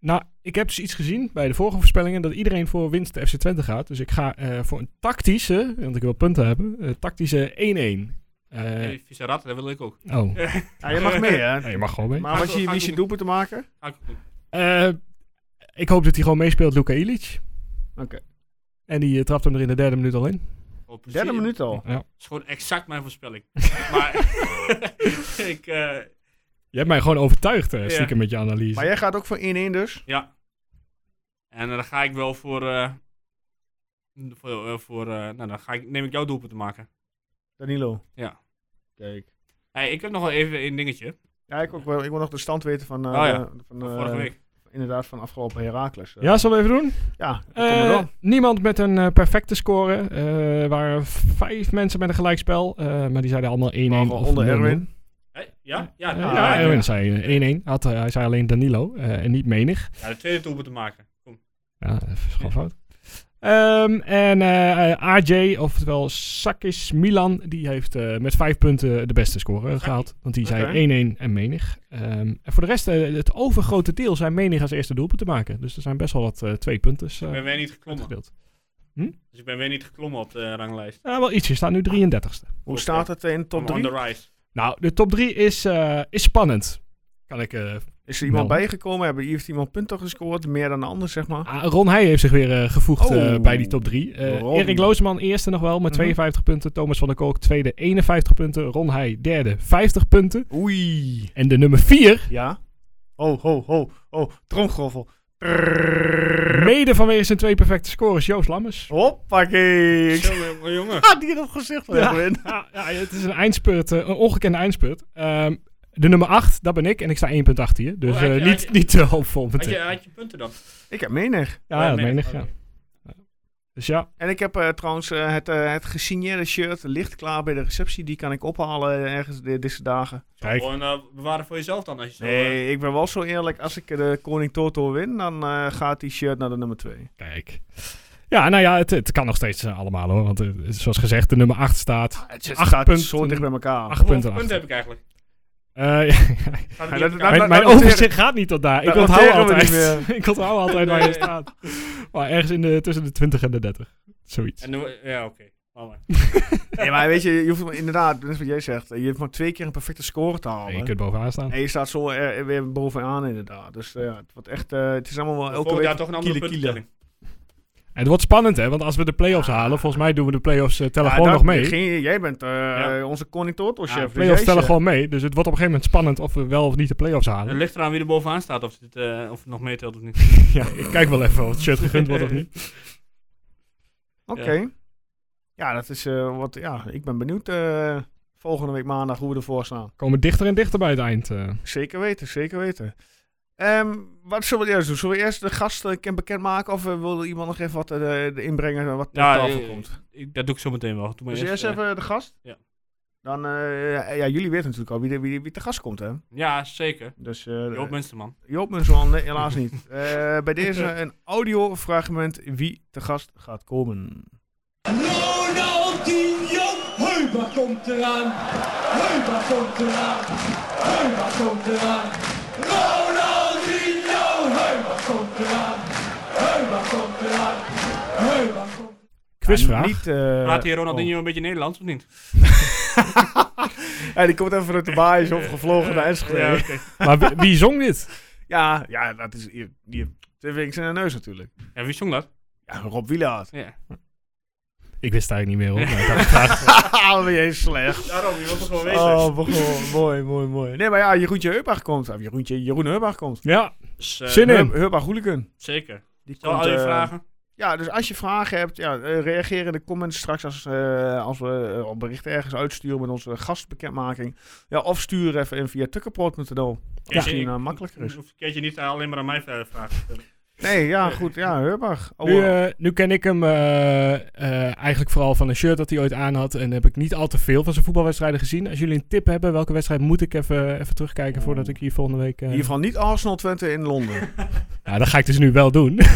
Speaker 2: nou, ik heb dus iets gezien bij de vorige voorspellingen dat iedereen voor winst FC Twente gaat. Dus ik ga eh, voor een tactische, want ik wil punten hebben, eh, tactische 1-1. Eh,
Speaker 3: Hey, vieze rat, dat wil ik ook.
Speaker 2: oh,
Speaker 3: (laughs)
Speaker 1: ja, je mag mee, hè?
Speaker 2: nou, je mag gewoon mee.
Speaker 1: Maar wat je, wie is je doelpunt te maken?
Speaker 3: Ga ik ook doen.
Speaker 2: Eh, ik hoop dat hij gewoon meespeelt, Luka Ilic.
Speaker 1: Oké.
Speaker 2: En die eh, trapt hem er in de derde minuut al in.
Speaker 3: Oh, precies.
Speaker 1: Derde minuut al.
Speaker 2: Ja.
Speaker 3: Dat is gewoon exact mijn voorspelling. maar (laughs) ik, eh,
Speaker 2: (laughs) Je hebt mij gewoon overtuigd, eh,
Speaker 3: Ja.
Speaker 2: stiekem met je analyse.
Speaker 1: Maar jij gaat ook voor 1-1 dus?
Speaker 3: ja. En dan ga ik wel voor, eh, voor, eh, voor eh, nou dan ga ik, neem ik jouw doelpunt te maken.
Speaker 1: Danilo.
Speaker 3: Ja.
Speaker 1: Kijk.
Speaker 3: Hey, ik heb nog wel even één dingetje.
Speaker 1: Ja, ik, ook wel, ik wil nog de stand weten van, eh,
Speaker 3: Oh ja,
Speaker 1: de- van,
Speaker 3: Van
Speaker 1: eh,
Speaker 3: vorige week.
Speaker 1: Inderdaad, van afgelopen Herakles.
Speaker 2: Ja, zullen we even doen?
Speaker 1: Ja, dat komt er
Speaker 2: Eh,
Speaker 1: wel.
Speaker 2: niemand met een eh, perfecte score. Eh, Er waren vijf mensen met een gelijkspel. eh, maar die zeiden allemaal 1-1.
Speaker 1: Waarvan
Speaker 2: of
Speaker 1: onder
Speaker 2: 0-0.
Speaker 1: Erwin.
Speaker 3: Hé, Ja? Ja,
Speaker 2: Eh,
Speaker 3: ja,
Speaker 2: ja,
Speaker 3: ja,
Speaker 2: Erwin zei eh, 1-1. Had, eh, hij zei alleen Danilo. eh, en niet menig.
Speaker 3: Ja, de tweede doelpunt te maken. Kom.
Speaker 2: Ja, dat is gewoon fout. Ehm, en eh, eh, AJ, oftewel Sakis Milan, die heeft eh, met vijf punten de beste score eh, gehaald. Want die
Speaker 1: Oké.
Speaker 2: zei 1-1 en menig. Ehm, en voor de rest, eh, het overgrote deel zijn menig als eerste doelpunt te maken. Dus er zijn best wel wat eh, twee punten
Speaker 3: Ik ben weer niet geklommen.
Speaker 2: uitgedeeld.
Speaker 3: Dus ik ben weer niet geklommen op de ranglijst.
Speaker 2: Nou, wel ietsje. Staat nu 33ste.
Speaker 1: Hoe staat het in de top
Speaker 3: Top on
Speaker 1: 3?
Speaker 3: the rise.
Speaker 2: Nou, de top 3 is, eh, is spannend. Kan ik, eh,
Speaker 1: Is er iemand
Speaker 2: Wel.
Speaker 1: bijgekomen? Hebben heeft iemand punten gescoord? Meer dan de ander, zeg maar.
Speaker 2: ah, Ron Heij heeft zich weer eh, gevoegd
Speaker 1: Oh.
Speaker 2: eh, bij die top 3.
Speaker 1: Ron.
Speaker 2: Erik Loosman eerste nog wel met
Speaker 1: Mhm.
Speaker 2: 52 punten. Thomas van der Kolk tweede 51 punten. Ron Heij derde 50 punten.
Speaker 1: Oei.
Speaker 2: En de nummer 4,
Speaker 1: Ja? Ho, ho, ho, ho. Tromgroffel.
Speaker 2: mede vanwege zijn twee perfecte scores, Joost Lammers.
Speaker 1: Hoppakee. Ik
Speaker 3: Zo, jongen, jongen.
Speaker 1: had die in het gezicht van
Speaker 2: Ja.
Speaker 1: Edwin.
Speaker 2: Ja, ja, het is een eindspurt, eh, een ongekende eindspurt. Ehm, de nummer 8, dat ben ik. En ik sta 1 punt achter je. Dus
Speaker 3: Oh, had
Speaker 2: eh,
Speaker 3: je- had
Speaker 2: niet,
Speaker 3: je-
Speaker 2: niet te hoopvol
Speaker 3: Had je,
Speaker 2: meteen.
Speaker 3: had je punten dan?
Speaker 1: Ik heb menig.
Speaker 2: Ja, dat
Speaker 3: nee,
Speaker 2: menig,
Speaker 3: oké.
Speaker 2: ja. Ja. Dus ja,
Speaker 1: En ik heb eh, trouwens eh, het, eh, het gesigneerde shirt ligt klaar bij de receptie. Die kan ik ophalen eh, ergens de- deze dagen.
Speaker 2: Kijk.
Speaker 3: Gewoon eh, bewaren voor jezelf dan. Als je zo, eh,
Speaker 1: Nee, ik ben wel zo eerlijk. Als ik eh, de Koning Toto win, dan eh, gaat die shirt naar de nummer 2.
Speaker 2: Kijk. Ja, nou ja, het, het kan nog steeds eh, allemaal hoor. Want eh, zoals gezegd, de nummer 8 staat.
Speaker 1: Ah, Het
Speaker 2: Acht
Speaker 1: staat
Speaker 2: punten.
Speaker 1: zo dicht bij elkaar.
Speaker 2: 8 punten
Speaker 3: hoeveel
Speaker 2: achter.
Speaker 3: punten heb ik eigenlijk?
Speaker 2: Eh, ja, ja.
Speaker 1: Ja,
Speaker 3: Gaat het
Speaker 1: dat-
Speaker 3: niet op
Speaker 1: dat-
Speaker 3: elkaar?
Speaker 2: mijn mijn
Speaker 1: noteren-
Speaker 2: overzicht gaat niet tot daar. Ik
Speaker 1: dat
Speaker 2: onthoud
Speaker 1: noteren we
Speaker 2: (laughs) altijd.
Speaker 1: niet
Speaker 2: ik onthoud altijd waar je
Speaker 3: Nee.
Speaker 2: staat. Maar ergens in de, tussen de 20 en de 30. Zoiets.
Speaker 3: En dan, wo- ja, oké. Laat maar.
Speaker 1: Nee, maar weet je, je hoeft maar- inderdaad, net wat jij zegt, je hoeft maar twee keer een perfecte score te halen.
Speaker 2: Nee, je kunt bovenaan staan.
Speaker 1: En je staat zo er, er weer bovenaan inderdaad. Dus eh, ja, het, wordt echt, eh, het is allemaal wel elke
Speaker 3: Volgend
Speaker 1: week
Speaker 3: jaar toch een andere
Speaker 1: kielen,
Speaker 3: puntentelling.
Speaker 2: En het wordt spannend, hè? Want als we de play-offs halen, volgens mij doen we de play-offs eh, tellen gewoon
Speaker 1: daar-
Speaker 2: nog mee.
Speaker 1: Geen, jij bent eh, onze koning Toto chef.
Speaker 3: Ja,
Speaker 1: dus
Speaker 2: Play-offs
Speaker 1: jij
Speaker 2: tellen
Speaker 1: zegt-
Speaker 2: gewoon mee. Dus het wordt op een gegeven moment spannend of we wel of niet de play-offs
Speaker 3: Het
Speaker 2: halen.
Speaker 3: ligt eraan wie er bovenaan staat of, dit, eh, of het nog meetelt of niet.
Speaker 2: (laughs) Ja, ik kijk wel even of het shirt gegund wordt of niet.
Speaker 1: Oké. Ja, dat is eh, wat, ja, ik ben benieuwd eh, volgende week maandag hoe we ervoor staan.
Speaker 2: Komen dichter en dichter bij het eind. eh.
Speaker 1: Zeker weten, zeker weten. Ehm, wat zullen we eerst doen? Zullen we eerst de gasten ken- bekendmaken of eh, wil iemand nog even wat eh, de- de inbrengen en wat op
Speaker 3: Ja,
Speaker 1: tafel
Speaker 3: eh,
Speaker 1: komt?
Speaker 3: Ik, dat doe ik zo meteen wel. Doe maar
Speaker 1: Dus
Speaker 3: eerst,
Speaker 1: eerst
Speaker 3: eh,
Speaker 1: even de gast?
Speaker 3: ja.
Speaker 1: Dan, eh, ja, ja, jullie weten natuurlijk al wie, de- wie, wie te gast komt, hè?
Speaker 3: ja, zeker.
Speaker 1: Dus, eh
Speaker 3: Joop Munsterman.
Speaker 1: Joop Munsterman, nee, helaas niet.
Speaker 3: (laughs)
Speaker 1: Eh, bij deze een audiofragment wie te gast gaat komen.
Speaker 7: Ronaldinho Heuber komt eraan. Heuber komt eraan. Heuber komt eraan. Ronaldinho Heuber komt eraan. Heuber komt eraan. Heuber komt eraan.
Speaker 2: Quizvraag.
Speaker 1: Ja, niet, eh,
Speaker 3: Praat hier Ronaldinho een beetje Nederlands of niet?
Speaker 1: Ja, die komt even uit de baai, is opgevlogen naar Enschede.
Speaker 3: Ja,
Speaker 1: Ja,
Speaker 3: oké.
Speaker 2: Maar wie, wie zong dit?
Speaker 1: ja, dat is hier, hier, twee vingers in de neus natuurlijk.
Speaker 3: Ja, wie zong dat?
Speaker 1: Ja, Rob Wielaert.
Speaker 3: Ja.
Speaker 2: Ik wist het eigenlijk niet meer,
Speaker 1: (laughs)
Speaker 2: hoor. Maar dat-
Speaker 1: Haha, ben je slecht.
Speaker 3: Daarom, je wilt het gewoon
Speaker 1: Oh, begon. mooi, mooi, mooi. Nee, maar ja, Jeroentje Heubach komt. Of Jeroentje, Jeroen Heubach komt.
Speaker 2: ja,
Speaker 3: Dus, eh,
Speaker 2: zin in.
Speaker 1: Heub- Heubach Hooligan.
Speaker 3: Zeker.
Speaker 1: Die
Speaker 3: Zal al je
Speaker 1: eh,
Speaker 3: vragen?
Speaker 1: Ja, dus als je vragen hebt, ja, eh, reageer in de comments straks als, eh, als we eh, al berichten ergens uitsturen met onze gastbekendmaking. Ja, of stuur even in via tukkenproot.nl. Ja. Misschien eh, makkelijker is.
Speaker 3: Hoef je niet alleen maar aan mij verder vragen te stellen.
Speaker 1: Nee, ja, goed. Ja, Heubach. Oh,
Speaker 2: Nu,
Speaker 1: eh,
Speaker 2: eh, nu ken ik hem eh, eh, eigenlijk vooral van een shirt dat hij ooit aan had. En heb ik niet al te veel van zijn voetbalwedstrijden gezien. Als jullie een tip hebben, welke wedstrijd moet ik even, even terugkijken voordat ik hier volgende week... eh,
Speaker 1: Oh. in ieder geval niet Arsenal Twente in Londen.
Speaker 3: (laughs)
Speaker 2: Ja, dat ga ik dus nu wel doen.
Speaker 1: Oh.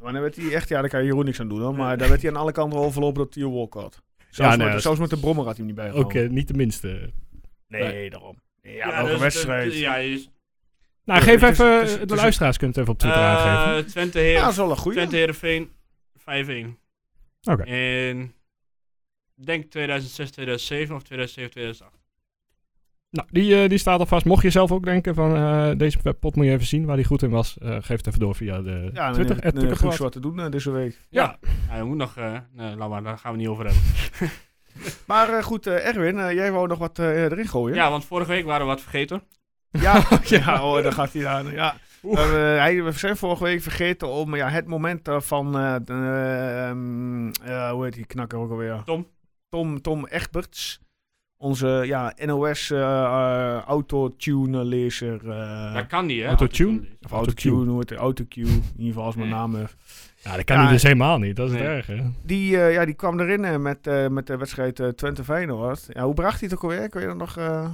Speaker 1: Maar dan werd hij echt, ja, daar kan Jeroen niks aan doen hoor. Maar daar werd hij aan alle kanten overlopen dat hij een walk had. Zelfs,
Speaker 2: Ja, nee,
Speaker 1: met,
Speaker 2: dat-
Speaker 1: zelfs met de brommer had hij hem niet bij.
Speaker 2: Ook eh, niet de minste.
Speaker 1: nee, daarom. Nee, Ja,
Speaker 3: dus
Speaker 1: welke
Speaker 3: het-
Speaker 1: wedstrijd. Ja,
Speaker 3: Ja, is,
Speaker 2: Nou,
Speaker 1: Ja,
Speaker 2: geef
Speaker 1: het is-
Speaker 2: even,
Speaker 1: het is- het
Speaker 2: de
Speaker 1: is-
Speaker 2: luisteraars kunt even op Twitter aangeven.
Speaker 3: eh Twente Heer,
Speaker 1: dat is wel een
Speaker 3: Twente
Speaker 1: goede.
Speaker 3: Heerenveen 5-1.
Speaker 2: Oké.
Speaker 3: En ik denk 2006, 2007 of 2007, 2008.
Speaker 2: Nou, die, eh, die staat alvast. Mocht je zelf ook denken van eh, deze pot moet je even zien waar die goed in was, eh, geef het even door via de
Speaker 1: Ja, en
Speaker 2: Twitter.
Speaker 1: een,
Speaker 2: at
Speaker 1: een, een goed
Speaker 2: Tukkengewaad.
Speaker 1: wat te doen eh, deze week.
Speaker 2: Ja.
Speaker 3: Ja, je moet nog... eh nee, laat maar, daar gaan we niet over hebben.
Speaker 1: Maar eh, goed, eh, Erwin, eh, jij wou nog wat eh, erin gooien.
Speaker 3: Ja, want vorige week waren we wat vergeten.
Speaker 1: Ja, (laughs) ja oh, daar gaat hij aan. Ja. Eh, we- hij, we zijn vorige week vergeten om ja, het moment eh, van, eh, de, ehm, eh, hoe heet die knakker ook alweer?
Speaker 3: Tom.
Speaker 1: Tom, Tom Egberts. Onze ja, NOS eh eh, autotune-lezer. eh,
Speaker 3: Daar kan die, hè?
Speaker 2: Autotune?
Speaker 1: of
Speaker 2: autocue.
Speaker 1: autotune, hoe heet het? Autocue, in ieder geval als mijn
Speaker 3: Ja.
Speaker 1: naam. eh.
Speaker 2: Ja, dat kan
Speaker 1: Ja,
Speaker 2: hij dus helemaal niet. Dat is het
Speaker 3: nee.
Speaker 2: erg, hè?
Speaker 1: Die, eh, ja, die kwam erin eh, met, eh, met de wedstrijd eh, Twente-Feyenoord. Ja, hoe bracht hij het ook alweer? Kun je dat nog... eh,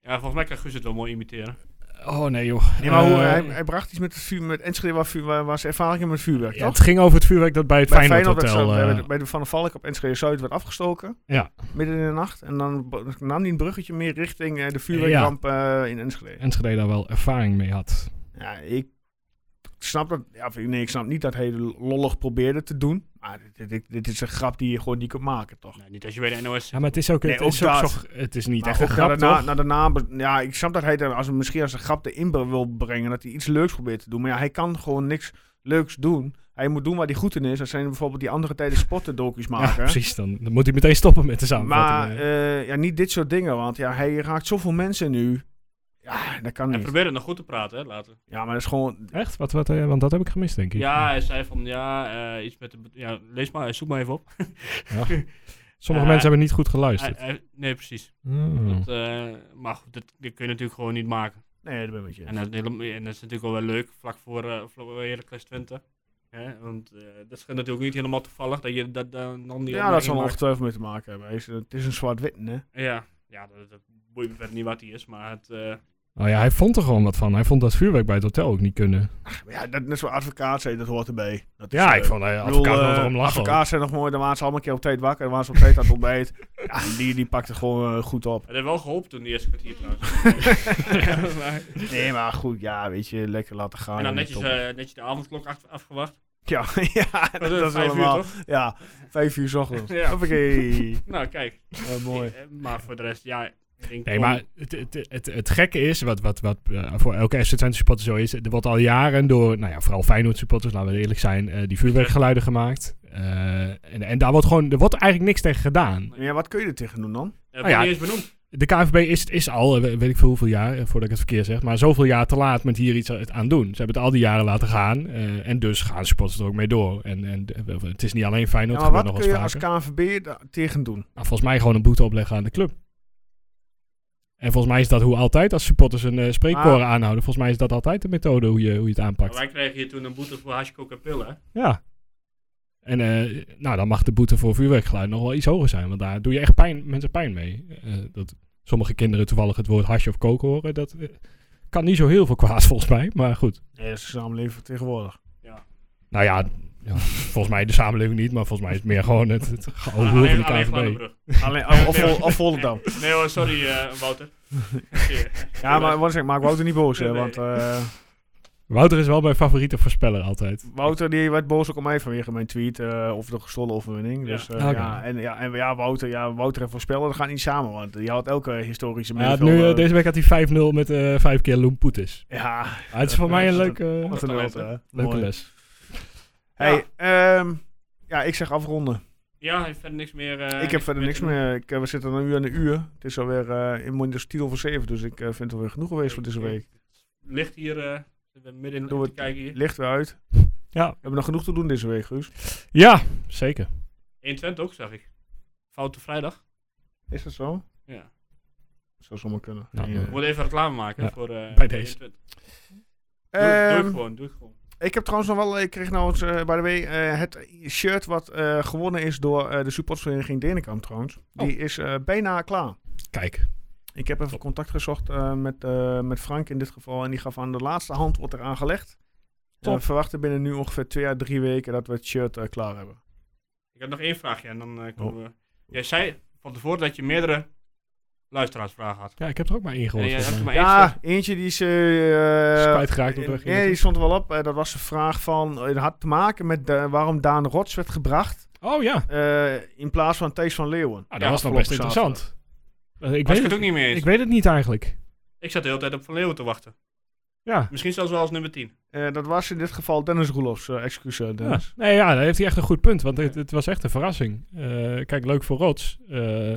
Speaker 3: Ja, volgens mij kan Guus het wel mooi imiteren.
Speaker 2: Oh nee, joh.
Speaker 1: Nee, maar hoe,
Speaker 2: Eh,
Speaker 1: hij, hij bracht iets met het vuur, met Enschede waar, vuur, waar, waar ze ervaringen met vuurwerk,
Speaker 2: ja,
Speaker 1: toch?
Speaker 2: het ging over het vuurwerk dat bij het
Speaker 1: Bij
Speaker 2: Feyenoord
Speaker 1: werd
Speaker 2: Hotel...
Speaker 1: zo-
Speaker 2: eh,
Speaker 1: bij de- bij de Van der Valk op Enschede Zuid werd afgestoken.
Speaker 2: Ja.
Speaker 1: Midden in de nacht. En dan bo- nam hij een bruggetje meer richting eh, de vuurwerkramp eh, in Enschede.
Speaker 2: Enschede daar wel ervaring mee had.
Speaker 1: Ja, ik snap dat. Ja, of ik- nee, ik snap niet dat hij lollig probeerde te doen. Maar dit, dit, dit is een grap die je gewoon niet kunt maken, toch?
Speaker 3: Nou, niet als je bij de NOS zit.
Speaker 2: Ja, maar het is ook,
Speaker 1: Nee,
Speaker 2: het
Speaker 1: ook
Speaker 2: is ook
Speaker 1: dat.
Speaker 2: zo- het is niet
Speaker 1: Maar
Speaker 2: echt een
Speaker 1: ook
Speaker 2: grap,
Speaker 1: naar de na-
Speaker 2: toch?
Speaker 1: naar de naam be- Ja, ik snap dat hij er als, misschien als een grap erin be- wil brengen. Dat hij iets leuks probeert te doen. Maar ja, hij kan gewoon niks leuks doen. Hij moet doen waar hij goed in is. Dat zijn bijvoorbeeld die andere tijden sportendocu's
Speaker 2: ja,
Speaker 1: maken.
Speaker 2: precies. Dan, dan moet hij meteen stoppen met de
Speaker 1: maar
Speaker 2: samenvatting. eh.
Speaker 1: eh, ja, niet dit soort dingen. Want ja, hij raakt zoveel mensen nu. Ja, dat kan
Speaker 3: Hij
Speaker 1: niet.
Speaker 3: probeerde nog goed te praten, hè, later.
Speaker 1: Ja, maar dat is gewoon...
Speaker 2: Echt? Wat, wat, eh, want dat heb ik gemist, denk ik.
Speaker 3: Ja, hij zei van, ja, eh, iets met de... be- Ja, lees maar, zoek maar even op.
Speaker 2: Sommige
Speaker 3: eh,
Speaker 2: mensen hebben niet goed
Speaker 3: Hij-
Speaker 2: geluisterd.
Speaker 3: hij- nee, precies.
Speaker 2: Hmm.
Speaker 3: Dat, eh, maar goed, dat, dat kun je natuurlijk gewoon niet maken.
Speaker 1: Nee, dat ben ik met je.
Speaker 3: En dat, is helemaal- en dat is natuurlijk wel wel leuk, vlak voor, eh vlak voor Heracles Twente. Hè? Want eh, dat is natuurlijk niet helemaal toevallig dat je dat dan dan die
Speaker 1: Ja, dat zal er
Speaker 3: opmerking maakt.
Speaker 1: ongetwijfeld mee te maken hebben. Hij is- Het is een zwart-wit, hè?
Speaker 3: Ja, ja dat, dat boeit me verder niet wat hij is, maar het... eh,
Speaker 2: Nou ja, hij vond er gewoon wat van. Hij vond dat vuurwerk bij het hotel ook niet kunnen.
Speaker 1: Maar Ja, dat is wel advocaat zijn, dat hoort erbij. Dat is,
Speaker 2: Ja,
Speaker 1: eh,
Speaker 2: ik vond hij
Speaker 1: Ik bedoel,
Speaker 2: advocaat
Speaker 1: eh,
Speaker 2: wel erom lachen.
Speaker 1: advocaten zijn nog mooi, dan waren ze allemaal een keer op tijd wakker, dan waren ze op tijd aan het ontbijt.
Speaker 2: (laughs)
Speaker 1: Ja, die, die pakte gewoon eh, goed op.
Speaker 3: het heeft wel geholpen toen die eerste kwartier trouwens.
Speaker 1: (laughs)
Speaker 3: Maar-
Speaker 1: Nee, maar goed, ja, weet je, lekker laten gaan.
Speaker 3: en dan
Speaker 1: en
Speaker 3: netjes,
Speaker 1: top.
Speaker 3: eh, netjes de avondklok af- afgewacht.
Speaker 1: Ja, ja (laughs) dat,
Speaker 3: is
Speaker 1: is
Speaker 3: vijf uur,
Speaker 1: helemaal.
Speaker 3: toch?
Speaker 1: ja, vijf uur 's ochtends.
Speaker 3: Ja.
Speaker 1: Hoppakee.
Speaker 3: Nou, kijk.
Speaker 1: Ja, mooi.
Speaker 3: Eh, Maar voor de rest, ja. ik denk
Speaker 2: Nee,
Speaker 3: gewoon-
Speaker 2: maar het, het, het, het gekke is, wat, wat, wat eh, voor elke SC Twente supporter zo is, er wordt al jaren door, nou ja, vooral Feyenoord supporters, laten we eerlijk zijn, eh, die vuurwerkgeluiden gemaakt. Eh, en, en daar wordt gewoon, er wordt eigenlijk niks tegen gedaan.
Speaker 1: Ja, wat kun je er tegen doen dan?
Speaker 3: Eh,
Speaker 2: nou ja.
Speaker 3: niet eens benoemd.
Speaker 2: De KNVB is, is al, eh, we- weet ik veel hoeveel jaar, eh, voordat ik het verkeerd zeg, maar zoveel jaar te laat met hier iets a- aan doen. Ze hebben het al die jaren laten gaan eh, en dus gaan supporters er ook mee door. En, en eh, het is niet alleen
Speaker 1: Ja,
Speaker 2: Feyenoord,
Speaker 1: maar
Speaker 2: het
Speaker 1: wat
Speaker 2: gebeurt nog
Speaker 1: kun je
Speaker 2: wel
Speaker 1: als
Speaker 2: eens vaker.
Speaker 1: KNVB da- tegen doen?
Speaker 2: Nou, volgens mij gewoon een boete opleggen aan de club. En volgens mij is dat hoe altijd als supporters een eh, spreekkoren
Speaker 1: Ah.
Speaker 2: aanhouden. Volgens mij is dat altijd de methode hoe je, hoe je het aanpakt.
Speaker 3: Wij kregen hier toen een boete voor hash coca
Speaker 1: Oh,
Speaker 3: pillen.
Speaker 2: Ja. En eh, nou, dan mag de boete voor vuurwerkgeluid nog wel iets hoger zijn. Want daar doe je echt pijn, mensen pijn mee. Eh, dat sommige kinderen toevallig het woord hasje of koken horen. Dat eh, kan niet zo heel veel kwaad (laughs) volgens mij. Maar goed.
Speaker 1: Nee, dat is de samenleving tegenwoordig.
Speaker 2: Nou ja, ja volgens mij de samenleving niet. Maar volgens mij is het meer gewoon het, het gehoor van
Speaker 3: (laughs) Alleen,
Speaker 2: de
Speaker 3: alleen
Speaker 2: KNVB.
Speaker 3: Glanenbrug.
Speaker 1: (laughs) Alleen, of, of, Vol- of (laughs) Volendam.
Speaker 3: Nee hoor, sorry eh,
Speaker 1: (laughs)
Speaker 3: Wouter.
Speaker 1: Ja, maar wat zeg, maak Wouter niet boos, hè.
Speaker 3: Nee.
Speaker 1: Want eh,
Speaker 2: Wouter is wel mijn favoriete voorspeller altijd.
Speaker 1: Wouter die werd boos ook op mij vanwege mijn tweet eh over de gestolen overwinning. Dus, eh,
Speaker 2: Oké.
Speaker 1: ja, en, ja, en ja, Wouter, ja, Wouter en voorspellen, dat gaat niet samen. Want je had elke historische
Speaker 2: Hij had
Speaker 1: middenvelder...
Speaker 2: nu, eh, deze week had hij 5-0 met eh vijf keer Loempoetis.
Speaker 1: Ja,
Speaker 2: Ah, het is voor
Speaker 1: Ja,
Speaker 2: mij
Speaker 1: is
Speaker 2: een
Speaker 1: het
Speaker 2: leuke,
Speaker 1: wat een held, hè.
Speaker 2: leuke
Speaker 1: Mooi.
Speaker 2: les.
Speaker 1: Hey, ehm, ja, ik zeg afronden.
Speaker 3: Ja, hij heeft verder niks meer. eh,
Speaker 1: ik heb verder niks
Speaker 3: te
Speaker 1: meer. Ik, eh, we zitten nu aan de uur. Het is alweer eh inmiddels tien over zeven, dus ik eh, vind het alweer genoeg geweest voor deze week.
Speaker 3: doen. Ligt hier, eh, we zijn midden in
Speaker 1: Doe
Speaker 3: te
Speaker 1: het.
Speaker 3: kijken hier.
Speaker 1: Licht weer uit.
Speaker 2: Ja.
Speaker 1: We hebben nog genoeg te doen deze week, Guus.
Speaker 2: Ja, zeker.
Speaker 3: 21 ook, zag ik. Foute vrijdag.
Speaker 1: Is dat zo?
Speaker 3: Ja.
Speaker 1: Zou zomaar kunnen.
Speaker 2: Nou,
Speaker 1: Geen idee.
Speaker 3: Ik moet even reclame maken
Speaker 2: Ja,
Speaker 3: voor eh,
Speaker 2: bij deze.
Speaker 3: 21. Doe, doe
Speaker 1: Ehm,
Speaker 3: het gewoon, doe het gewoon.
Speaker 1: ik heb trouwens nog wel, ik kreeg nou eens, eh, by the way, eh, het shirt wat eh, gewonnen is door eh, de supportersvereniging Denenkamp trouwens.
Speaker 2: Oh.
Speaker 1: Die is eh, bijna klaar.
Speaker 2: Kijk.
Speaker 1: Ik heb even contact gezocht eh, met, eh, met Frank in dit geval. En die gaf aan de laatste hand wordt eraan gelegd. En
Speaker 2: Top.
Speaker 1: we verwachten binnen nu ongeveer twee à drie weken dat we het shirt eh, klaar hebben.
Speaker 3: Ik had nog één vraagje en dan eh
Speaker 1: Oh.
Speaker 3: komen we. Jij zei van tevoren dat je meerdere luisteraarsvragen had.
Speaker 2: Ja, ik heb er ook maar één gehoord.
Speaker 3: en jij
Speaker 2: volgens
Speaker 3: hebt er
Speaker 2: mij.
Speaker 3: maar één
Speaker 1: Ja,
Speaker 3: gesteld.
Speaker 1: eentje die is...
Speaker 2: Is
Speaker 1: eh, eh,
Speaker 2: kwijtgeraakt op de weg hier
Speaker 1: Nee, die stond er wel op. Eh, dat was de vraag van... eh, Het had te maken met eh, waarom Daan Rots werd gebracht...
Speaker 2: Oh ja, Ah,
Speaker 1: eh, in plaats van Thijs van Leeuwen.
Speaker 2: dat
Speaker 3: Ja,
Speaker 2: was nog
Speaker 1: afgelopen
Speaker 2: best interessant. Eh, Ik
Speaker 3: Was
Speaker 2: weet,
Speaker 3: ik het
Speaker 2: het,
Speaker 3: ook niet meer eens.
Speaker 2: ik
Speaker 3: Ik,
Speaker 2: weet het niet eigenlijk.
Speaker 3: zat de hele tijd op Van Leeuwen te wachten.
Speaker 2: Ja.
Speaker 3: Misschien zelfs wel als nummer 10.
Speaker 1: Eh, dat was in dit geval Dennis Roelofs. eh excuus, eh,
Speaker 2: ja.
Speaker 1: Dennis.
Speaker 2: Nee, ja, daar heeft hij echt een goed punt. Want het, het was echt een verrassing. Eh, kijk, leuk voor Rots. eh,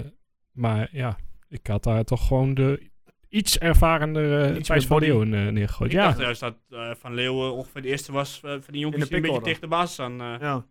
Speaker 2: maar ja, ik had daar toch gewoon de iets ervarender uh,
Speaker 1: Iets
Speaker 2: Thijs
Speaker 1: met
Speaker 2: van
Speaker 1: body.
Speaker 2: Leeuwen eh, neergegooid.
Speaker 3: Ik
Speaker 2: Ja.
Speaker 3: dacht juist dat eh, Van Leeuwen ongeveer de eerste was eh, van die jongens die een beetje
Speaker 1: pickorder.
Speaker 3: tegen de basis aan. eh,
Speaker 1: Ja.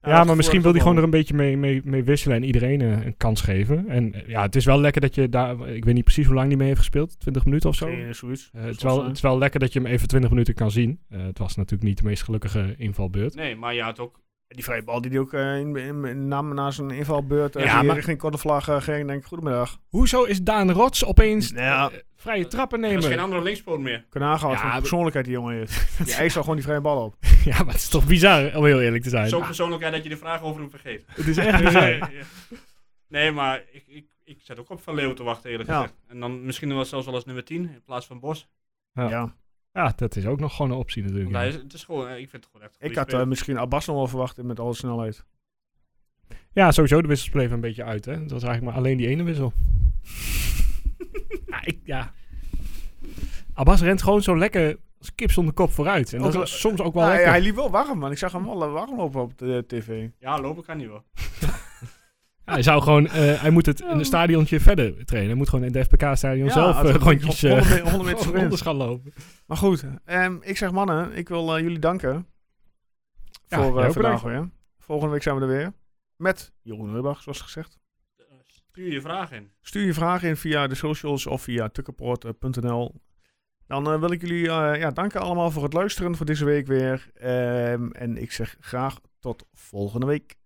Speaker 1: Ja, dat
Speaker 2: Ja,
Speaker 1: gevoel
Speaker 2: maar misschien wil
Speaker 1: heb
Speaker 2: hij
Speaker 1: ik
Speaker 2: gewoon er
Speaker 1: ook
Speaker 2: een beetje mee, mee, mee wisselen en iedereen eh, een kans geven. En eh, ja, het is wel lekker dat je daar, ik weet niet precies hoe lang hij mee heeft gespeeld, 20 minuten of zo.
Speaker 1: wel. Eh, zoiets.
Speaker 2: Eh, het, is wel, het is wel lekker dat je hem even 20 minuten kan zien. Eh, het was natuurlijk niet de meest gelukkige invalbeurt.
Speaker 3: Nee, maar je had ook.
Speaker 1: Die vrije bal die hij ook eh, in, in, in- na, na zijn invalbeurt eh,
Speaker 2: Ja,
Speaker 1: die
Speaker 2: maar-
Speaker 1: richting Kortenvlag eh, ging, denk ik, goedemiddag.
Speaker 2: Hoezo is Daan Rots opeens
Speaker 1: Nou ja.
Speaker 2: eh, vrije trappen
Speaker 3: Er is
Speaker 2: nemen? (laughs)
Speaker 3: geen andere linkspoot meer.
Speaker 1: Kanaga, wat
Speaker 2: Ja,
Speaker 1: voor
Speaker 2: we-
Speaker 1: persoonlijkheid die jongen
Speaker 2: (laughs)
Speaker 1: heeft. Die eist al gewoon die vrije bal op.
Speaker 2: Ja, maar het is toch bizar, om heel eerlijk te zijn.
Speaker 3: Zo'n persoonlijkheid dat je de vraag over hem vergeet.
Speaker 2: (laughs) het
Speaker 3: (laughs)
Speaker 2: is echt
Speaker 3: Dus,
Speaker 2: bizar.
Speaker 3: eh, ja. nee, maar ik, ik, ik zat ook op Van Leeuwen te wachten, eerlijk
Speaker 1: Ja.
Speaker 3: gezegd. En dan misschien wel zelfs wel als nummer 10 in plaats van Bos.
Speaker 2: Ja.
Speaker 1: ja.
Speaker 2: Ja, dat is ook nog gewoon een optie natuurlijk.
Speaker 3: Want hij is, het is gewoon, eh, ik vind het gewoon echt een
Speaker 1: Ik
Speaker 3: goede
Speaker 1: had eh,
Speaker 3: speler.
Speaker 1: misschien Abbas nog wel verwacht met alle snelheid.
Speaker 2: Ja, sowieso de wissels bleven een beetje uit. Hè? Dat was eigenlijk maar alleen die ene wissel. ja, ik, ja. Abbas rent gewoon zo lekker als kip zonder kop vooruit. En
Speaker 1: Ook
Speaker 2: dat
Speaker 1: wel-
Speaker 2: is soms ook wel
Speaker 1: Ah, ja,
Speaker 2: lekker.
Speaker 1: hij liep wel warm, man. Ik zag hem wel eh, warm lopen op de tv.
Speaker 3: Ja, lopen kan niet wel.
Speaker 2: Ja, hij zou gewoon, eh, hij moet het in een stadiontje verder trainen. Hij moet gewoon in de FPK-stadion
Speaker 1: Ja,
Speaker 2: zelf
Speaker 1: als
Speaker 2: eh,
Speaker 1: ik-
Speaker 2: rondjes
Speaker 1: ik-
Speaker 2: eh,
Speaker 1: 100 meter-
Speaker 2: (laughs)
Speaker 1: 100 meter
Speaker 2: gewoon
Speaker 1: sprint.
Speaker 2: rondes gaan lopen.
Speaker 1: Maar goed, ehm, ik zeg mannen, ik wil eh, jullie danken
Speaker 2: Ja,
Speaker 1: voor
Speaker 2: jij
Speaker 1: eh
Speaker 2: ook
Speaker 1: vandaag
Speaker 2: bedankt.
Speaker 1: weer. Volgende week zijn we er weer met Jeroen Heubach, zoals gezegd.
Speaker 3: Eh, Stuur je vraag in.
Speaker 1: Stuur je vragen in via de socials of via tukkenpoort.nl. Dan eh, wil ik jullie eh, ja, danken allemaal voor het luisteren voor deze week weer. Ehm, en ik zeg graag tot volgende week.